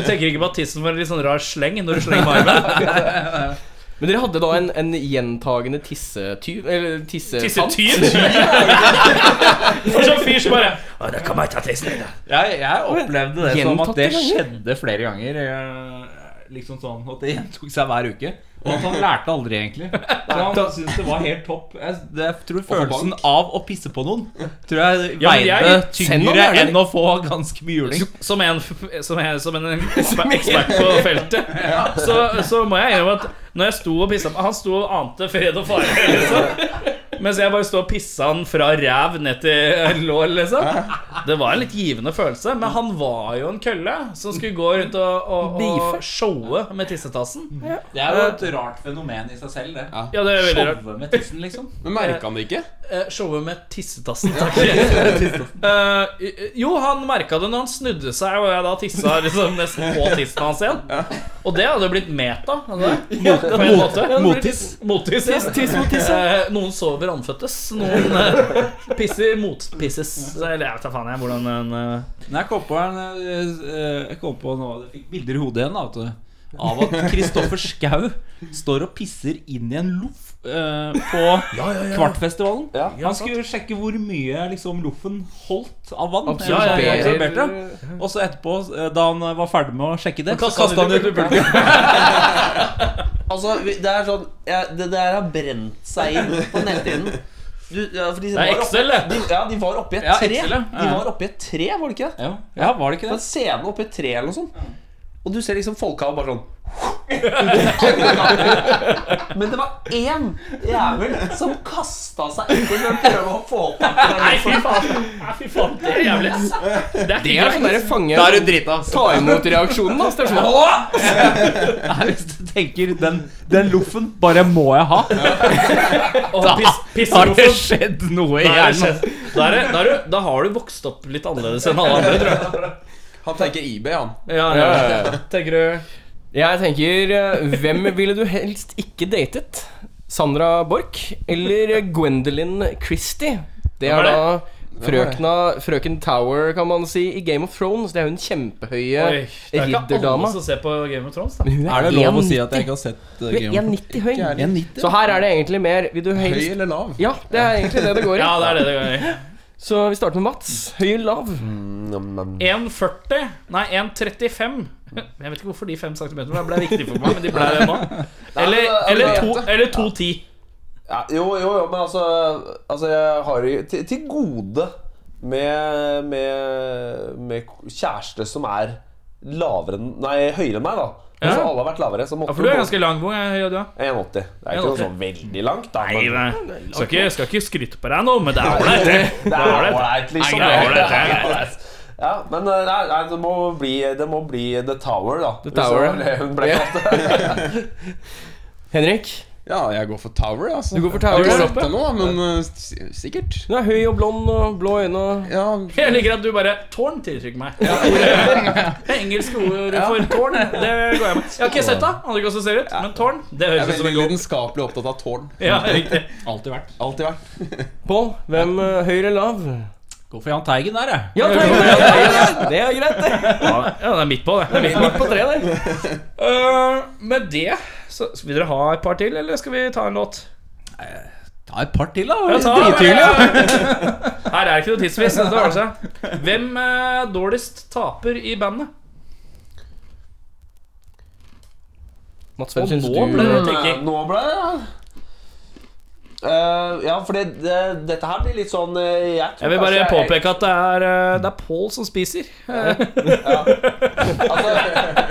Speaker 3: Du tenker ikke på at tissen får en litt sånn rar sleng når du slenger med armen?
Speaker 2: Men dere hadde da en, en gjentagende tissetyv Eller tissetann?
Speaker 3: Tissetyv? For sånn fyr som bare Å, da kan jeg ta tissen din, da.
Speaker 9: Jeg, jeg opplevde det som at
Speaker 3: Gjentatte
Speaker 9: det
Speaker 3: ganger.
Speaker 9: skjedde flere ganger. eh, Liksom sånn At det gjentok seg hver uke. Og at han lærte aldri, egentlig. Så han syntes det var helt topp. Jeg, det, jeg tror følelsen av å pisse på noen Tror jeg
Speaker 3: Ja, men
Speaker 9: veide
Speaker 3: jeg- Send han
Speaker 9: tyngre
Speaker 3: gjerne.
Speaker 9: enn å få ganske mye juling.
Speaker 3: Som en, f- som en, som en eksper- ekspert på feltet, så, så må jeg innrømme at når jeg sto og pissa på Han sto og ante fred og fare, liksom. Mens jeg bare sto og pissa han fra ræv ned til lår, liksom. Det var en litt givende følelse. Men han var jo en kølle som skulle gå rundt og, og, og showe med tissetassen.
Speaker 9: Det er jo et rart fenomen i seg selv, det.
Speaker 3: Ja, det er veldig rart.
Speaker 9: Showe med tissen, liksom.
Speaker 15: Men merka han det ikke?
Speaker 3: Eh, Showet med tissetassen, takk. Eh, jo, han merka det når han snudde seg, og jeg da tissa liksom nesten på tissen hans igjen. Og det hadde jo blitt meta. hadde det? På en måte.
Speaker 9: Mottiss.
Speaker 3: Mottiss, ja.
Speaker 9: Tiss mot tisse.
Speaker 3: Eh, noen sover andføttes, noen eh, pisser motpisses. Eller jeg vet da faen jeg hvordan en eh,
Speaker 9: Men jeg kom på, en, eh, jeg kom på nå, jeg fikk bilder i hodet igjen da, vet du, av at Kristoffer Schau står og pisser inn i en loff eh, på Kvartfestivalen. Han skulle sjekke hvor mye liksom, loffen holdt av vann.
Speaker 3: Ja, ja, ja,
Speaker 9: eller sånn, observerte. Og så etterpå, eh, da han var ferdig med å sjekke det,
Speaker 3: Så
Speaker 9: så
Speaker 3: kastet
Speaker 9: kastet
Speaker 3: han
Speaker 9: han ut i publikum.
Speaker 8: Altså, vi- det er sånn ja, Det der har brent seg inn på netthinnen. Du, ja, for de
Speaker 3: Det er
Speaker 8: var
Speaker 3: Excel,
Speaker 8: oppe-
Speaker 3: det.
Speaker 8: de- Ja, de var oppe i et
Speaker 3: Ja,
Speaker 8: tre.
Speaker 3: Excel, ja.
Speaker 8: De var oppe i et tre, var det ikke det?
Speaker 9: Ja, ja, var det ikke
Speaker 8: På en
Speaker 9: det?
Speaker 8: scene oppe i et tre eller noe sånt. Og du ser liksom folkehavet bare sånn Men det var én jævel som kasta seg etter når han prøvde å få tak i den.
Speaker 3: Nei, fy faen! Nei, fy faen, det er jævlig. Det er
Speaker 2: Det
Speaker 3: ikke
Speaker 2: er sånn
Speaker 3: greit.
Speaker 2: derre fange
Speaker 9: Da er du drita, altså.
Speaker 2: Ta imot-reaksjonen, da. Så det er sånn, «Åh!»
Speaker 9: Nei, hvis du tenker den, den loffen bare må jeg ha,
Speaker 3: Å, piss-
Speaker 9: har det
Speaker 3: Pisseloffen.
Speaker 9: skjedd noe i
Speaker 3: Da er det
Speaker 9: hjernen.
Speaker 3: skjedd. Da er det- da er du- Da har du vokst opp litt annerledes enn alle andre, tror jeg.
Speaker 15: Han tenker IB, han.
Speaker 3: Ja, ja, ja. Tenker du
Speaker 2: Jeg tenker eh, Hvem ville du helst ikke datet? Sandra Borch eller Gwendolyn Christie? Det
Speaker 3: Hvem
Speaker 2: er
Speaker 3: er
Speaker 2: da
Speaker 15: er det?
Speaker 2: frøkna, frøken Tower, kan man si, i Game of Thrones. Det er hun kjempehøye
Speaker 3: Oi, Det er ikke alle
Speaker 2: ridderdama.
Speaker 3: som ser på Game of Thrones, da.
Speaker 2: Men hun
Speaker 15: Er det lov å si
Speaker 2: 1,90.
Speaker 15: at jeg ikke har sett
Speaker 9: eh,
Speaker 15: uh,
Speaker 2: Hun er
Speaker 15: Game of
Speaker 2: 1,90 høy.
Speaker 15: Ikke er det. 1,90?
Speaker 2: Så her er det egentlig mer Vil du
Speaker 15: Høy
Speaker 2: helst
Speaker 15: eller lav?
Speaker 2: Ja, det er egentlig det det går i.
Speaker 3: Ja, det er det det går i.
Speaker 2: Så vi starter med Mats. Høy eller lav?
Speaker 9: Mm,
Speaker 3: 1,40 Nei, 1,35. Jeg vet ikke hvorfor de 5 cm ble viktig for meg, men de ble det nå. Eller, eller, to, eller 2,10.
Speaker 8: Ja, jo, jo, jo, men altså, altså Jeg har jo til, til gode med, med, med kjæreste som er lavere enn Nei, høyere enn meg, da. Altså,
Speaker 3: Ja.
Speaker 8: alle har vært lavere. Så måtte
Speaker 3: Ja, for du er ganske lang, Bo. jeg- ja, du er.
Speaker 8: 1,80. Det er ikke noe sånn veldig langt. Da,
Speaker 3: Nei,
Speaker 8: men
Speaker 3: nei. Skal ikke, skal ikke skryte på deg nå, men det er ålreit, det.
Speaker 8: det
Speaker 3: er
Speaker 8: er
Speaker 3: ålreit.
Speaker 8: ålreit, liksom.
Speaker 3: Nei, det er ålreit, det er greit, det
Speaker 8: Ja, men eh, nei, nei, det, må bli, det må bli The Tower, da. The
Speaker 2: Tower.
Speaker 8: Hun ble kalt
Speaker 2: Henrik?
Speaker 15: Ja, jeg går for Tower, jeg, altså.
Speaker 2: Du går for Tower,
Speaker 15: Jeg har
Speaker 2: ja.
Speaker 15: ikke sett det nå, da, men uh, s- sikkert.
Speaker 2: Hun er høy og blond og blå øyne. og-
Speaker 15: Ja,
Speaker 3: Jeg liker at du bare Tårn tiltrykker meg. Det engelske ordet for tårn. Det går jeg med. Jeg har ikke sett det. Aner ikke hvordan det ser ut. Men tårn, det
Speaker 15: jeg er
Speaker 3: høres ut som
Speaker 15: veldig
Speaker 3: en god
Speaker 15: lidenskapelig opptatt av tårn.
Speaker 3: Ja, riktig.
Speaker 9: Altid vært.
Speaker 15: Alltid vært.
Speaker 2: Pål, hvem eh, høy eller lav?
Speaker 9: Gå for Jan Teigen der, jeg.
Speaker 2: Ja, det er greit, det. er greit, det.
Speaker 3: Ja, det er midt på, det. det, er midt på.
Speaker 2: Midt på treet der.
Speaker 3: Øh, med det så Vil dere ha et par til, eller skal vi ta en låt?
Speaker 9: Ta et par til, da.
Speaker 3: Ja, ta- Her er det ikke noe tidsvis. Det ordner seg. Hvem eh, dårligst taper i bandet?
Speaker 2: Mats, hvem
Speaker 3: Og
Speaker 2: syns
Speaker 3: nå
Speaker 2: du
Speaker 3: ble det-
Speaker 8: Men,
Speaker 3: tenking.
Speaker 8: eh, Nå ble det ja. Eh, ja, for det, det, dette her blir litt sånn eh, Jeg, tror
Speaker 3: Jeg vil bare
Speaker 8: kanskje jeg-
Speaker 3: påpeke at det er, eh, det er Pål som spiser.
Speaker 8: altså,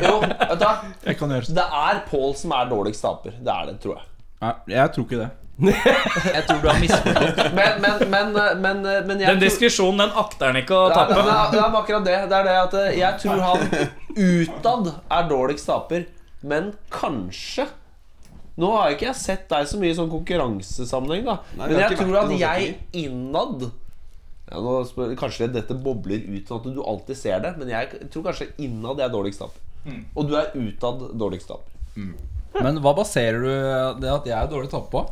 Speaker 8: Jo, vet du hva?
Speaker 9: Jeg kan gjøre sånn.
Speaker 8: Det er Pål som er dårligst taper. Det er det, tror jeg.
Speaker 9: Nei, jeg tror ikke det.
Speaker 8: Jeg tror du har misforstått. Men, men, men, eh, men, men jeg
Speaker 3: Den
Speaker 8: tror-
Speaker 3: diskusjonen den akter han ikke å
Speaker 8: Nei,
Speaker 3: tappe.
Speaker 8: nei, nei, Det er akkurat det. Det er det at eh, jeg tror han utad er dårligst taper, men kanskje Nå har ikke jeg sett deg så mye i sånn konkurransesammenheng, da.
Speaker 16: Nei, vi har
Speaker 8: men jeg
Speaker 16: ikke
Speaker 8: tror
Speaker 16: vært
Speaker 8: at
Speaker 16: i noen
Speaker 8: jeg innad ja, nå spør, Kanskje dette bobler ut sånn at du alltid ser det, men jeg tror kanskje innad jeg er dårligst taper.
Speaker 9: Mm.
Speaker 8: Og du er utad dårligst taper.
Speaker 9: Men hva baserer du det at jeg er dårlig taper på?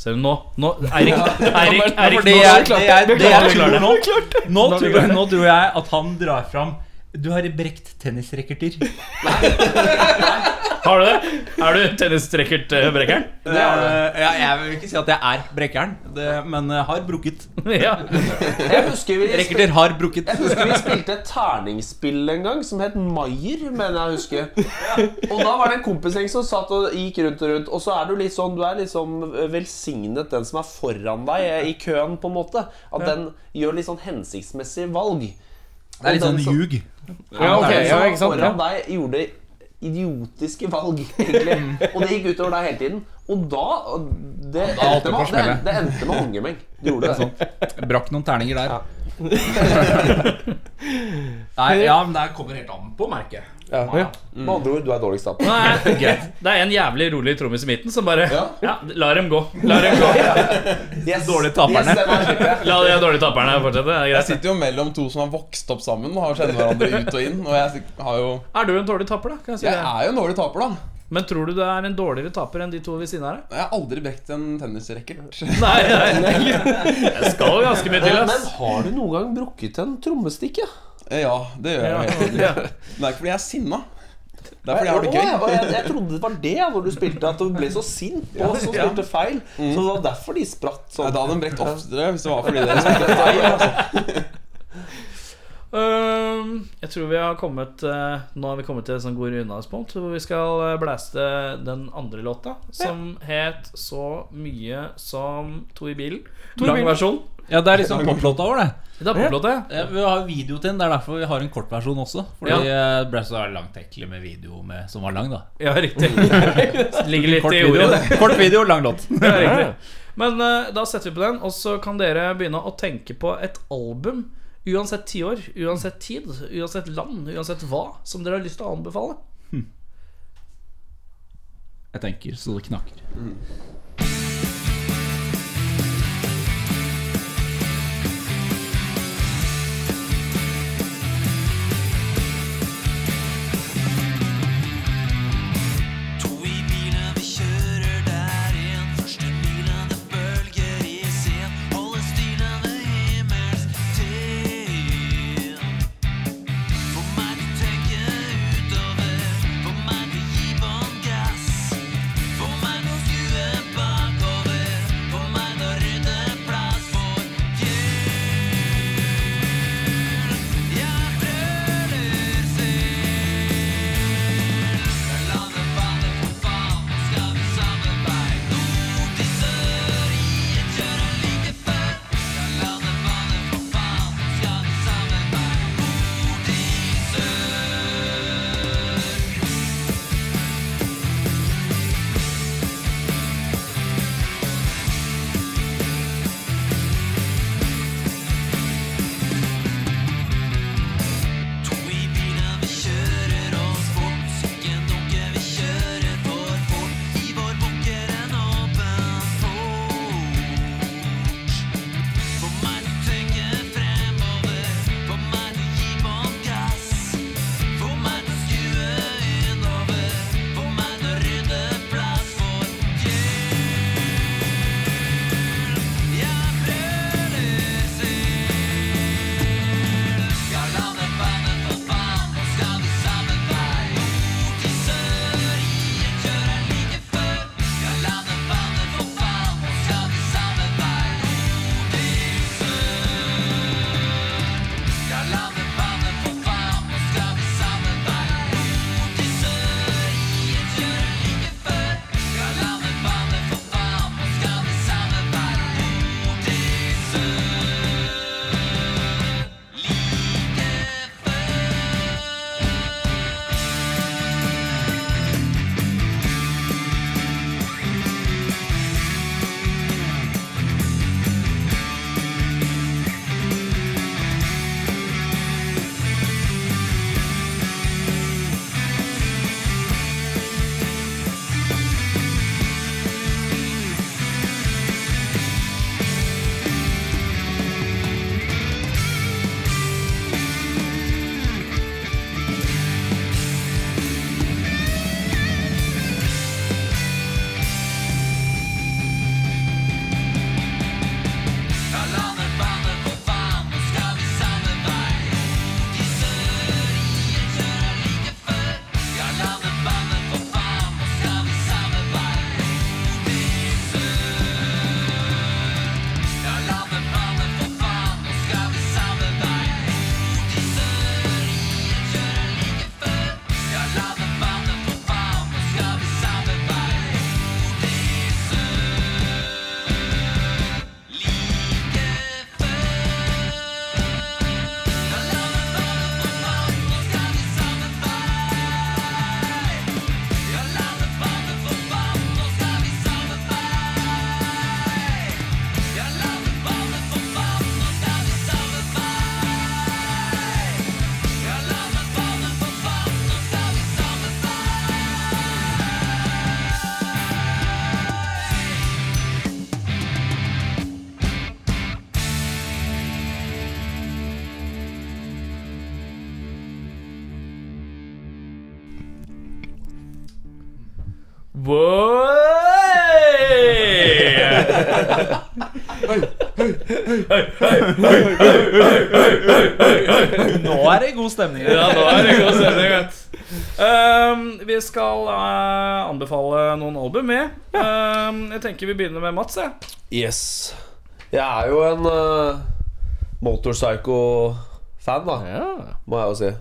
Speaker 3: Ser du nå? nå Eirik, Eirik, Eirik,
Speaker 9: Fordi
Speaker 3: nå
Speaker 9: jeg-
Speaker 3: klarte
Speaker 9: det jeg- det jeg
Speaker 3: Beklager,
Speaker 9: tror
Speaker 3: beklager.
Speaker 9: nå- Nå
Speaker 3: Nå
Speaker 9: tror,
Speaker 3: beklager.
Speaker 9: nå tror jeg at han drar fram Du har brekt tennisrekkerter.
Speaker 3: Har du det? Er du tennistrekkert-brekkeren?
Speaker 9: Eh, ja, jeg vil ikke si at jeg er brekkeren, det, men jeg har brukket.
Speaker 8: Jeg husker vi
Speaker 9: Rekkerter har brukket.
Speaker 8: Jeg husker vi spilte et terningspill en gang som het Maier, mener jeg å huske. Og da var det en kompisgjeng som satt og gikk rundt og rundt. Og så er du litt sånn, du er liksom velsignet den som er foran deg eh, i køen, på en måte. At den gjør litt sånn hensiktsmessig valg.
Speaker 9: Det er litt
Speaker 8: Og
Speaker 9: sånn
Speaker 8: den som-
Speaker 9: ljug.
Speaker 8: Ja, ok, ja, ikke sant
Speaker 9: ja.
Speaker 8: Foran deg gjorde idiotiske valg, egentlig. Og det gikk utover deg hele tiden. Og da Det
Speaker 9: Da holdt
Speaker 8: endte
Speaker 9: det på å
Speaker 8: med, det,
Speaker 9: smelle.
Speaker 8: det endte med hongemeng. Det gjorde det.
Speaker 9: Brakk noen terninger der. Nei, ja, men det kommer helt an på, merker jeg.
Speaker 8: Ja.
Speaker 9: Mm.
Speaker 8: Med andre ord, du er dårligst taper.
Speaker 3: Nei, greit. Det er en jævlig rolig trommis i midten som bare ja. la dem gå. La dem gå.
Speaker 8: Yes.
Speaker 3: Dårlige taperne.
Speaker 17: Yes, det var skikkelig.
Speaker 3: La de dårlige taperne fortsette. Det er
Speaker 17: Jeg
Speaker 3: greit.
Speaker 17: sitter jo mellom to som har vokst opp sammen og har kjenner hverandre ut og inn. Og jeg sik- har jo
Speaker 3: Er du en dårlig taper, da? Kan jeg si
Speaker 17: Jeg
Speaker 3: det?
Speaker 17: er jo en dårlig taper, da.
Speaker 3: Men tror du du er en dårligere taper enn de to ved siden av deg?
Speaker 17: Jeg har aldri brekt en tennisracket.
Speaker 3: Nei, nei, nei. Jeg skal jo ganske mye til, ass.
Speaker 8: har du noen gang brukket en trommestikke?
Speaker 17: Ja, det gjør jeg.
Speaker 8: Ja.
Speaker 17: egentlig. Men det er ikke fordi jeg er sinna. Det er fordi jeg har det
Speaker 8: Å, jeg,
Speaker 17: gøy.
Speaker 8: jeg, jeg trodde det var det ja, når du spilte, at du ble så sint og så
Speaker 17: Ja.
Speaker 8: spilte feil. Så det var derfor de spratt sånn. altså.
Speaker 17: Nei, da hadde den brekt oftere hvis det var fordi dere spilte feil.
Speaker 3: Øhm, jeg tror vi har kommet eh, Nå har vi kommet til et sånn god rundehavspunkt hvor vi skal eh, blæste den andre låta, som het så mye som To i bilen.
Speaker 9: To i
Speaker 3: Lang
Speaker 9: bilen.
Speaker 3: versjon.
Speaker 9: Ja, det er liksom poplåta vår, det.
Speaker 3: Det er poplåta, ja.
Speaker 9: Eh, Vi har video til den, det er derfor vi har en kortversjon også. Fordi eh, det ble så langt ekle med video med, som var lang, da.
Speaker 3: Ja, riktig. Ligger litt
Speaker 9: Kort
Speaker 3: i
Speaker 9: video.
Speaker 3: ordet.
Speaker 9: Kort video, lang låt.
Speaker 3: Ja, riktig. Men eh, da setter vi på den, og så kan dere begynne å tenke på et album. Uansett tiår, uansett tid, uansett land, uansett hva, som dere har lyst til å anbefale.
Speaker 9: Jeg tenker så det knaker.
Speaker 18: To i bilen, vi kjører der igjen. Første bilen, det bølger i sen. Holder stilen ved himmels til. Få meg til å tenke utover. Få meg til å gi bånn gass. Få meg til å skue
Speaker 3: Nå
Speaker 9: Nå er det god stemning.
Speaker 3: Ja, nå er det god stemning, vet du. Ehm, vi skal eh, anbefale noen album, vi. Ehm, jeg tenker vi begynner med Mats. Jeg.
Speaker 8: Yes. Jeg er jo en uh, motorpsycho-fan, da. Må jeg jo si.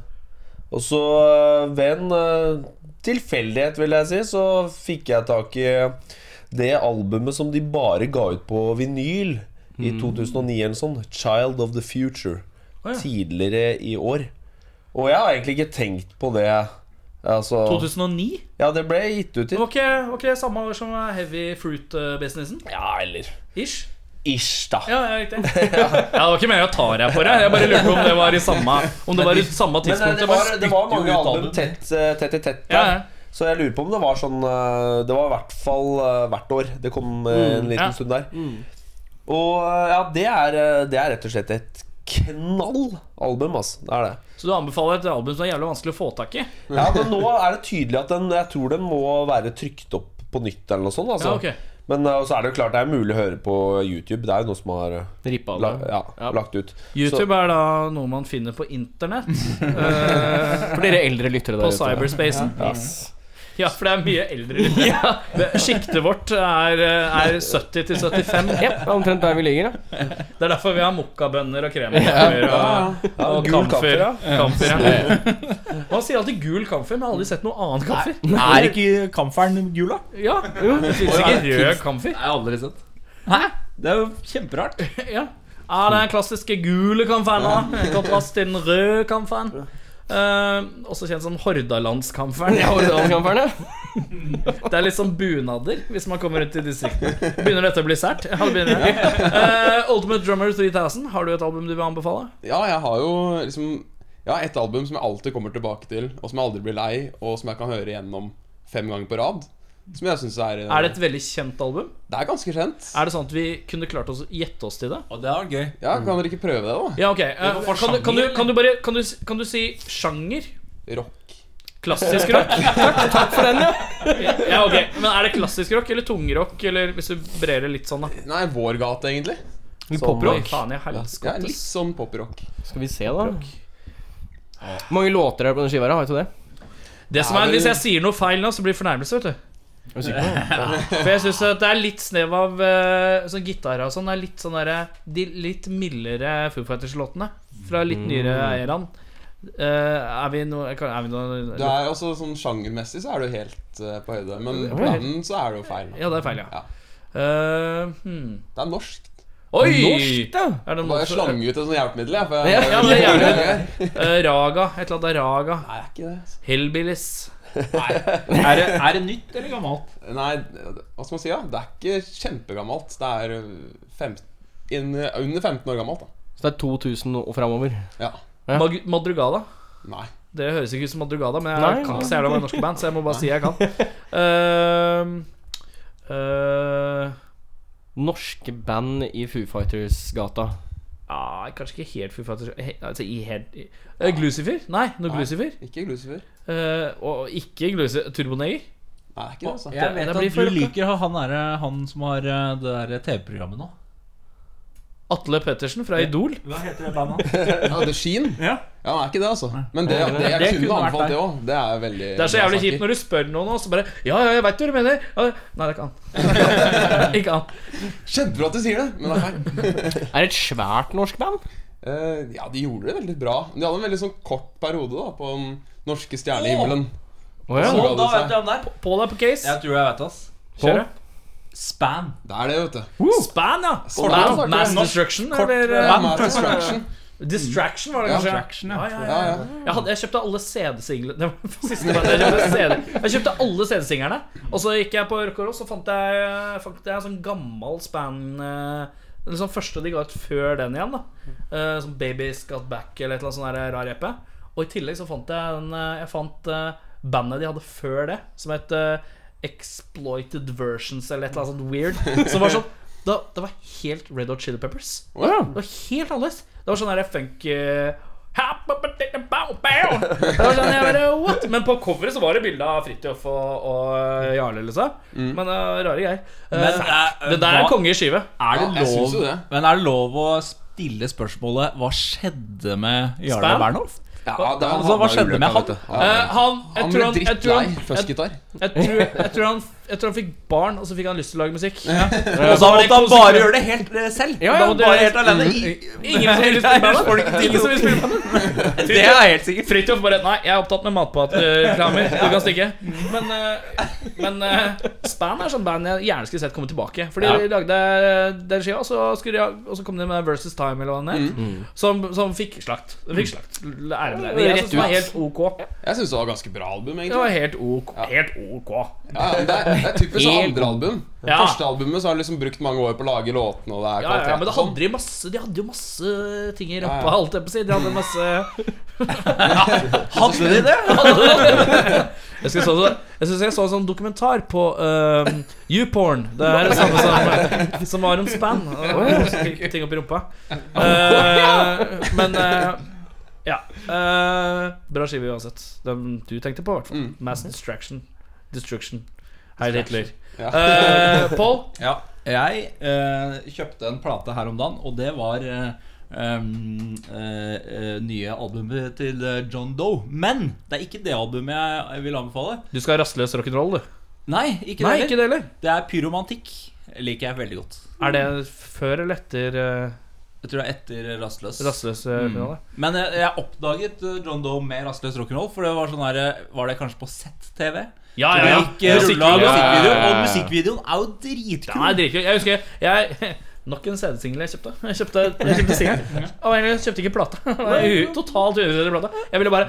Speaker 8: Og så eh, ved en eh, tilfeldighet, vil jeg si, så fikk jeg tak i det albumet som de bare ga ut på vinyl i
Speaker 3: Mm.
Speaker 8: 2009 eller sånn. 'Child of the Future'.
Speaker 3: Å, ja.
Speaker 8: Tidligere i år. Og jeg har egentlig ikke tenkt på det. Altså
Speaker 3: 2009?
Speaker 8: Ja, det ble gitt ut i
Speaker 3: Det var ikke, var ikke samme år som Heavy Fruit-businessen?
Speaker 8: Ja, eller
Speaker 3: Ish.
Speaker 8: Ish, da.
Speaker 3: Ja, ja, riktig. ja, det var ikke meningen å ta deg på det. Jeg bare lurte på om det var i samme, om det var i samme
Speaker 8: Men det,
Speaker 3: tidspunktet.
Speaker 8: det, var, det var mange album tett, eh, tett i tett der. Så jeg lurer på om det var sånn eh, Det var i hvert fall eh, hvert år. Det kom eh, en
Speaker 3: Mm,
Speaker 8: liten
Speaker 3: ja.
Speaker 8: stund der. Og eh, ja, det er, eh, det er rett og slett et knall album, altså. Det er det.
Speaker 3: Så du anbefaler et album som er jævlig vanskelig å få tak i?
Speaker 8: Ja, men nå er det tydelig at den Jeg tror den må være trykt opp på nytt eller noe sånt. Altså.
Speaker 3: Ja, ok.
Speaker 8: Men eh, så er det jo klart det er mulig å høre på YouTube. Det er jo noe som har eh,
Speaker 3: Rippa av
Speaker 8: la,
Speaker 3: det.
Speaker 8: ja, lagt ut.
Speaker 3: YouTube er da noe man finner på internett. Eh,
Speaker 2: For dere eldre lyttere der
Speaker 3: På
Speaker 2: ute.
Speaker 3: cyberspacen.
Speaker 2: Ja.
Speaker 3: Yes. Ja, for det er mye eldre lyttere. Det- Sjiktet vårt er, eh, er 70 til 75.
Speaker 2: Jep, det er omtrent der vi ligger, ja.
Speaker 3: Det er derfor vi har mokkabønner og krem
Speaker 2: Ja.
Speaker 3: og,
Speaker 2: Ja, ja.
Speaker 3: og
Speaker 2: Gul kaffe,
Speaker 3: kamfer.
Speaker 2: ja.
Speaker 3: kamfer
Speaker 2: Ja.
Speaker 3: ja. Man sier alltid gul kamfer, men jeg har aldri sett noe annen kamfer.
Speaker 9: Er ikke kamferen gul, da?
Speaker 3: Ja, jo, det finnes ikke rød kamfer.
Speaker 9: Nei, aldri sett. Hæ? Det er jo kjemperart.
Speaker 3: Ja. Ja, det er den klassiske gule kamferen. da, I kontrast til den røde kamferen. Eh, også kjent som Hordalandskamferen.
Speaker 2: Ja, Hordalandskamferen,
Speaker 3: Det er litt sånn bunader hvis man kommer rundt i distriktene. Begynner dette å bli sært? Ja, det begynner det. Eh, Ultimate Drummer 3000, har du et album du vil anbefale?
Speaker 19: Ja, jeg har jo liksom Ja, et album som jeg alltid kommer tilbake til, og som jeg aldri blir lei, og som jeg kan høre gjennom fem ganger på rad. Som jeg syns er eh,
Speaker 3: Er det et veldig kjent album?
Speaker 19: Det er ganske kjent.
Speaker 3: Er det sånn at vi kunne klart oss å gjette oss til det?
Speaker 9: Og det er gøy
Speaker 19: Ja, Kan dere ikke prøve det, da?
Speaker 3: Ja, ok.
Speaker 19: Vi må
Speaker 3: Eh,
Speaker 19: få
Speaker 3: kan, du,
Speaker 19: sjanger,
Speaker 3: kan, du,
Speaker 19: eller?
Speaker 3: kan du bare kan du, kan du si sjanger?
Speaker 19: Rock.
Speaker 3: Klassisk rock? Takk, takk for den, ja. ja ok, Men er det klassisk rock eller tungrock? Eller hvis du brer det litt sånn, da?
Speaker 19: Nei, vår gate, egentlig.
Speaker 3: Litt
Speaker 19: Som-
Speaker 3: poprock. Oi, faen i helskottes.
Speaker 19: Ja, litt sånn poprock.
Speaker 2: Skal vi se, da. Hvor mange låter er det på den skiva? her, Har vi ikke det?
Speaker 3: Det som er, Hvis jeg sier noe feil nå, så blir det fornærmelse, vet du.
Speaker 2: Er du sikker på det?
Speaker 3: Ja. For jeg syns det er litt snev av eh, sånn gitar og sånn. Det er litt sånn derre De litt mildere Foo Fighters-låtene fra litt
Speaker 19: Mm.
Speaker 3: nyere eraen. Eh, er vi noe Er vi noe
Speaker 19: Det er også sånn Sjangermessig så er du helt eh, på høyde, men på
Speaker 3: Ja.
Speaker 19: planen så er det jo feil.
Speaker 3: Ja, det er feil, ja. Eh, hmm.
Speaker 19: Det er norskt.
Speaker 3: Oi!
Speaker 19: Norskt,
Speaker 3: ja.
Speaker 19: Er det jeg slang ut et sånt hjelpemiddel, jeg. For
Speaker 3: Ja,
Speaker 19: jeg
Speaker 3: ja, men det er jævlig Eh, Raga. Et eller annet er Raga. Nei,
Speaker 19: det er ikke det.
Speaker 3: Hellbillies.
Speaker 9: Er det, er det nytt eller gammelt?
Speaker 19: Nei, hva skal man si, da? Det er ikke kjempegammelt. Det er eh, fem, inn, under 15 år gammelt, da.
Speaker 2: Så det er 2000 og framover?
Speaker 19: Ja.
Speaker 3: Mag Madrugada.
Speaker 19: Nei.
Speaker 3: Det høres ikke ut som Madrugada, men jeg
Speaker 2: Nei,
Speaker 3: kan
Speaker 2: nei.
Speaker 3: ikke så jævla mange norske band, så jeg må bare si jeg kan. Ehm, eh,
Speaker 2: Norske band i Foo Fighters-gata.
Speaker 3: ah, kanskje ikke helt Foo Fighters he- altså, i helt, i, eh, Glucifer? Nei, noe
Speaker 19: Nei,
Speaker 3: Glucifer.
Speaker 19: Ikke Glucifer.
Speaker 3: Eh, og ikke Glucifer
Speaker 19: Nei,
Speaker 3: Turboneger.
Speaker 19: det er ikke det, altså.
Speaker 9: Jeg vet
Speaker 3: Det
Speaker 9: at
Speaker 3: blir for
Speaker 9: du
Speaker 3: rocka.
Speaker 9: liker han, er, han som har eh, det der TV-programmet nå.
Speaker 3: Atle Pettersen fra Idol.
Speaker 9: Hva heter det bandet?
Speaker 19: Ja, The Sheen?
Speaker 9: Ja.
Speaker 19: ja, men er ikke det, altså. Men det,
Speaker 3: Nei,
Speaker 19: det,
Speaker 3: det-
Speaker 19: jeg
Speaker 3: det kunne
Speaker 19: kunne
Speaker 3: vært
Speaker 19: anbefalt
Speaker 3: deg.
Speaker 19: det òg. Det er veldig
Speaker 3: Det er så
Speaker 19: bra
Speaker 3: jævlig
Speaker 19: saker.
Speaker 3: kjipt når du spør noen, og så bare Ja, ja, jeg veit hva du mener. Ja, nei, det er ikke han. ikke han.
Speaker 19: Kjempebra at du sier det, men det er feil.
Speaker 2: Er det et svært norsk band?
Speaker 19: Eh, ja, de gjorde det veldig bra. De hadde en veldig sånn kort periode da på den norske stjernehimmelen.
Speaker 2: Å,
Speaker 19: Og
Speaker 2: ja.
Speaker 19: så ga
Speaker 9: Å, Sånn, da
Speaker 19: det
Speaker 9: vet
Speaker 19: seg.
Speaker 9: jeg om det er.
Speaker 3: Pål er på case.
Speaker 9: Jeg tror jeg vet ass.
Speaker 3: Kjør, ja.
Speaker 9: Span.
Speaker 19: Det er det, vet du.
Speaker 3: Span, ja.
Speaker 19: Span.
Speaker 3: Span. Mass
Speaker 19: Norsk
Speaker 3: Destruction,
Speaker 19: kort,
Speaker 3: eller?
Speaker 19: ja,
Speaker 3: eh,
Speaker 19: Mass Destruction.
Speaker 3: Distraction var det
Speaker 19: Ja.
Speaker 3: kanskje?
Speaker 19: Distraction, ja.
Speaker 3: ja, ja,
Speaker 19: Ja,
Speaker 3: ja.
Speaker 19: ja.
Speaker 3: Jeg, hadde, jeg kjøpte alle CD-singlene Det var siste gang jeg kjøpte CD. Jeg kjøpte alle CD-singlene. Og så gikk jeg på Rock og Roll, så fant jeg, fant jeg en sånn gammel span eh, den sånn første de ga ut før den igjen. da Eh, Som Babies Got Back eller et eller annet sånn der rar epe. Og i tillegg så fant jeg den eh, Jeg fant eh, bandet de hadde før det, som het eh, Exploited Versions eller et eller annet sånt weird. Som var sånn da, Det var helt Red Hot Chili Peppers.
Speaker 19: Å ja.
Speaker 3: Det var helt annerledes. Det var sånn der funk eh, Det var sånn, jeg bare, what? Men på coveret så var det bilde av Fridtjof og, og Jarle, liksom. Men det var rare greier.
Speaker 9: Men,
Speaker 3: Eh,
Speaker 9: eh,
Speaker 3: det der
Speaker 9: hva-
Speaker 3: er konge i skive.
Speaker 9: Er det lov, Men er det lov å stille spørsmålet Hva skjedde med Jarle
Speaker 3: Span?
Speaker 9: Bernhoft?
Speaker 3: Ja, det- han
Speaker 9: altså,
Speaker 3: havna
Speaker 9: hva
Speaker 3: i
Speaker 9: skjedde med
Speaker 3: ulykka,
Speaker 9: han?
Speaker 3: vet du. Han- Eh, han- jeg tror
Speaker 8: Han ble
Speaker 3: han- jeg tror han-
Speaker 8: drittlei fussgitar.
Speaker 3: Jeg tror, jeg, tror han, jeg tror han fikk barn, og så fikk han lyst til å lage musikk.
Speaker 9: Og da måtte han bare gjøre det helt, eh, selv. Da måtte han bare helt alene. I-
Speaker 3: Ingen som ville spille
Speaker 9: Ellers får
Speaker 3: med
Speaker 9: du
Speaker 3: ham.
Speaker 9: ikke til.
Speaker 3: Ingen som ville spille med ham.
Speaker 9: Det er helt sikkert.
Speaker 3: Fridtjof bare Nei, jeg er opptatt med matpatreklamer. Du kan stikke. Men, eh, men eh, Span er sånn band jeg gjerne skulle sett komme tilbake. Fordi
Speaker 9: Ja.
Speaker 3: de lagde eh, den skiva, og så, skulle de, ha- og så kom de med Versus Time eller hva den het,
Speaker 8: Mm.
Speaker 3: som, som fikk slakt. Den Fikk slakt. Ære med
Speaker 8: Ja,
Speaker 3: deg.
Speaker 8: jeg
Speaker 3: Rett
Speaker 8: synes det var
Speaker 3: ut. Helt OK.
Speaker 8: Jeg syns det var ganske bra album, egentlig.
Speaker 3: Det var helt OK. Helt OK.
Speaker 8: Ja, men det, er, det er typisk sånn
Speaker 3: Helt
Speaker 8: andre album.
Speaker 3: Ja.
Speaker 8: Første albumet så har de liksom brukt mange år på å lage låtene. Og det
Speaker 3: Ja, ja,
Speaker 8: er
Speaker 3: ja,
Speaker 8: kvalitet
Speaker 3: men det
Speaker 8: og sånn.
Speaker 3: hadde de, masse, de hadde jo masse ting i
Speaker 8: Ja,
Speaker 3: rumpa,
Speaker 8: ja.
Speaker 3: holdt jeg på å si. De hadde masse
Speaker 9: Hadde de det?
Speaker 3: Jeg skal så, jeg synes jeg så en sånn dokumentar på um, YouPorn. Det er det samme som, som var om span. Og masse ting- ting oppi rumpa. Eh, men eh, ja. eh, bra skive uansett. Den du tenkte på, i hvert fall. Mass Distraction. Destruction. Heil Hitler. Eh, Paul?
Speaker 9: Ja. Jeg eh, kjøpte en plate her om dagen, og det var eh, um, eh, eh, nye albumet til eh, John Doe. Men det er ikke det albumet jeg, jeg vil anbefale.
Speaker 3: Du skal ha rastløs rock'n'roll, du.
Speaker 9: Nei, ikke det
Speaker 3: Nei,
Speaker 9: heller.
Speaker 3: ikke det heller.
Speaker 9: Det er pyromantikk. Liker jeg veldig godt.
Speaker 3: Er det før eller etter eh,
Speaker 9: Jeg tror det er etter Rastløs.
Speaker 3: Rastløs, eh, finale.
Speaker 9: Men jeg, jeg oppdaget eh, John Doe med Rastløs rock'n'roll, for det var sånn her eh, Var det kanskje på Z-TV?
Speaker 3: Ja, ja,
Speaker 9: Så
Speaker 3: ja.
Speaker 9: det gikk, eh, rulla av
Speaker 3: Musikkvideo.
Speaker 9: musikkvideo,
Speaker 3: Ja, ja,
Speaker 9: Og
Speaker 3: ja.
Speaker 9: musikkvideoen er jo dritkul.
Speaker 3: Den er dritkul. Jeg husker jeg, Nok en CD-singel jeg kjøpte. Jeg kjøpte, jeg kjøpte singel. Og jeg kjøpte ikke plate. Det var u- Totalt undervurdert plate. Jeg ville bare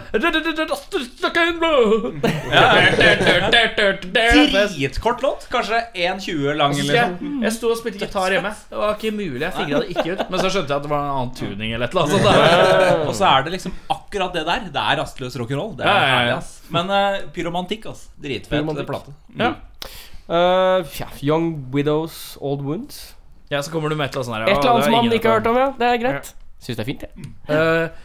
Speaker 9: Dritkort låt. Kanskje 1,20 lang. sånn.
Speaker 3: Jeg, jeg sto og spilte gitar hjemme. Det var ikke mulig. Jeg fingra det ikke ut. Men så skjønte jeg at det var en annen tuning eller et eller annet.
Speaker 9: Og så er det liksom akkurat det der. Det er rastløs rock'n'roll. Det er
Speaker 3: Ja, ja, ja.
Speaker 9: herlig, ass. Men eh, pyromantikk, ass. Dritfet
Speaker 3: Pyromantikk.
Speaker 9: plate.
Speaker 3: Ja.
Speaker 2: Eh, ja, Young Widows, Old Wounds.
Speaker 3: Ja, så kommer du med et eller annet sånt her.
Speaker 2: Et eller
Speaker 3: Ja, det
Speaker 2: annet
Speaker 3: har
Speaker 2: som man
Speaker 3: ingen
Speaker 2: ikke har hørt om, ja. Det er greit.
Speaker 3: Ja.
Speaker 2: Syns det er fint, jeg.
Speaker 3: Eh,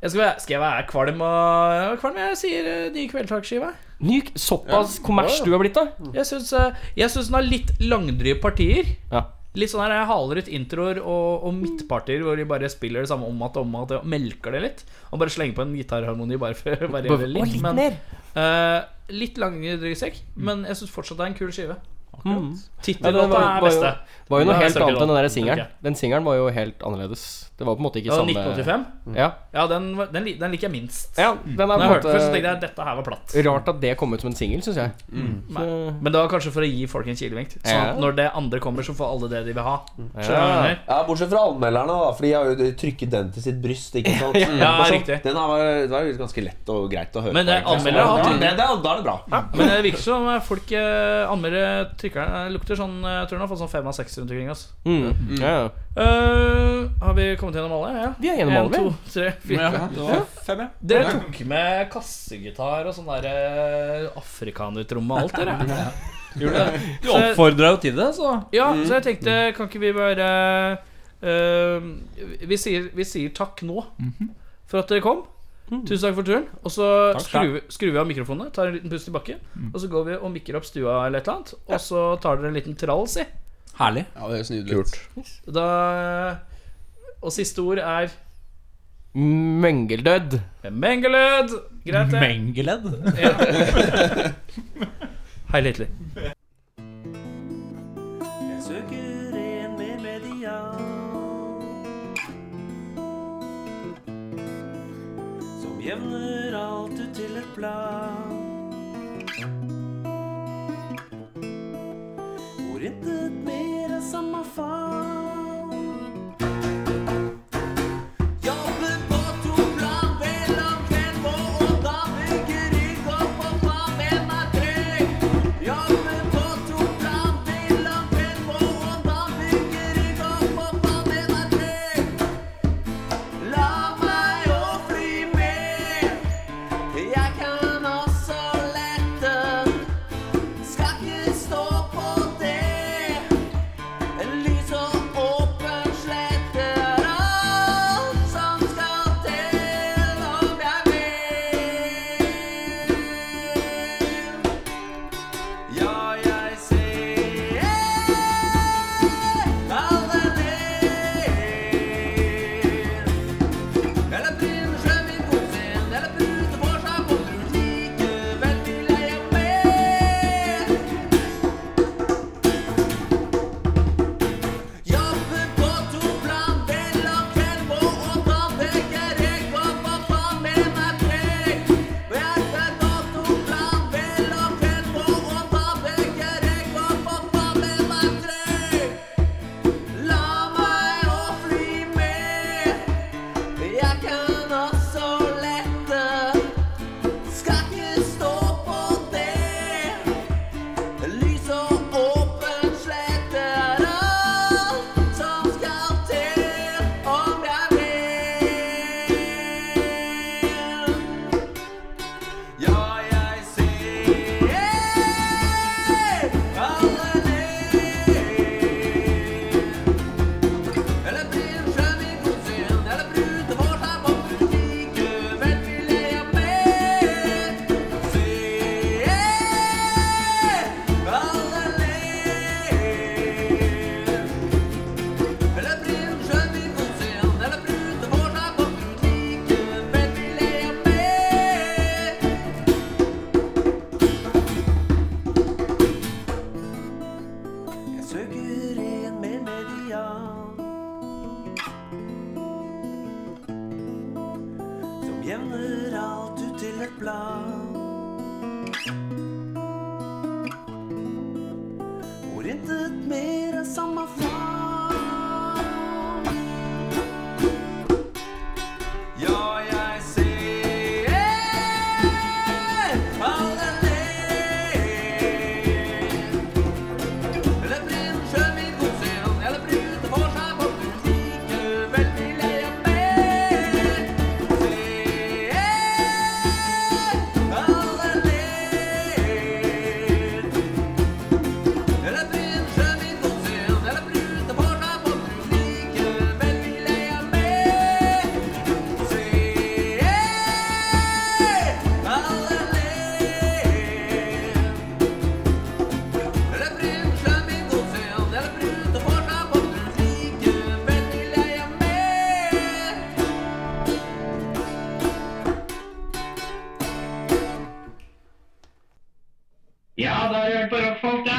Speaker 3: jeg skal, være, skal jeg være kvalm av jeg er kvalm? Jeg sier uh, nye kveldtaksskiva.
Speaker 2: Ny, såpass kommers du er blitt, da.
Speaker 3: Jeg syns, eh, jeg syns den har litt langdryge partier.
Speaker 2: Ja.
Speaker 3: Litt sånn her, Jeg haler ut introer og, og midtpartier hvor de bare spiller det samme om at om at og melker det litt. Og bare slenger på en gitarharmoni bare for å
Speaker 2: Bare-
Speaker 3: variere
Speaker 2: og
Speaker 3: litt.
Speaker 2: litt
Speaker 3: Men,
Speaker 2: mer.
Speaker 3: eh, litt langdryg sekk, men jeg syns fortsatt det er en kul skive.
Speaker 2: Mm.
Speaker 3: Tittellåta
Speaker 2: det var-
Speaker 3: er
Speaker 2: var jo-
Speaker 3: beste.
Speaker 2: Var jo
Speaker 3: Det
Speaker 2: noe
Speaker 3: er
Speaker 2: helt
Speaker 3: beste
Speaker 2: annet enn den der
Speaker 3: rock'n'roll, tenker
Speaker 2: singelen.
Speaker 3: jeg.
Speaker 2: Den singelen var jo helt annerledes. Det var på en måte ikke
Speaker 3: Ja,
Speaker 2: samme
Speaker 3: 1985?
Speaker 2: Ja.
Speaker 3: Ja, den, var- den, lik- den liker jeg minst.
Speaker 2: Ja, den er på
Speaker 3: Når Mm. jeg
Speaker 2: en
Speaker 3: hørte den først, så
Speaker 2: måte-
Speaker 3: tenkte jeg at dette her var platt.
Speaker 2: Rart at det kom ut som en singel, syns jeg.
Speaker 3: Nei. Men det var kanskje for å gi folk en kilevink. Sånn
Speaker 2: Ja. Mm.
Speaker 3: at når det andre kommer, så får alle det de vil ha. Skjønner du hva jeg
Speaker 20: Ja.
Speaker 3: mener?
Speaker 20: ja, Bortsett fra anmelderne, da for de har jo trykket den til sitt bryst. Ikke sant?
Speaker 3: Ja, ja,
Speaker 20: Men så-
Speaker 3: riktig.
Speaker 20: Den har, det var jo ganske lett og greit å høre
Speaker 3: Men,
Speaker 20: på.
Speaker 3: eh,
Speaker 20: egentlig. Så
Speaker 3: anmeldere har
Speaker 20: da-
Speaker 3: tydelig-
Speaker 20: det, det, Da er det bra.
Speaker 3: Men det virker som folk eh, anmelder trykkerne eh, lukter sånn eh, Jeg tror den har fått sånn fem av seks rundt omkring. Altså.
Speaker 2: Mm. Ja, ja.
Speaker 3: Eh, har vi kommet gjennom alle? Ja.
Speaker 2: Vi er gjennom alle, vi.
Speaker 3: En, to, tre, fire.
Speaker 2: Ja, det var
Speaker 9: fem, ja.
Speaker 3: Dere tok med kassegitar og sånn der eh, afrikanertromme og alt, dere.
Speaker 9: Ja. Gjorde det. Du
Speaker 3: Så-
Speaker 9: oppfordra jo til det, så.
Speaker 3: Ja,
Speaker 9: Mm.
Speaker 3: så jeg tenkte, kan ikke vi bare eh, vi, sier, vi sier takk nå for at dere kom. Tusen takk for turen. Og så
Speaker 9: Mhm. Takk Mm. skal du
Speaker 3: skrur vi, skrur vi av mikrofonene, tar en liten pust i bakken, og så går vi og mikker opp stua eller et eller annet, og så tar dere en liten trall, si.
Speaker 9: Herlig.
Speaker 8: Ja, det høres nydelig ut.
Speaker 3: Da Og siste ord er
Speaker 2: Mengeldød.
Speaker 3: Mengelød! Greit, det.
Speaker 9: Mengeledd?
Speaker 3: Ja. Heil Hitler.
Speaker 10: Jeg søker en mer median Som jevner alt ut til et plan Hvor intet mer er samme faen Jobbe på to plan vel om kveld på Og da bygger rygg opp og ta med meg trygg Jobbe på to plan til om kveld på Og da bygger rygg opp og ta med meg trygg La meg å fly med Jeg kan også lette Skal ikke stå på det Lys Ja, jeg ser alle ned. Eller bryr seg min godsen, eller puter på seg på trut. Likevel vil jeg hjem med. Jobbe på to plan, del av kveld må, og da tenker jeg på hva faen med meg til. Jobbe på to plan, del av kveld må, og da tenker jeg på hva faen med meg til. La meg å fly med. Jeg kan også lette. Skal ikke stå på det. Lys og åpen slett er alt som skal til om jeg vil. Ja, jeg ser alle ned. Eller blir frem i godsen, eller brute på seg på likevel vil jeg ha med. Se, alle ler. Eller blir frem i godsen, eller brute på seg på likevel vil jeg ha med. Jeg søker en mer median. som jevner alt ut til et blad. Hvor intet mer er samme faen. Ja, jeg ser alle ned. Eller brenner sjøen i godsen, eller bryter for seg på likevel vil jeg ha mer.
Speaker 21: Ja, da har du hørt på rockfolk, da.